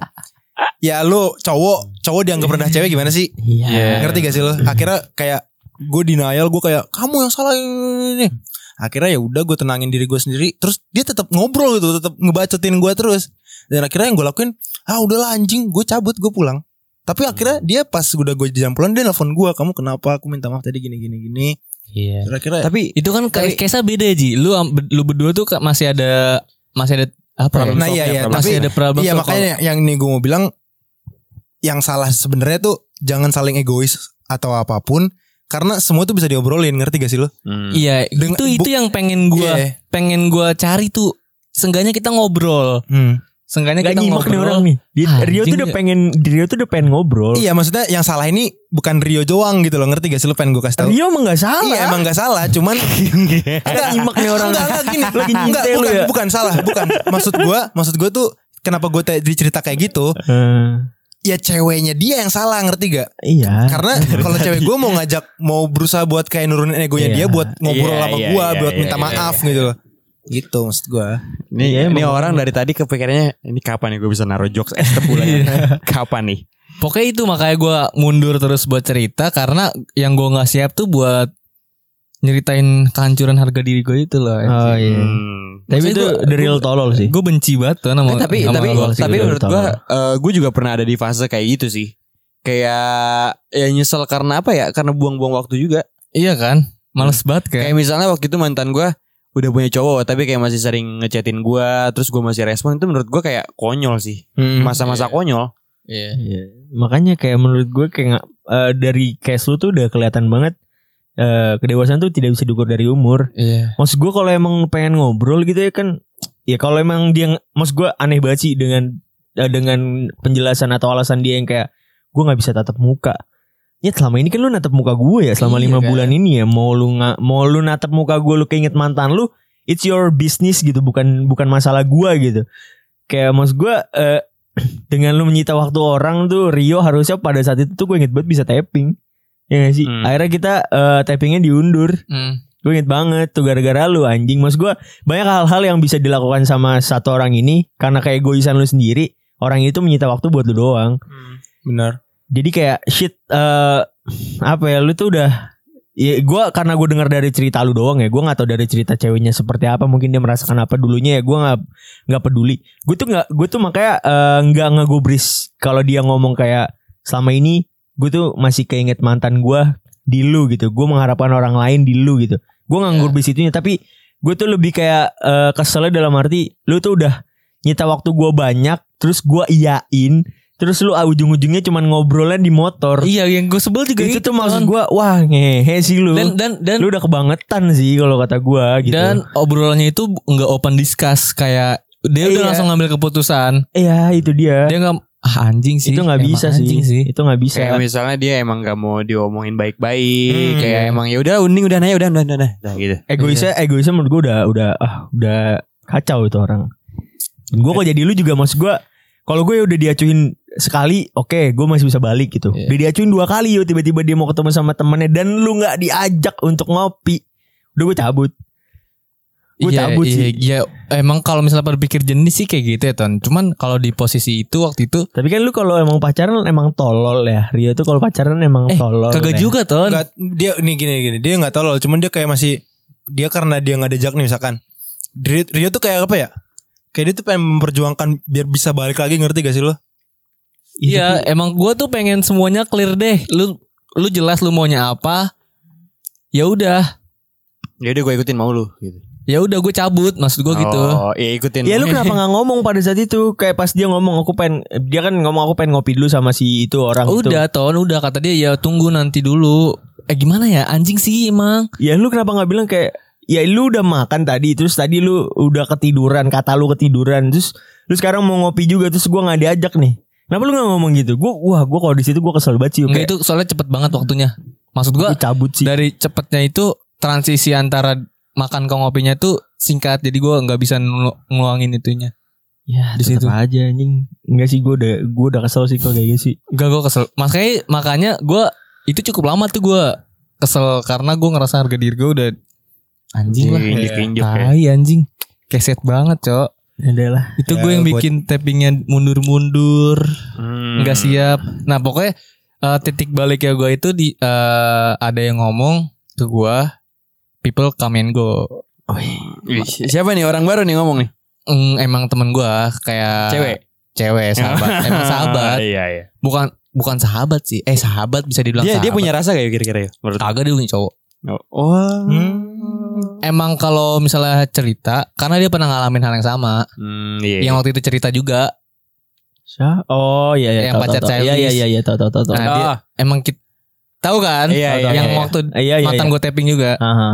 [SPEAKER 4] ya lu cowok cowok dianggap rendah cewek gimana sih?
[SPEAKER 1] Iya.
[SPEAKER 3] Iya.
[SPEAKER 4] Ngerti gak sih lo? Akhirnya kayak gue denial gue kayak kamu yang salah ini. Akhirnya ya udah gue tenangin diri gue sendiri. Terus dia tetap ngobrol gitu, tetap ngebacotin gue terus. Dan akhirnya yang gue lakuin, ah udahlah anjing, gue cabut, gue pulang. Tapi akhirnya dia pas udah gue jam pulang dia nelfon gue, kamu kenapa? Aku minta maaf tadi gini gini gini.
[SPEAKER 2] Iya.
[SPEAKER 4] Kira-kira
[SPEAKER 3] Tapi
[SPEAKER 2] Itu kan
[SPEAKER 3] Tapi-
[SPEAKER 2] kayak kesah beda Ji. Lu am- lu berdua tuh ka- masih ada masih ada apa? ya?
[SPEAKER 4] Nah, iya, iya,
[SPEAKER 2] masih
[SPEAKER 4] tapi-
[SPEAKER 2] ada problem.
[SPEAKER 4] Iya
[SPEAKER 2] tuh
[SPEAKER 4] makanya yang ini gue mau bilang yang salah sebenarnya tuh jangan saling egois atau apapun karena semua tuh bisa diobrolin ngerti gak sih lo?
[SPEAKER 3] Hmm.
[SPEAKER 2] kalau- Iya,
[SPEAKER 4] Dengan-
[SPEAKER 2] itu itu
[SPEAKER 4] bu-
[SPEAKER 2] yang pengen gua
[SPEAKER 4] Iya.
[SPEAKER 2] pengen gua cari tuh. Sengganya kita ngobrol.
[SPEAKER 4] Hmm.
[SPEAKER 2] Sengganya
[SPEAKER 1] Gak
[SPEAKER 2] kita
[SPEAKER 1] nyimak nih orang
[SPEAKER 2] ngobrol.
[SPEAKER 1] nih. Dia, Rio tuh
[SPEAKER 2] Anjing.
[SPEAKER 1] udah pengen Rio tuh udah pengen ngobrol.
[SPEAKER 4] Iya maksudnya yang salah ini bukan Rio doang gitu loh ngerti gak sih lo pengen gue kasih tau?
[SPEAKER 1] Rio emang gak salah.
[SPEAKER 4] Iya emang gak salah cuman
[SPEAKER 1] Gak nyimak nih orang.
[SPEAKER 4] Enggak, enggak, *laughs* gini.
[SPEAKER 1] Lagi
[SPEAKER 4] Enggak,
[SPEAKER 1] nyintai lu
[SPEAKER 4] bukan,
[SPEAKER 1] ya.
[SPEAKER 4] bukan salah bukan maksud gue maksud gue tuh kenapa gue dicerita kayak gitu
[SPEAKER 1] Eh,
[SPEAKER 4] ya ceweknya dia yang salah ngerti gak?
[SPEAKER 1] iya.
[SPEAKER 4] Karena kalau cewek gue mau ngajak mau berusaha buat kayak nurunin egonya
[SPEAKER 1] Iya.
[SPEAKER 4] dia buat ngobrol
[SPEAKER 3] Iya,
[SPEAKER 4] sama
[SPEAKER 3] iya,
[SPEAKER 4] gue
[SPEAKER 3] iya,
[SPEAKER 4] buat
[SPEAKER 3] iya,
[SPEAKER 4] minta
[SPEAKER 3] iya,
[SPEAKER 4] maaf gitu loh. Gitu maksud gue.
[SPEAKER 1] Iya,
[SPEAKER 3] Ini,
[SPEAKER 1] emang.
[SPEAKER 3] ini ya
[SPEAKER 4] *laughs* Iya.
[SPEAKER 3] orang dari tadi kepikirannya Ini ya?" kapan nih gue bisa naruh jokes Estep bulan ini? Kapan nih
[SPEAKER 2] Pokoknya itu makanya gue mundur terus buat cerita karena yang gue nggak siap tuh buat nyeritain kehancuran harga diri gue itu loh.
[SPEAKER 1] Oh iya.
[SPEAKER 3] Hmm.
[SPEAKER 1] Tapi
[SPEAKER 2] Maksudnya
[SPEAKER 1] itu
[SPEAKER 2] gua-
[SPEAKER 1] the real
[SPEAKER 2] gua-
[SPEAKER 1] tolol sih.
[SPEAKER 2] Gue benci banget tuh sama
[SPEAKER 3] Eh, tapi
[SPEAKER 2] sama
[SPEAKER 3] tapi
[SPEAKER 1] awal
[SPEAKER 2] orang
[SPEAKER 1] sih,
[SPEAKER 3] tapi
[SPEAKER 1] dari
[SPEAKER 3] menurut
[SPEAKER 1] awal.
[SPEAKER 3] gua eh, gua juga pernah ada di fase kayak gitu sih. Kayak ya nyesel karena apa ya? Karena buang-buang waktu juga.
[SPEAKER 2] Iya kan?
[SPEAKER 1] Hmm.
[SPEAKER 2] Males banget kayak.
[SPEAKER 3] Kayak misalnya waktu itu mantan gua udah punya cowok tapi kayak masih sering ngechatin gua terus gua masih respon itu menurut gua kayak konyol sih. Masa-masa
[SPEAKER 2] Iya.
[SPEAKER 3] konyol.
[SPEAKER 2] Iya.
[SPEAKER 1] Iya. Makanya kayak menurut gue kayak nggak- eh, dari case lu tuh udah kelihatan banget eh, kedewasaan tuh tidak bisa diukur dari umur.
[SPEAKER 2] Iya.
[SPEAKER 1] Maksud gue kalau emang pengen ngobrol gitu ya kan, ya kalau emang dia, nge- maksud gue aneh banget sih dengan eh, dengan penjelasan atau alasan dia yang kayak gue nggak bisa tatap muka. Ya selama ini kan lu natap muka gue ya selama
[SPEAKER 2] Iya,
[SPEAKER 1] lima
[SPEAKER 2] kan.
[SPEAKER 1] bulan ini ya mau lu nga, mau lu natap muka gue lu keinget mantan lu it's your business gitu bukan bukan masalah gue gitu kayak maksud gue eh, dengan lu menyita waktu orang tuh Rio harusnya pada saat itu tuh gue inget banget bisa tapping ya gak sih
[SPEAKER 3] Hmm.
[SPEAKER 1] akhirnya kita eh, tappingnya diundur
[SPEAKER 2] Hmm.
[SPEAKER 1] gue inget banget tuh gara-gara lu anjing maksud gue banyak hal-hal yang bisa dilakukan sama satu orang ini karena kayak egoisan lu sendiri orang itu menyita waktu buat lu doang
[SPEAKER 3] Benar.
[SPEAKER 1] jadi kayak shit eh apa ya lu tuh udah ya gue karena gue dengar dari cerita lu doang ya gue nggak tahu dari cerita ceweknya seperti apa mungkin dia merasakan apa dulunya ya gue nggak nggak peduli gue tuh nggak gue tuh makanya eh, nggak ngegubris kalau dia ngomong kayak selama ini gue tuh masih keinget mantan gue di lu gitu gue mengharapkan orang lain di lu gitu gue nggak
[SPEAKER 2] Ya.
[SPEAKER 1] ngegubris itunya tapi gue tuh lebih kayak eh, keselnya dalam arti lu tuh udah nyita waktu gue banyak terus gue iyain terus lu ah, ujung-ujungnya cuman ngobrolan di motor
[SPEAKER 2] Iya, yang gue sebel juga
[SPEAKER 1] itu
[SPEAKER 2] gitu,
[SPEAKER 1] tuh maksud
[SPEAKER 2] Ton.
[SPEAKER 1] gue wah ngehe sih lu
[SPEAKER 2] Dan dan dan
[SPEAKER 1] lu udah kebangetan sih kalau kata gue gitu
[SPEAKER 2] dan obrolannya itu nggak open discuss kayak dia
[SPEAKER 1] Iya.
[SPEAKER 2] udah langsung ngambil keputusan.
[SPEAKER 1] ya itu dia
[SPEAKER 2] Dia nggak ah, anjing sih.
[SPEAKER 1] itu nggak
[SPEAKER 2] Emang
[SPEAKER 1] bisa sih.
[SPEAKER 2] anjing sih.
[SPEAKER 1] itu nggak bisa
[SPEAKER 3] Kayak misalnya dia emang gak mau diomongin
[SPEAKER 1] Hmm,
[SPEAKER 3] baik-baik, kayak
[SPEAKER 1] iya.
[SPEAKER 3] emang ya udah uning udah nanya udah udah udah, udah Nah, gitu.
[SPEAKER 1] egoisnya
[SPEAKER 2] iya.
[SPEAKER 1] egoisnya menurut gue udah udah ah udah kacau itu orang gue kok jadi lu juga maksud gue kalau gue udah diacuin sekali oke gue masih bisa balik gitu
[SPEAKER 2] Iya.
[SPEAKER 1] udah diacuin dua kali yo tiba-tiba dia mau ketemu sama temannya dan lu nggak diajak untuk ngopi udah gue cabut Gua
[SPEAKER 2] Iya,
[SPEAKER 1] cabut
[SPEAKER 2] iya,
[SPEAKER 1] sih.
[SPEAKER 2] iya. emang kalau misalnya berpikir jenis sih kayak gitu ya Ton. Cuman kalau di posisi itu waktu itu
[SPEAKER 1] tapi kan lu kalau emang pacaran emang tolol ya Rio tuh kalau pacaran emang
[SPEAKER 2] Eh,
[SPEAKER 1] tolol ya.
[SPEAKER 2] kagak juga Ton.
[SPEAKER 4] Nggak- dia nih gini gini dia nggak tolol cuman dia kayak masih dia karena dia nggak ada jak nih misalkan Rio, Rio tuh kayak apa ya kayak dia tuh pengen memperjuangkan biar bisa balik lagi ngerti gak sih lo
[SPEAKER 2] Iya, emang gua tuh pengen semuanya clear deh. Lu lu jelas lu maunya apa. Ya udah,
[SPEAKER 3] Ya udah gue ikutin mau lu gitu.
[SPEAKER 2] ya udah gue cabut maksud gua gitu.
[SPEAKER 3] Oh, iya ikutin.
[SPEAKER 1] Ya lu
[SPEAKER 2] *laughs*
[SPEAKER 1] kenapa nggak ngomong pada saat itu Kayak pas dia ngomong aku pengen Dia kan ngomong aku pengen ngopi dulu sama si itu orang itu
[SPEAKER 2] Oh, Udah Ton, udah kata dia ya tunggu nanti dulu. Eh gimana ya anjing sih emang.
[SPEAKER 1] Ya lu kenapa nggak bilang kayak Ya lu udah makan tadi Terus tadi lu udah ketiduran Kata lu ketiduran Terus lu sekarang mau ngopi juga Terus gua nggak diajak nih Kenapa lu gak ngomong gitu? Gua wah gua kalau di situ gua kesel banget sih.
[SPEAKER 2] Enggak
[SPEAKER 1] Kayak
[SPEAKER 2] itu soalnya cepet banget waktunya. Maksud gua
[SPEAKER 1] gua cabut sih.
[SPEAKER 2] dari cepetnya itu transisi antara makan ke ngopinya tuh singkat jadi gua nggak bisa ngelu- ngeluangin itunya.
[SPEAKER 1] ya
[SPEAKER 2] di
[SPEAKER 1] tetep
[SPEAKER 2] situ.
[SPEAKER 1] aja anjing. Enggak sih gua udah gua udah kesel sih kalau kayak gitu sih.
[SPEAKER 2] Gak gue kesel Makanya makanya gue Itu cukup lama tuh gue Kesel Karena gue ngerasa harga diri gue udah Anjing lah
[SPEAKER 3] Diinjek-injek Iya, ya.
[SPEAKER 2] Tai anjing Keset banget cok
[SPEAKER 1] Adalah.
[SPEAKER 2] Itu
[SPEAKER 4] Ya,
[SPEAKER 2] gue yang
[SPEAKER 4] buat-
[SPEAKER 2] bikin tappingnya mundur-mundur
[SPEAKER 3] Hmm.
[SPEAKER 2] nggak siap Nah pokoknya eh, Titik balik ya gue itu di eh, Ada yang ngomong Ke gue People come and go
[SPEAKER 1] Oh, iya.
[SPEAKER 3] Ih, Siapa nih orang baru nih ngomong nih?
[SPEAKER 2] Eng, Mm, Emang temen gue Kayak
[SPEAKER 3] Cewek.
[SPEAKER 2] Cewek
[SPEAKER 3] *laughs*
[SPEAKER 2] sahabat Emang sahabat
[SPEAKER 3] Ah, iya iya.
[SPEAKER 2] Bukan bukan sahabat sih Eh sahabat bisa dibilang
[SPEAKER 3] Dia dia
[SPEAKER 2] sahabat.
[SPEAKER 3] punya rasa kayak kira-kira ya menurut.
[SPEAKER 2] Kagak dia punya cowok
[SPEAKER 3] Oh.
[SPEAKER 2] emang kalau misalnya cerita karena dia pernah ngalamin hal yang sama
[SPEAKER 3] Hmm, iya.
[SPEAKER 2] yang waktu itu cerita juga
[SPEAKER 1] Sya- Oh iya iya.
[SPEAKER 2] Yang
[SPEAKER 1] tau,
[SPEAKER 2] pacar
[SPEAKER 1] tau, tau. Iya iya
[SPEAKER 2] Celis.
[SPEAKER 1] iya iya tahu tahu tahu. tahu.
[SPEAKER 2] Nah, dia- emang kita tahu kan
[SPEAKER 3] Ah, Iya, iya,
[SPEAKER 2] yang
[SPEAKER 3] iya.
[SPEAKER 2] waktu
[SPEAKER 1] Iya iya.
[SPEAKER 2] mantan
[SPEAKER 1] iya.
[SPEAKER 2] gue tapping juga
[SPEAKER 1] Aha.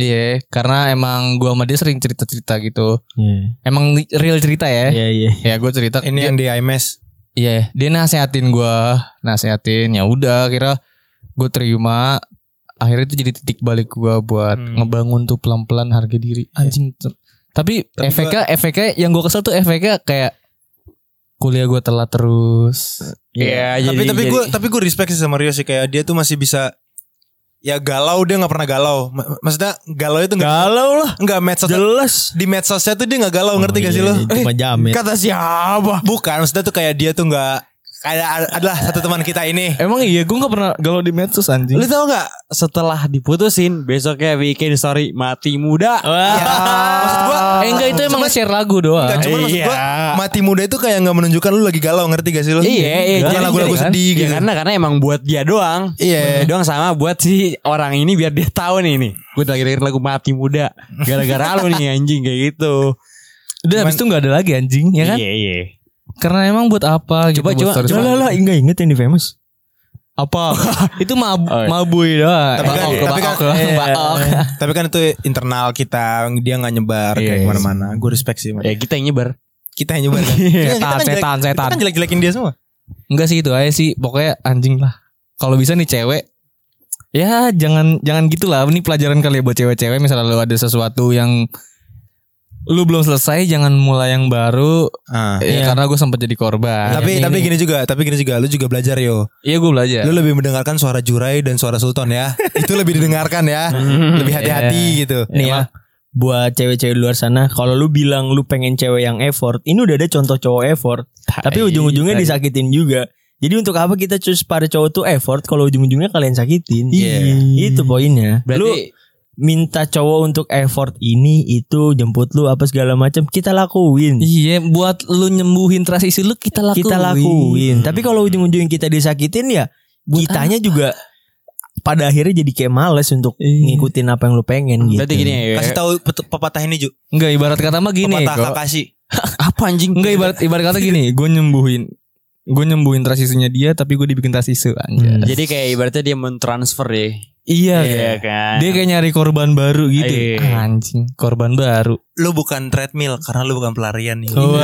[SPEAKER 2] iya karena emang gue sama dia sering cerita cerita gitu
[SPEAKER 1] Iya.
[SPEAKER 2] emang li- real cerita ya
[SPEAKER 1] Iya iya.
[SPEAKER 2] ya gue cerita
[SPEAKER 4] ini
[SPEAKER 2] dia,
[SPEAKER 4] yang di IMS
[SPEAKER 2] iya, dia nasehatin gue nasehatin ya udah kira gue terima akhirnya itu jadi titik balik gue buat
[SPEAKER 4] Hmm.
[SPEAKER 2] ngebangun tuh pelan pelan harga diri anjing ter- Iya. tapi,
[SPEAKER 4] Tapi
[SPEAKER 2] efeknya efeknya yang gue kesel tuh efeknya kayak kuliah gue telat terus
[SPEAKER 3] Iya,
[SPEAKER 4] tapi
[SPEAKER 3] jadi-
[SPEAKER 4] tapi
[SPEAKER 3] jadi-
[SPEAKER 4] gue tapi gue respect sih sama Rio sih kayak dia tuh masih bisa ya galau dia nggak pernah galau Ma- maksudnya galau itu nggak
[SPEAKER 1] Galau lah.
[SPEAKER 4] nggak medsos
[SPEAKER 1] Jelas. Oh, iya,
[SPEAKER 4] di
[SPEAKER 1] Eh,
[SPEAKER 4] medsosnya tuh dia nggak galau ngerti gak sih lo
[SPEAKER 1] kan Cuma jamet.
[SPEAKER 4] kata siapa bukan maksudnya tuh kayak dia tuh nggak ada, ada- adalah satu teman kita ini.
[SPEAKER 2] Emang iya gue gak pernah galau di medsos anjing.
[SPEAKER 3] Lu tau gak setelah diputusin besoknya bikin story mati muda. Iya.
[SPEAKER 4] Ya, maksud gua
[SPEAKER 2] Eh enggak itu emang share lagu doang.
[SPEAKER 4] Enggak, cuman maksud
[SPEAKER 3] Iya.
[SPEAKER 4] gua mati muda itu kayak nggak menunjukkan lu lagi galau ngerti gak sih lu?
[SPEAKER 3] Iya,
[SPEAKER 4] Jangan
[SPEAKER 3] jadi-
[SPEAKER 4] lagu-lagu
[SPEAKER 3] jadi kan.
[SPEAKER 4] sedih
[SPEAKER 3] Iya,
[SPEAKER 4] gitu.
[SPEAKER 3] karena karena emang buat dia doang.
[SPEAKER 4] Iya.
[SPEAKER 3] Buat dia doang sama buat si orang ini biar dia tahu nih nih. Gue lagi denger lagu mati muda gara-gara lu nih anjing kayak gitu.
[SPEAKER 2] Udah habis itu gak ada lagi anjing ya kan?
[SPEAKER 3] Iya, iya.
[SPEAKER 2] Karena emang buat apa gitu.
[SPEAKER 3] Coba,
[SPEAKER 2] buat
[SPEAKER 3] coba,
[SPEAKER 2] story
[SPEAKER 1] Lah
[SPEAKER 3] coba.
[SPEAKER 1] lah lah enggak inget yang di famous.
[SPEAKER 2] Apa?
[SPEAKER 4] *laughs*
[SPEAKER 2] itu
[SPEAKER 3] Oh,
[SPEAKER 2] mab
[SPEAKER 3] iya.
[SPEAKER 2] mabui doang.
[SPEAKER 4] Tapi kan- tapi
[SPEAKER 2] Bakok,
[SPEAKER 4] kan-
[SPEAKER 2] bakok,
[SPEAKER 4] iya.
[SPEAKER 2] bakok.
[SPEAKER 4] Tapi kan itu internal kita, dia nggak nyebar
[SPEAKER 3] Iya,
[SPEAKER 4] kayak
[SPEAKER 3] iya.
[SPEAKER 4] kemana-mana. Gue respect sih. Man.
[SPEAKER 3] Ya kita yang nyebar.
[SPEAKER 4] Kita yang nyebar. kan? Iya, kita
[SPEAKER 2] Setan,
[SPEAKER 4] kan jelek-
[SPEAKER 2] setan,
[SPEAKER 4] Kita
[SPEAKER 2] setan.
[SPEAKER 4] kan jelek-jelekin dia semua.
[SPEAKER 2] Enggak sih itu aja sih. Pokoknya anjing lah. Kalau bisa nih cewek Ya jangan jangan gitulah. Ini pelajaran kali ya buat cewek-cewek. Misalnya lu ada sesuatu yang lu belum selesai, jangan mulai yang baru.
[SPEAKER 4] Ah.
[SPEAKER 2] Ya,
[SPEAKER 1] Iya.
[SPEAKER 2] karena gue sempat jadi korban.
[SPEAKER 4] tapi
[SPEAKER 2] Ini-
[SPEAKER 4] tapi
[SPEAKER 2] ini.
[SPEAKER 4] gini juga, tapi gini juga, lu juga belajar yo.
[SPEAKER 2] Iya gue belajar.
[SPEAKER 4] Lu lebih mendengarkan suara Jurai dan suara Sultan
[SPEAKER 3] *laughs*
[SPEAKER 4] ya. itu lebih didengarkan ya.
[SPEAKER 3] Hmm,
[SPEAKER 2] Iya.
[SPEAKER 4] lebih hati-hati gitu.
[SPEAKER 1] Nih ya. Buat cewek-cewek di luar sana, kalau lu bilang lu pengen cewek yang effort, ini udah ada contoh cowok effort, tapi ujung-ujungnya disakitin juga. Jadi untuk apa kita cus para cowok tuh effort kalau ujung-ujungnya kalian sakitin?
[SPEAKER 4] Iya.
[SPEAKER 1] Itu poinnya. lu
[SPEAKER 3] Berarti
[SPEAKER 1] minta cowok untuk effort ini itu jemput lu apa segala macam kita lakuin.
[SPEAKER 2] Iya, buat lu nyembuhin transisi lu kita lakuin.
[SPEAKER 1] Kita lakuin. Tapi kalau ujung-ujungnya kita disakitin ya kitanya juga pada akhirnya jadi kayak males untuk
[SPEAKER 2] Iya.
[SPEAKER 1] ngikutin apa yang lu pengen gitu.
[SPEAKER 3] berarti gini ya.
[SPEAKER 4] Kasih tahu pet- pepatah ini Ju.
[SPEAKER 2] Enggak ibarat kata mah gini,
[SPEAKER 4] pepatah
[SPEAKER 2] kok.
[SPEAKER 4] Kakashi.
[SPEAKER 3] apa anjing?
[SPEAKER 2] Enggak ibarat ibarat kata gini, gue nyembuhin gue nyembuhin transisinya dia tapi gue dibikin transisi anjay.
[SPEAKER 3] Jadi kayak ibaratnya dia mentransfer ya.
[SPEAKER 2] Iya, kayak.
[SPEAKER 3] kan.
[SPEAKER 2] Dia kayak nyari korban baru gitu.
[SPEAKER 3] Iya.
[SPEAKER 2] Anjing, korban baru.
[SPEAKER 4] Lu bukan treadmill karena lu bukan pelarian nih.
[SPEAKER 2] Oh,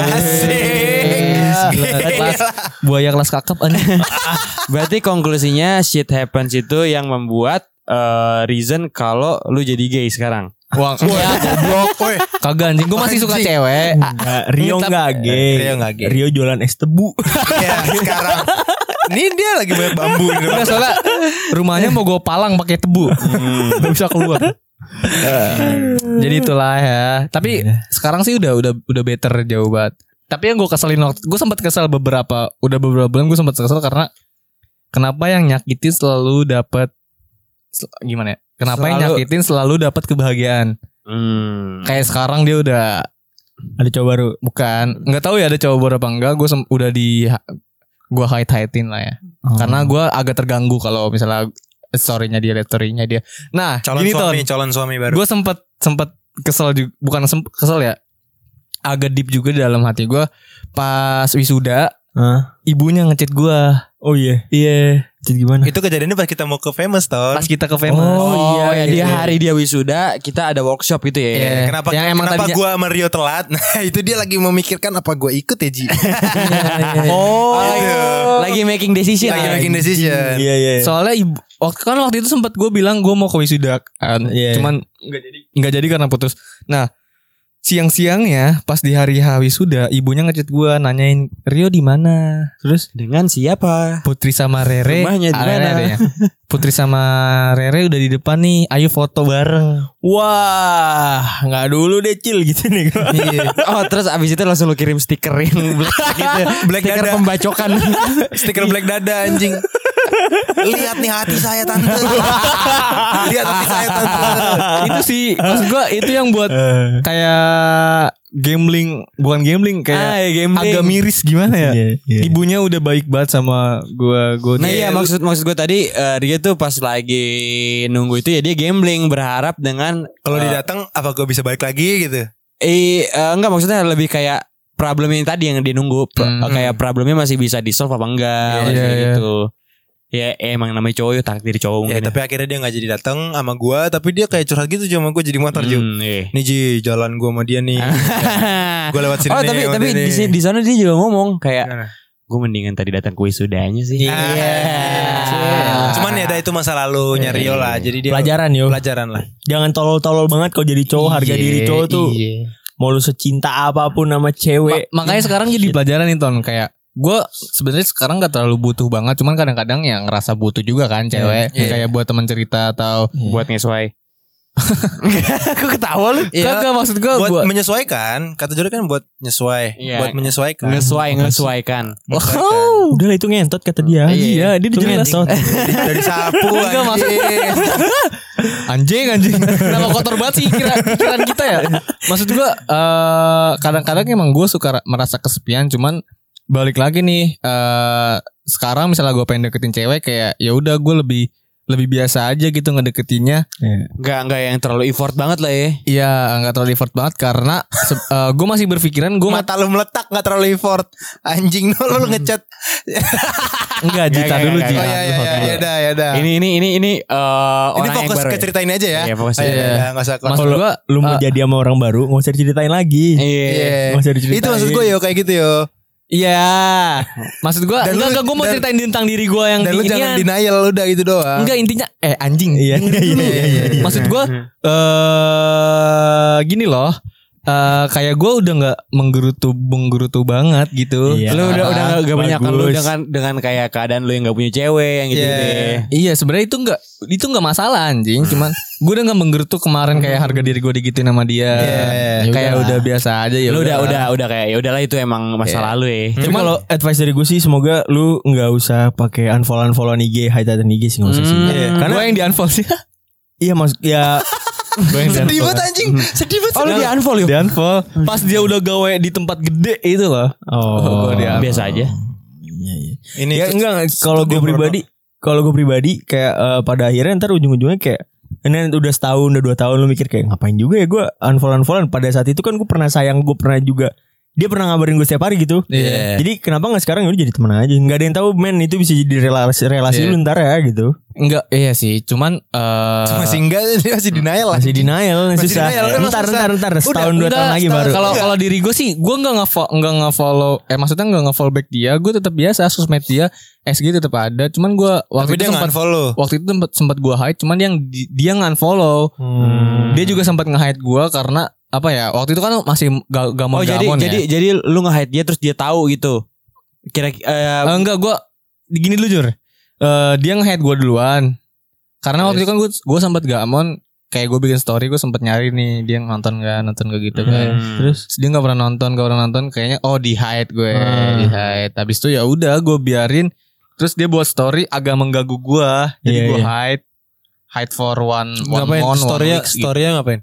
[SPEAKER 2] Asik. Kelas buaya kelas kakap anjing.
[SPEAKER 3] Berarti konklusinya shit happens itu yang membuat eh, reason kalau lu jadi gay sekarang.
[SPEAKER 2] Wah,
[SPEAKER 4] Wah, goblok. Woi,
[SPEAKER 2] kagak anjing, gue masih suka
[SPEAKER 4] Anjing.
[SPEAKER 2] cewek.
[SPEAKER 1] Nggak, Rio
[SPEAKER 2] eh, Tetap-
[SPEAKER 1] nggak gay.
[SPEAKER 4] Rio nggak gay.
[SPEAKER 1] Rio jualan es tebu.
[SPEAKER 4] *laughs* ya sekarang. Ini dia lagi banyak bambu di depan.
[SPEAKER 2] Enggak soalnya rumahnya mau gue palang pakai tebu. Gak bisa keluar.
[SPEAKER 4] Ah.
[SPEAKER 2] Jadi itulah ya. Tapi
[SPEAKER 1] Iya.
[SPEAKER 2] sekarang sih udah udah udah better jauh banget. Tapi yang gue keselin waktu gue sempat kesel beberapa udah beberapa bulan gue sempat kesel karena kenapa yang nyakitin selalu dapat sel- gimana ya? Kenapa yang
[SPEAKER 3] Selalu-
[SPEAKER 2] nyakitin selalu dapat kebahagiaan?
[SPEAKER 3] Hmm.
[SPEAKER 2] Kayak sekarang dia udah
[SPEAKER 1] Ada cowok baru.
[SPEAKER 2] bukan nggak tahu ya ada cowok baru apa enggak. Gue sem- udah di gue hide hidein lah ya. Karena gue agak terganggu kalau misalnya eh, storynya dia, liat storynya dia. Nah,
[SPEAKER 4] Calon
[SPEAKER 2] gini, Ton.
[SPEAKER 4] suami, calon suami baru.
[SPEAKER 2] Gue sempet sempet kesel juga, bukan sem- kesel ya. Agak deep juga dalam hati gue pas wisuda
[SPEAKER 1] Hah?
[SPEAKER 2] ibunya ngechat gue.
[SPEAKER 1] Oh iya.
[SPEAKER 2] Iya.
[SPEAKER 1] Jadi gimana?
[SPEAKER 4] Itu kejadiannya pas kita mau ke famous ton.
[SPEAKER 2] Pas kita ke famous.
[SPEAKER 3] Oh, iya, dia
[SPEAKER 2] Dia
[SPEAKER 3] hari dia wisuda, kita ada workshop itu ya.
[SPEAKER 2] Iya.
[SPEAKER 4] Kenapa
[SPEAKER 2] Yang emang
[SPEAKER 4] kenapa
[SPEAKER 2] tadinya-
[SPEAKER 4] gua sama Rio telat? *laughs* Nah, itu dia lagi memikirkan apa gua ikut ya,
[SPEAKER 3] *laughs* Iya,
[SPEAKER 4] Ji.
[SPEAKER 3] Oh,
[SPEAKER 4] iya.
[SPEAKER 3] lagi making decision.
[SPEAKER 4] lagi making decision.
[SPEAKER 1] Iya iya.
[SPEAKER 2] Soalnya ibu waktu kan waktu itu sempat gue bilang gue mau ke wisuda kan.
[SPEAKER 1] Iya.
[SPEAKER 2] Cuman nggak jadi nggak jadi karena putus. Nah siang-siangnya pas di hari H wisuda ibunya ngechat gue nanyain Rio di mana terus
[SPEAKER 3] Dengan siapa?
[SPEAKER 2] Putri sama Rere
[SPEAKER 3] Rumahnya di
[SPEAKER 2] Ah, Rere
[SPEAKER 3] mana?
[SPEAKER 2] ada ya. Putri sama Rere udah di depan nih Ayo foto bareng
[SPEAKER 1] Wah, nggak dulu deh cil gitu nih. gua.
[SPEAKER 3] oh, terus abis itu langsung lu kirim stiker yang *laughs* black gitu.
[SPEAKER 4] Black
[SPEAKER 3] stiker
[SPEAKER 4] dada.
[SPEAKER 3] pembacokan.
[SPEAKER 4] *laughs* Stiker black dada anjing. Lihat nih hati saya tante. Lihat hati saya tante.
[SPEAKER 2] Itu sih Maksud gue itu
[SPEAKER 4] *laughs*
[SPEAKER 2] yang buat
[SPEAKER 4] Eh.
[SPEAKER 2] Kayak Gambling Bukan gambling Kayak agak miris gimana ya
[SPEAKER 1] Iya, iya.
[SPEAKER 2] Ibunya udah baik banget sama gue gua
[SPEAKER 3] Nah iya maksud maksud gue tadi eh, dia tuh pas lagi nunggu itu ya dia gambling berharap dengan
[SPEAKER 4] Kalau
[SPEAKER 3] eh,
[SPEAKER 4] dia datang apa gua bisa balik lagi gitu.
[SPEAKER 3] Eh eh, enggak maksudnya lebih kayak problem yang tadi yang dinunggu Pro-
[SPEAKER 2] Hmm.
[SPEAKER 3] kayak problemnya masih bisa di solve apa enggak
[SPEAKER 2] Iya,
[SPEAKER 3] maksudnya
[SPEAKER 2] iya.
[SPEAKER 3] gitu. Ya emang namanya cowok ya takdir cowok
[SPEAKER 4] Ya,
[SPEAKER 2] Gitu.
[SPEAKER 3] mungkin.
[SPEAKER 4] tapi akhirnya dia nggak jadi datang sama gua, tapi dia kayak curhat gitu sama gua jadi motor Ju.
[SPEAKER 3] Hmm, iya.
[SPEAKER 4] Nih Ji, jalan gua sama dia nih.
[SPEAKER 2] *laughs*
[SPEAKER 4] gua lewat sini.
[SPEAKER 3] oh
[SPEAKER 4] nih,
[SPEAKER 3] tapi
[SPEAKER 4] sama
[SPEAKER 3] tapi
[SPEAKER 4] dia
[SPEAKER 3] di
[SPEAKER 4] nih.
[SPEAKER 3] sini- di sana dia juga ngomong kayak
[SPEAKER 4] Gimana?
[SPEAKER 3] gue mendingan tadi datang ke wisudanya sih.
[SPEAKER 2] Iya.
[SPEAKER 4] Ah. Cuman ya ada itu masa lalunya
[SPEAKER 2] iya,
[SPEAKER 4] Rio lah. Jadi dia
[SPEAKER 1] Pelajaran yo.
[SPEAKER 4] pelajaran lah.
[SPEAKER 1] Jangan tolol-tolol banget kalau jadi cowok harga diri cowok tuh. Mau lu secinta apapun sama cewek.
[SPEAKER 2] Ma-
[SPEAKER 4] hmm.
[SPEAKER 2] makanya sekarang jadi pelajaran nih Ton kayak gue sebenarnya sekarang nggak terlalu butuh banget cuman kadang-kadang ya ngerasa butuh juga kan cewek
[SPEAKER 4] Iya.
[SPEAKER 2] kayak buat teman cerita atau
[SPEAKER 3] Buat ngesuai. Kok ketawa lu?
[SPEAKER 2] Iya. Kagak maksud gue
[SPEAKER 4] buat
[SPEAKER 2] buat
[SPEAKER 4] menyesuaikan kata Jody kan buat nyesuai
[SPEAKER 3] Iya.
[SPEAKER 4] buat menyesuaikan
[SPEAKER 3] Ngesuai, ngesuaikan. *laughs*
[SPEAKER 4] Wow.
[SPEAKER 1] Udah lah itu ngentot kata dia. Iya,
[SPEAKER 3] Iya.
[SPEAKER 1] dia dijelas tot.
[SPEAKER 4] dari sapu
[SPEAKER 2] Enggak, maksud-
[SPEAKER 4] anjing.
[SPEAKER 2] anjing anjing. Kenapa kotor banget sih pikiran, pikiran kita ya? Maksud gue eh, kadang-kadang emang gue suka ra- merasa kesepian cuman balik lagi nih eh sekarang misalnya gue pengen deketin cewek kayak ya udah gue lebih lebih biasa aja gitu ngedeketinnya
[SPEAKER 3] Enggak, enggak yang terlalu effort banget lah ya.
[SPEAKER 2] Iya, nggak terlalu effort banget karena *laughs* gue masih berpikiran gue
[SPEAKER 4] mata lu meletak nggak terlalu effort anjing *laughs* lu lu ngecat
[SPEAKER 2] enggak
[SPEAKER 3] Nggak,
[SPEAKER 2] Jita
[SPEAKER 3] nggak,
[SPEAKER 2] dulu
[SPEAKER 3] nggak,
[SPEAKER 4] oh
[SPEAKER 2] Jita.
[SPEAKER 3] nggak.
[SPEAKER 4] ya ya ya ya dah ya dah
[SPEAKER 3] Iya, Ini ini ini ini eh
[SPEAKER 4] ini
[SPEAKER 3] orang yang
[SPEAKER 4] fokus
[SPEAKER 3] baru.
[SPEAKER 4] ke
[SPEAKER 3] ya?
[SPEAKER 4] ceritain aja ya
[SPEAKER 3] Iya, fokus.
[SPEAKER 4] Oh, iya,
[SPEAKER 2] Iya.
[SPEAKER 4] iya, nggak usah kelas
[SPEAKER 2] Maksud
[SPEAKER 1] Kalau
[SPEAKER 2] gue
[SPEAKER 1] lu mau
[SPEAKER 2] Ah.
[SPEAKER 1] jadi sama orang baru, nggak usah diceritain lagi.
[SPEAKER 3] Iya.
[SPEAKER 4] Iya.
[SPEAKER 1] Nggak usah diceritain.
[SPEAKER 4] itu maksud gue yo kayak gitu yo
[SPEAKER 2] Iya. Maksud gue
[SPEAKER 4] Dan
[SPEAKER 2] enggak
[SPEAKER 4] lu-
[SPEAKER 2] enggak gue mau
[SPEAKER 4] dan-
[SPEAKER 2] ceritain tentang diri gue yang
[SPEAKER 4] dan lu
[SPEAKER 2] di-
[SPEAKER 4] jangan
[SPEAKER 2] inian.
[SPEAKER 4] denial udah gitu doang
[SPEAKER 2] Enggak intinya eh anjing.
[SPEAKER 1] Iya, iya, iya,
[SPEAKER 4] Iya, iya, iya.
[SPEAKER 2] Maksud gue eh gini loh. eh kayak gue udah nggak menggerutu menggerutu banget gitu.
[SPEAKER 1] Iya.
[SPEAKER 3] Lu udah
[SPEAKER 2] Ah,
[SPEAKER 3] udah gak banyak lu
[SPEAKER 1] bagus.
[SPEAKER 3] dengan dengan kayak keadaan lu yang gak punya cewek yang gitu
[SPEAKER 4] Iya.
[SPEAKER 3] deh.
[SPEAKER 2] Iya sebenarnya itu nggak itu nggak masalah anjing. Cuman gue udah nggak menggerutu kemarin kayak harga diri gue digituin sama dia.
[SPEAKER 4] Iya.
[SPEAKER 2] Kayak udah biasa aja ya.
[SPEAKER 3] Lu udah udah udah kayak ya udahlah itu emang masa
[SPEAKER 2] Iya.
[SPEAKER 3] lalu ya.
[SPEAKER 1] Tapi kalau advice dari gue sih semoga lu nggak usah pakai unfollow unfollowan IG, hide hide IG sih nggak usah sih.
[SPEAKER 3] Hmm.
[SPEAKER 4] Iya.
[SPEAKER 2] Karena gue yang di unfollow sih.
[SPEAKER 1] Iya mas, ya
[SPEAKER 2] gue yang
[SPEAKER 4] sedih banget anjing sedih banget
[SPEAKER 2] Oh, lu di unfollow ya? Di unfollow. Pas dia udah gawe di tempat gede itu loh.
[SPEAKER 1] oh,
[SPEAKER 2] Gua di unfollow.
[SPEAKER 3] Biasa aja.
[SPEAKER 1] Iya, iya.
[SPEAKER 4] ini
[SPEAKER 1] Ya enggak enggak. kalau gue
[SPEAKER 4] studio
[SPEAKER 1] pribadi, kalau gue pribadi kayak eh, pada akhirnya ntar ujung-ujungnya kayak ini udah setahun, udah dua tahun lu mikir kayak ngapain juga ya gue unfollow unfollowan. Pada saat itu kan gue pernah sayang, gue pernah juga dia pernah ngabarin gue setiap hari gitu.
[SPEAKER 4] Iya.
[SPEAKER 1] Jadi kenapa nggak sekarang ya udah jadi teman aja? Nggak ada yang tahu men itu bisa jadi relasi relasi
[SPEAKER 2] Iya.
[SPEAKER 1] lu ntar ya gitu.
[SPEAKER 2] Enggak, iya sih. Cuman eh
[SPEAKER 4] masih enggak *laughs* dia masih denial lah
[SPEAKER 1] Masih denial,
[SPEAKER 4] Masih
[SPEAKER 1] susah.
[SPEAKER 4] denial, emang
[SPEAKER 1] ntar,
[SPEAKER 4] susah.
[SPEAKER 1] ntar, ntar, setahun dua
[SPEAKER 2] Enggak,
[SPEAKER 1] tahun lagi
[SPEAKER 2] setahun.
[SPEAKER 1] baru.
[SPEAKER 2] Kalau kalau diri gue sih, gue nggak ngefollow, nggak ngefollow. Eh maksudnya nggak ngefollow back dia. Gue tetap biasa sosmed dia. SG tetap ada. Cuman gue
[SPEAKER 4] tapi
[SPEAKER 2] waktu
[SPEAKER 4] dia
[SPEAKER 2] itu sempat
[SPEAKER 4] nggak follow
[SPEAKER 2] waktu itu sempat sempat gue hide. Cuman yang di- dia nggak unfollow.
[SPEAKER 1] Hmm.
[SPEAKER 2] Dia juga sempat nge-hide gue karena apa ya? Waktu itu kan masih gak, gak mau
[SPEAKER 3] Oh jadi
[SPEAKER 2] gamon ya.
[SPEAKER 3] jadi jadi lu nge-hide dia terus dia tahu gitu. Kira-kira eh,
[SPEAKER 2] Eh, enggak gue gini dulu jur. Eh, dia nge-hate gue duluan. Karena waktu itu kan gue gue sempat gamon kayak gue bikin story gue sempat nyari nih dia nonton gak nonton gak gitu kan.
[SPEAKER 3] terus
[SPEAKER 2] Terus dia nggak pernah nonton, gak pernah nonton kayaknya oh di hide gue, di hide. Habis itu ya udah gue biarin. Terus dia buat story agak mengganggu gue, jadi
[SPEAKER 1] Iya,
[SPEAKER 2] gue
[SPEAKER 1] iya.
[SPEAKER 2] hide hide for one one
[SPEAKER 4] ngapain
[SPEAKER 2] month, one
[SPEAKER 4] story-nya
[SPEAKER 2] weeks gitu.
[SPEAKER 4] story-nya ngapain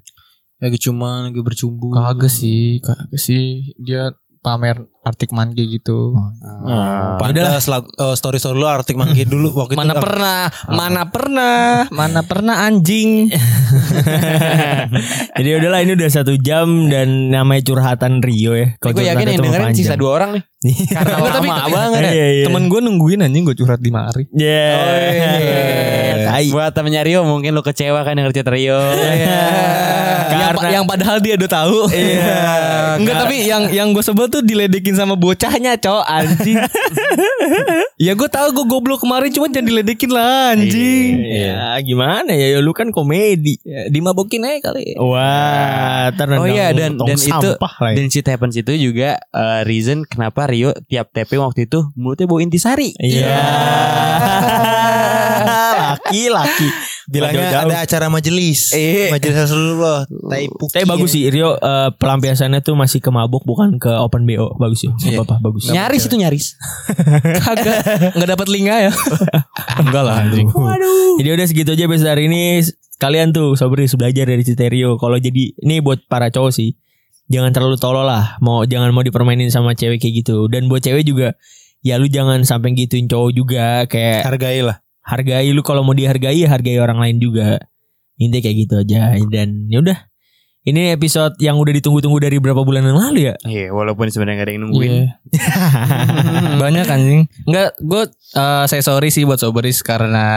[SPEAKER 4] lagi cuman lagi bercumbu
[SPEAKER 2] Kagak sih, kagak sih dia pamer Arctic Monkey gitu.
[SPEAKER 3] Nah,
[SPEAKER 4] Padahal story story lu Arctic
[SPEAKER 3] *laughs*
[SPEAKER 4] Monkey dulu waktu itu *laughs*
[SPEAKER 2] mana
[SPEAKER 4] nggak-
[SPEAKER 2] pernah, mana pernah, mana pernah anjing.
[SPEAKER 1] Jadi udahlah ini udah satu jam dan namanya curhatan Rio ya. Kalau
[SPEAKER 3] gue Eh, yakin
[SPEAKER 1] curhatan
[SPEAKER 3] yang
[SPEAKER 1] itu mah
[SPEAKER 3] dengerin sisa
[SPEAKER 1] *laughs* panjang.
[SPEAKER 3] dua orang nih. Karena
[SPEAKER 2] Tapi- tapi-
[SPEAKER 3] lama banget.
[SPEAKER 1] Iya, iya.
[SPEAKER 2] Temen gue nungguin anjing gue curhat di mari.
[SPEAKER 1] Yeah.
[SPEAKER 4] Oh, iya.
[SPEAKER 1] Tai.
[SPEAKER 3] Buat temennya Rio mungkin lu kecewa kan denger cerita
[SPEAKER 4] *laughs*
[SPEAKER 3] Rio.
[SPEAKER 4] Iya.
[SPEAKER 2] yang, pa-
[SPEAKER 1] Karena-
[SPEAKER 2] yang padahal dia udah tahu. Iya. Enggak tapi yang yang gue sebel tuh diledekin sama bocahnya, cowok anjing. *laughs* ya gue tahu gue goblok kemarin cuman jangan diledekin lah anjing.
[SPEAKER 1] Ya gimana ya, ya lu kan komedi.
[SPEAKER 2] Ya, dimabokin aja kali.
[SPEAKER 1] Wah, ntar
[SPEAKER 3] Oh
[SPEAKER 1] nendang
[SPEAKER 3] iya, dan-
[SPEAKER 1] tong
[SPEAKER 3] dan itu-
[SPEAKER 1] sampah lah ya.
[SPEAKER 3] Dan shit happens itu juga eh, reason kenapa Rio tiap TP waktu itu mulutnya bau intisari.
[SPEAKER 1] Iya. *laughs* laki laki.
[SPEAKER 4] bilangnya
[SPEAKER 1] Jauh-jauh.
[SPEAKER 4] ada acara majelis
[SPEAKER 3] Iya.
[SPEAKER 4] majelis Rasulullah tai puki.
[SPEAKER 1] Tapi bagus sih Rio eh, pelampiasannya tuh masih ke mabuk bukan ke open BO bagus sih.
[SPEAKER 4] Iya.
[SPEAKER 1] Gak apa-apa bagus.
[SPEAKER 3] Nyaris itu nyaris.
[SPEAKER 2] *laughs* Kagak enggak dapat lingga ya. enggak lah anjing.
[SPEAKER 1] Jadi udah segitu aja besar hari ini. Kalian tuh sobris belajar dari cerita Rio. Kalau jadi ini buat para cowok sih. Jangan terlalu tolol lah. Mau jangan mau dipermainin sama cewek kayak gitu. Dan buat cewek juga ya lu jangan sampai gituin cowok juga kayak
[SPEAKER 4] hargailah
[SPEAKER 1] hargai lu kalau mau dihargai ya hargai orang lain juga. Intinya kayak gitu aja dan ya udah. Ini episode yang udah ditunggu-tunggu dari berapa bulan yang lalu ya?
[SPEAKER 3] Iya, walaupun sebenarnya gak ada yang nungguin.
[SPEAKER 4] Iya. Hmm.
[SPEAKER 2] Banyak anjing. Enggak, gue eh, saya sorry sih buat Soberis karena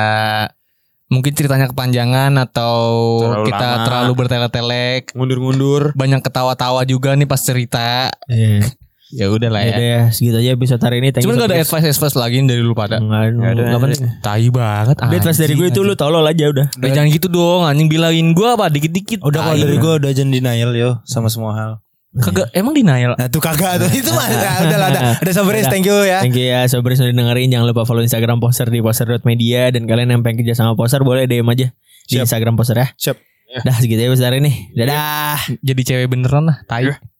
[SPEAKER 2] mungkin ceritanya kepanjangan atau
[SPEAKER 3] Terlalu
[SPEAKER 2] kita
[SPEAKER 3] lama.
[SPEAKER 2] terlalu bertele-telek.
[SPEAKER 3] Ngundur-ngundur.
[SPEAKER 2] Banyak ketawa-tawa juga nih pas cerita.
[SPEAKER 1] Iya.
[SPEAKER 2] Ya udah
[SPEAKER 1] Ya
[SPEAKER 2] lah ya.
[SPEAKER 1] udah ya, segitu aja episode hari ini. Thank you
[SPEAKER 2] Cuman gak ada
[SPEAKER 1] so much.
[SPEAKER 2] advice advice lagi dari lu pada.
[SPEAKER 1] Nggak ada.
[SPEAKER 3] Nggak ada.
[SPEAKER 1] Nggak penting.
[SPEAKER 4] Eh,
[SPEAKER 2] Tai banget.
[SPEAKER 1] Udah, advice dari gue itu lu tolol aja udah.
[SPEAKER 2] jangan gitu dong, anjing bilangin gue apa dikit-dikit.
[SPEAKER 4] udah kalau
[SPEAKER 2] Tai.
[SPEAKER 4] dari gue udah jangan denial yo sama semua hal
[SPEAKER 2] kagak emang denial.
[SPEAKER 4] nah tuh kagak tuh itu mah nah, udah lah udah udah sobris
[SPEAKER 1] Udah.
[SPEAKER 4] thank you ya
[SPEAKER 1] Thank you ya Sobris udah dengerin Jangan lupa follow Instagram Poster di poster.media Dan kalian yang pengen kerja sama Poster Boleh DM aja Di
[SPEAKER 4] Siap.
[SPEAKER 1] Instagram Poster ya
[SPEAKER 4] Siap.
[SPEAKER 5] Dah segitu ya besar ini. Dadah.
[SPEAKER 1] Jadi cewek beneran lah, tai.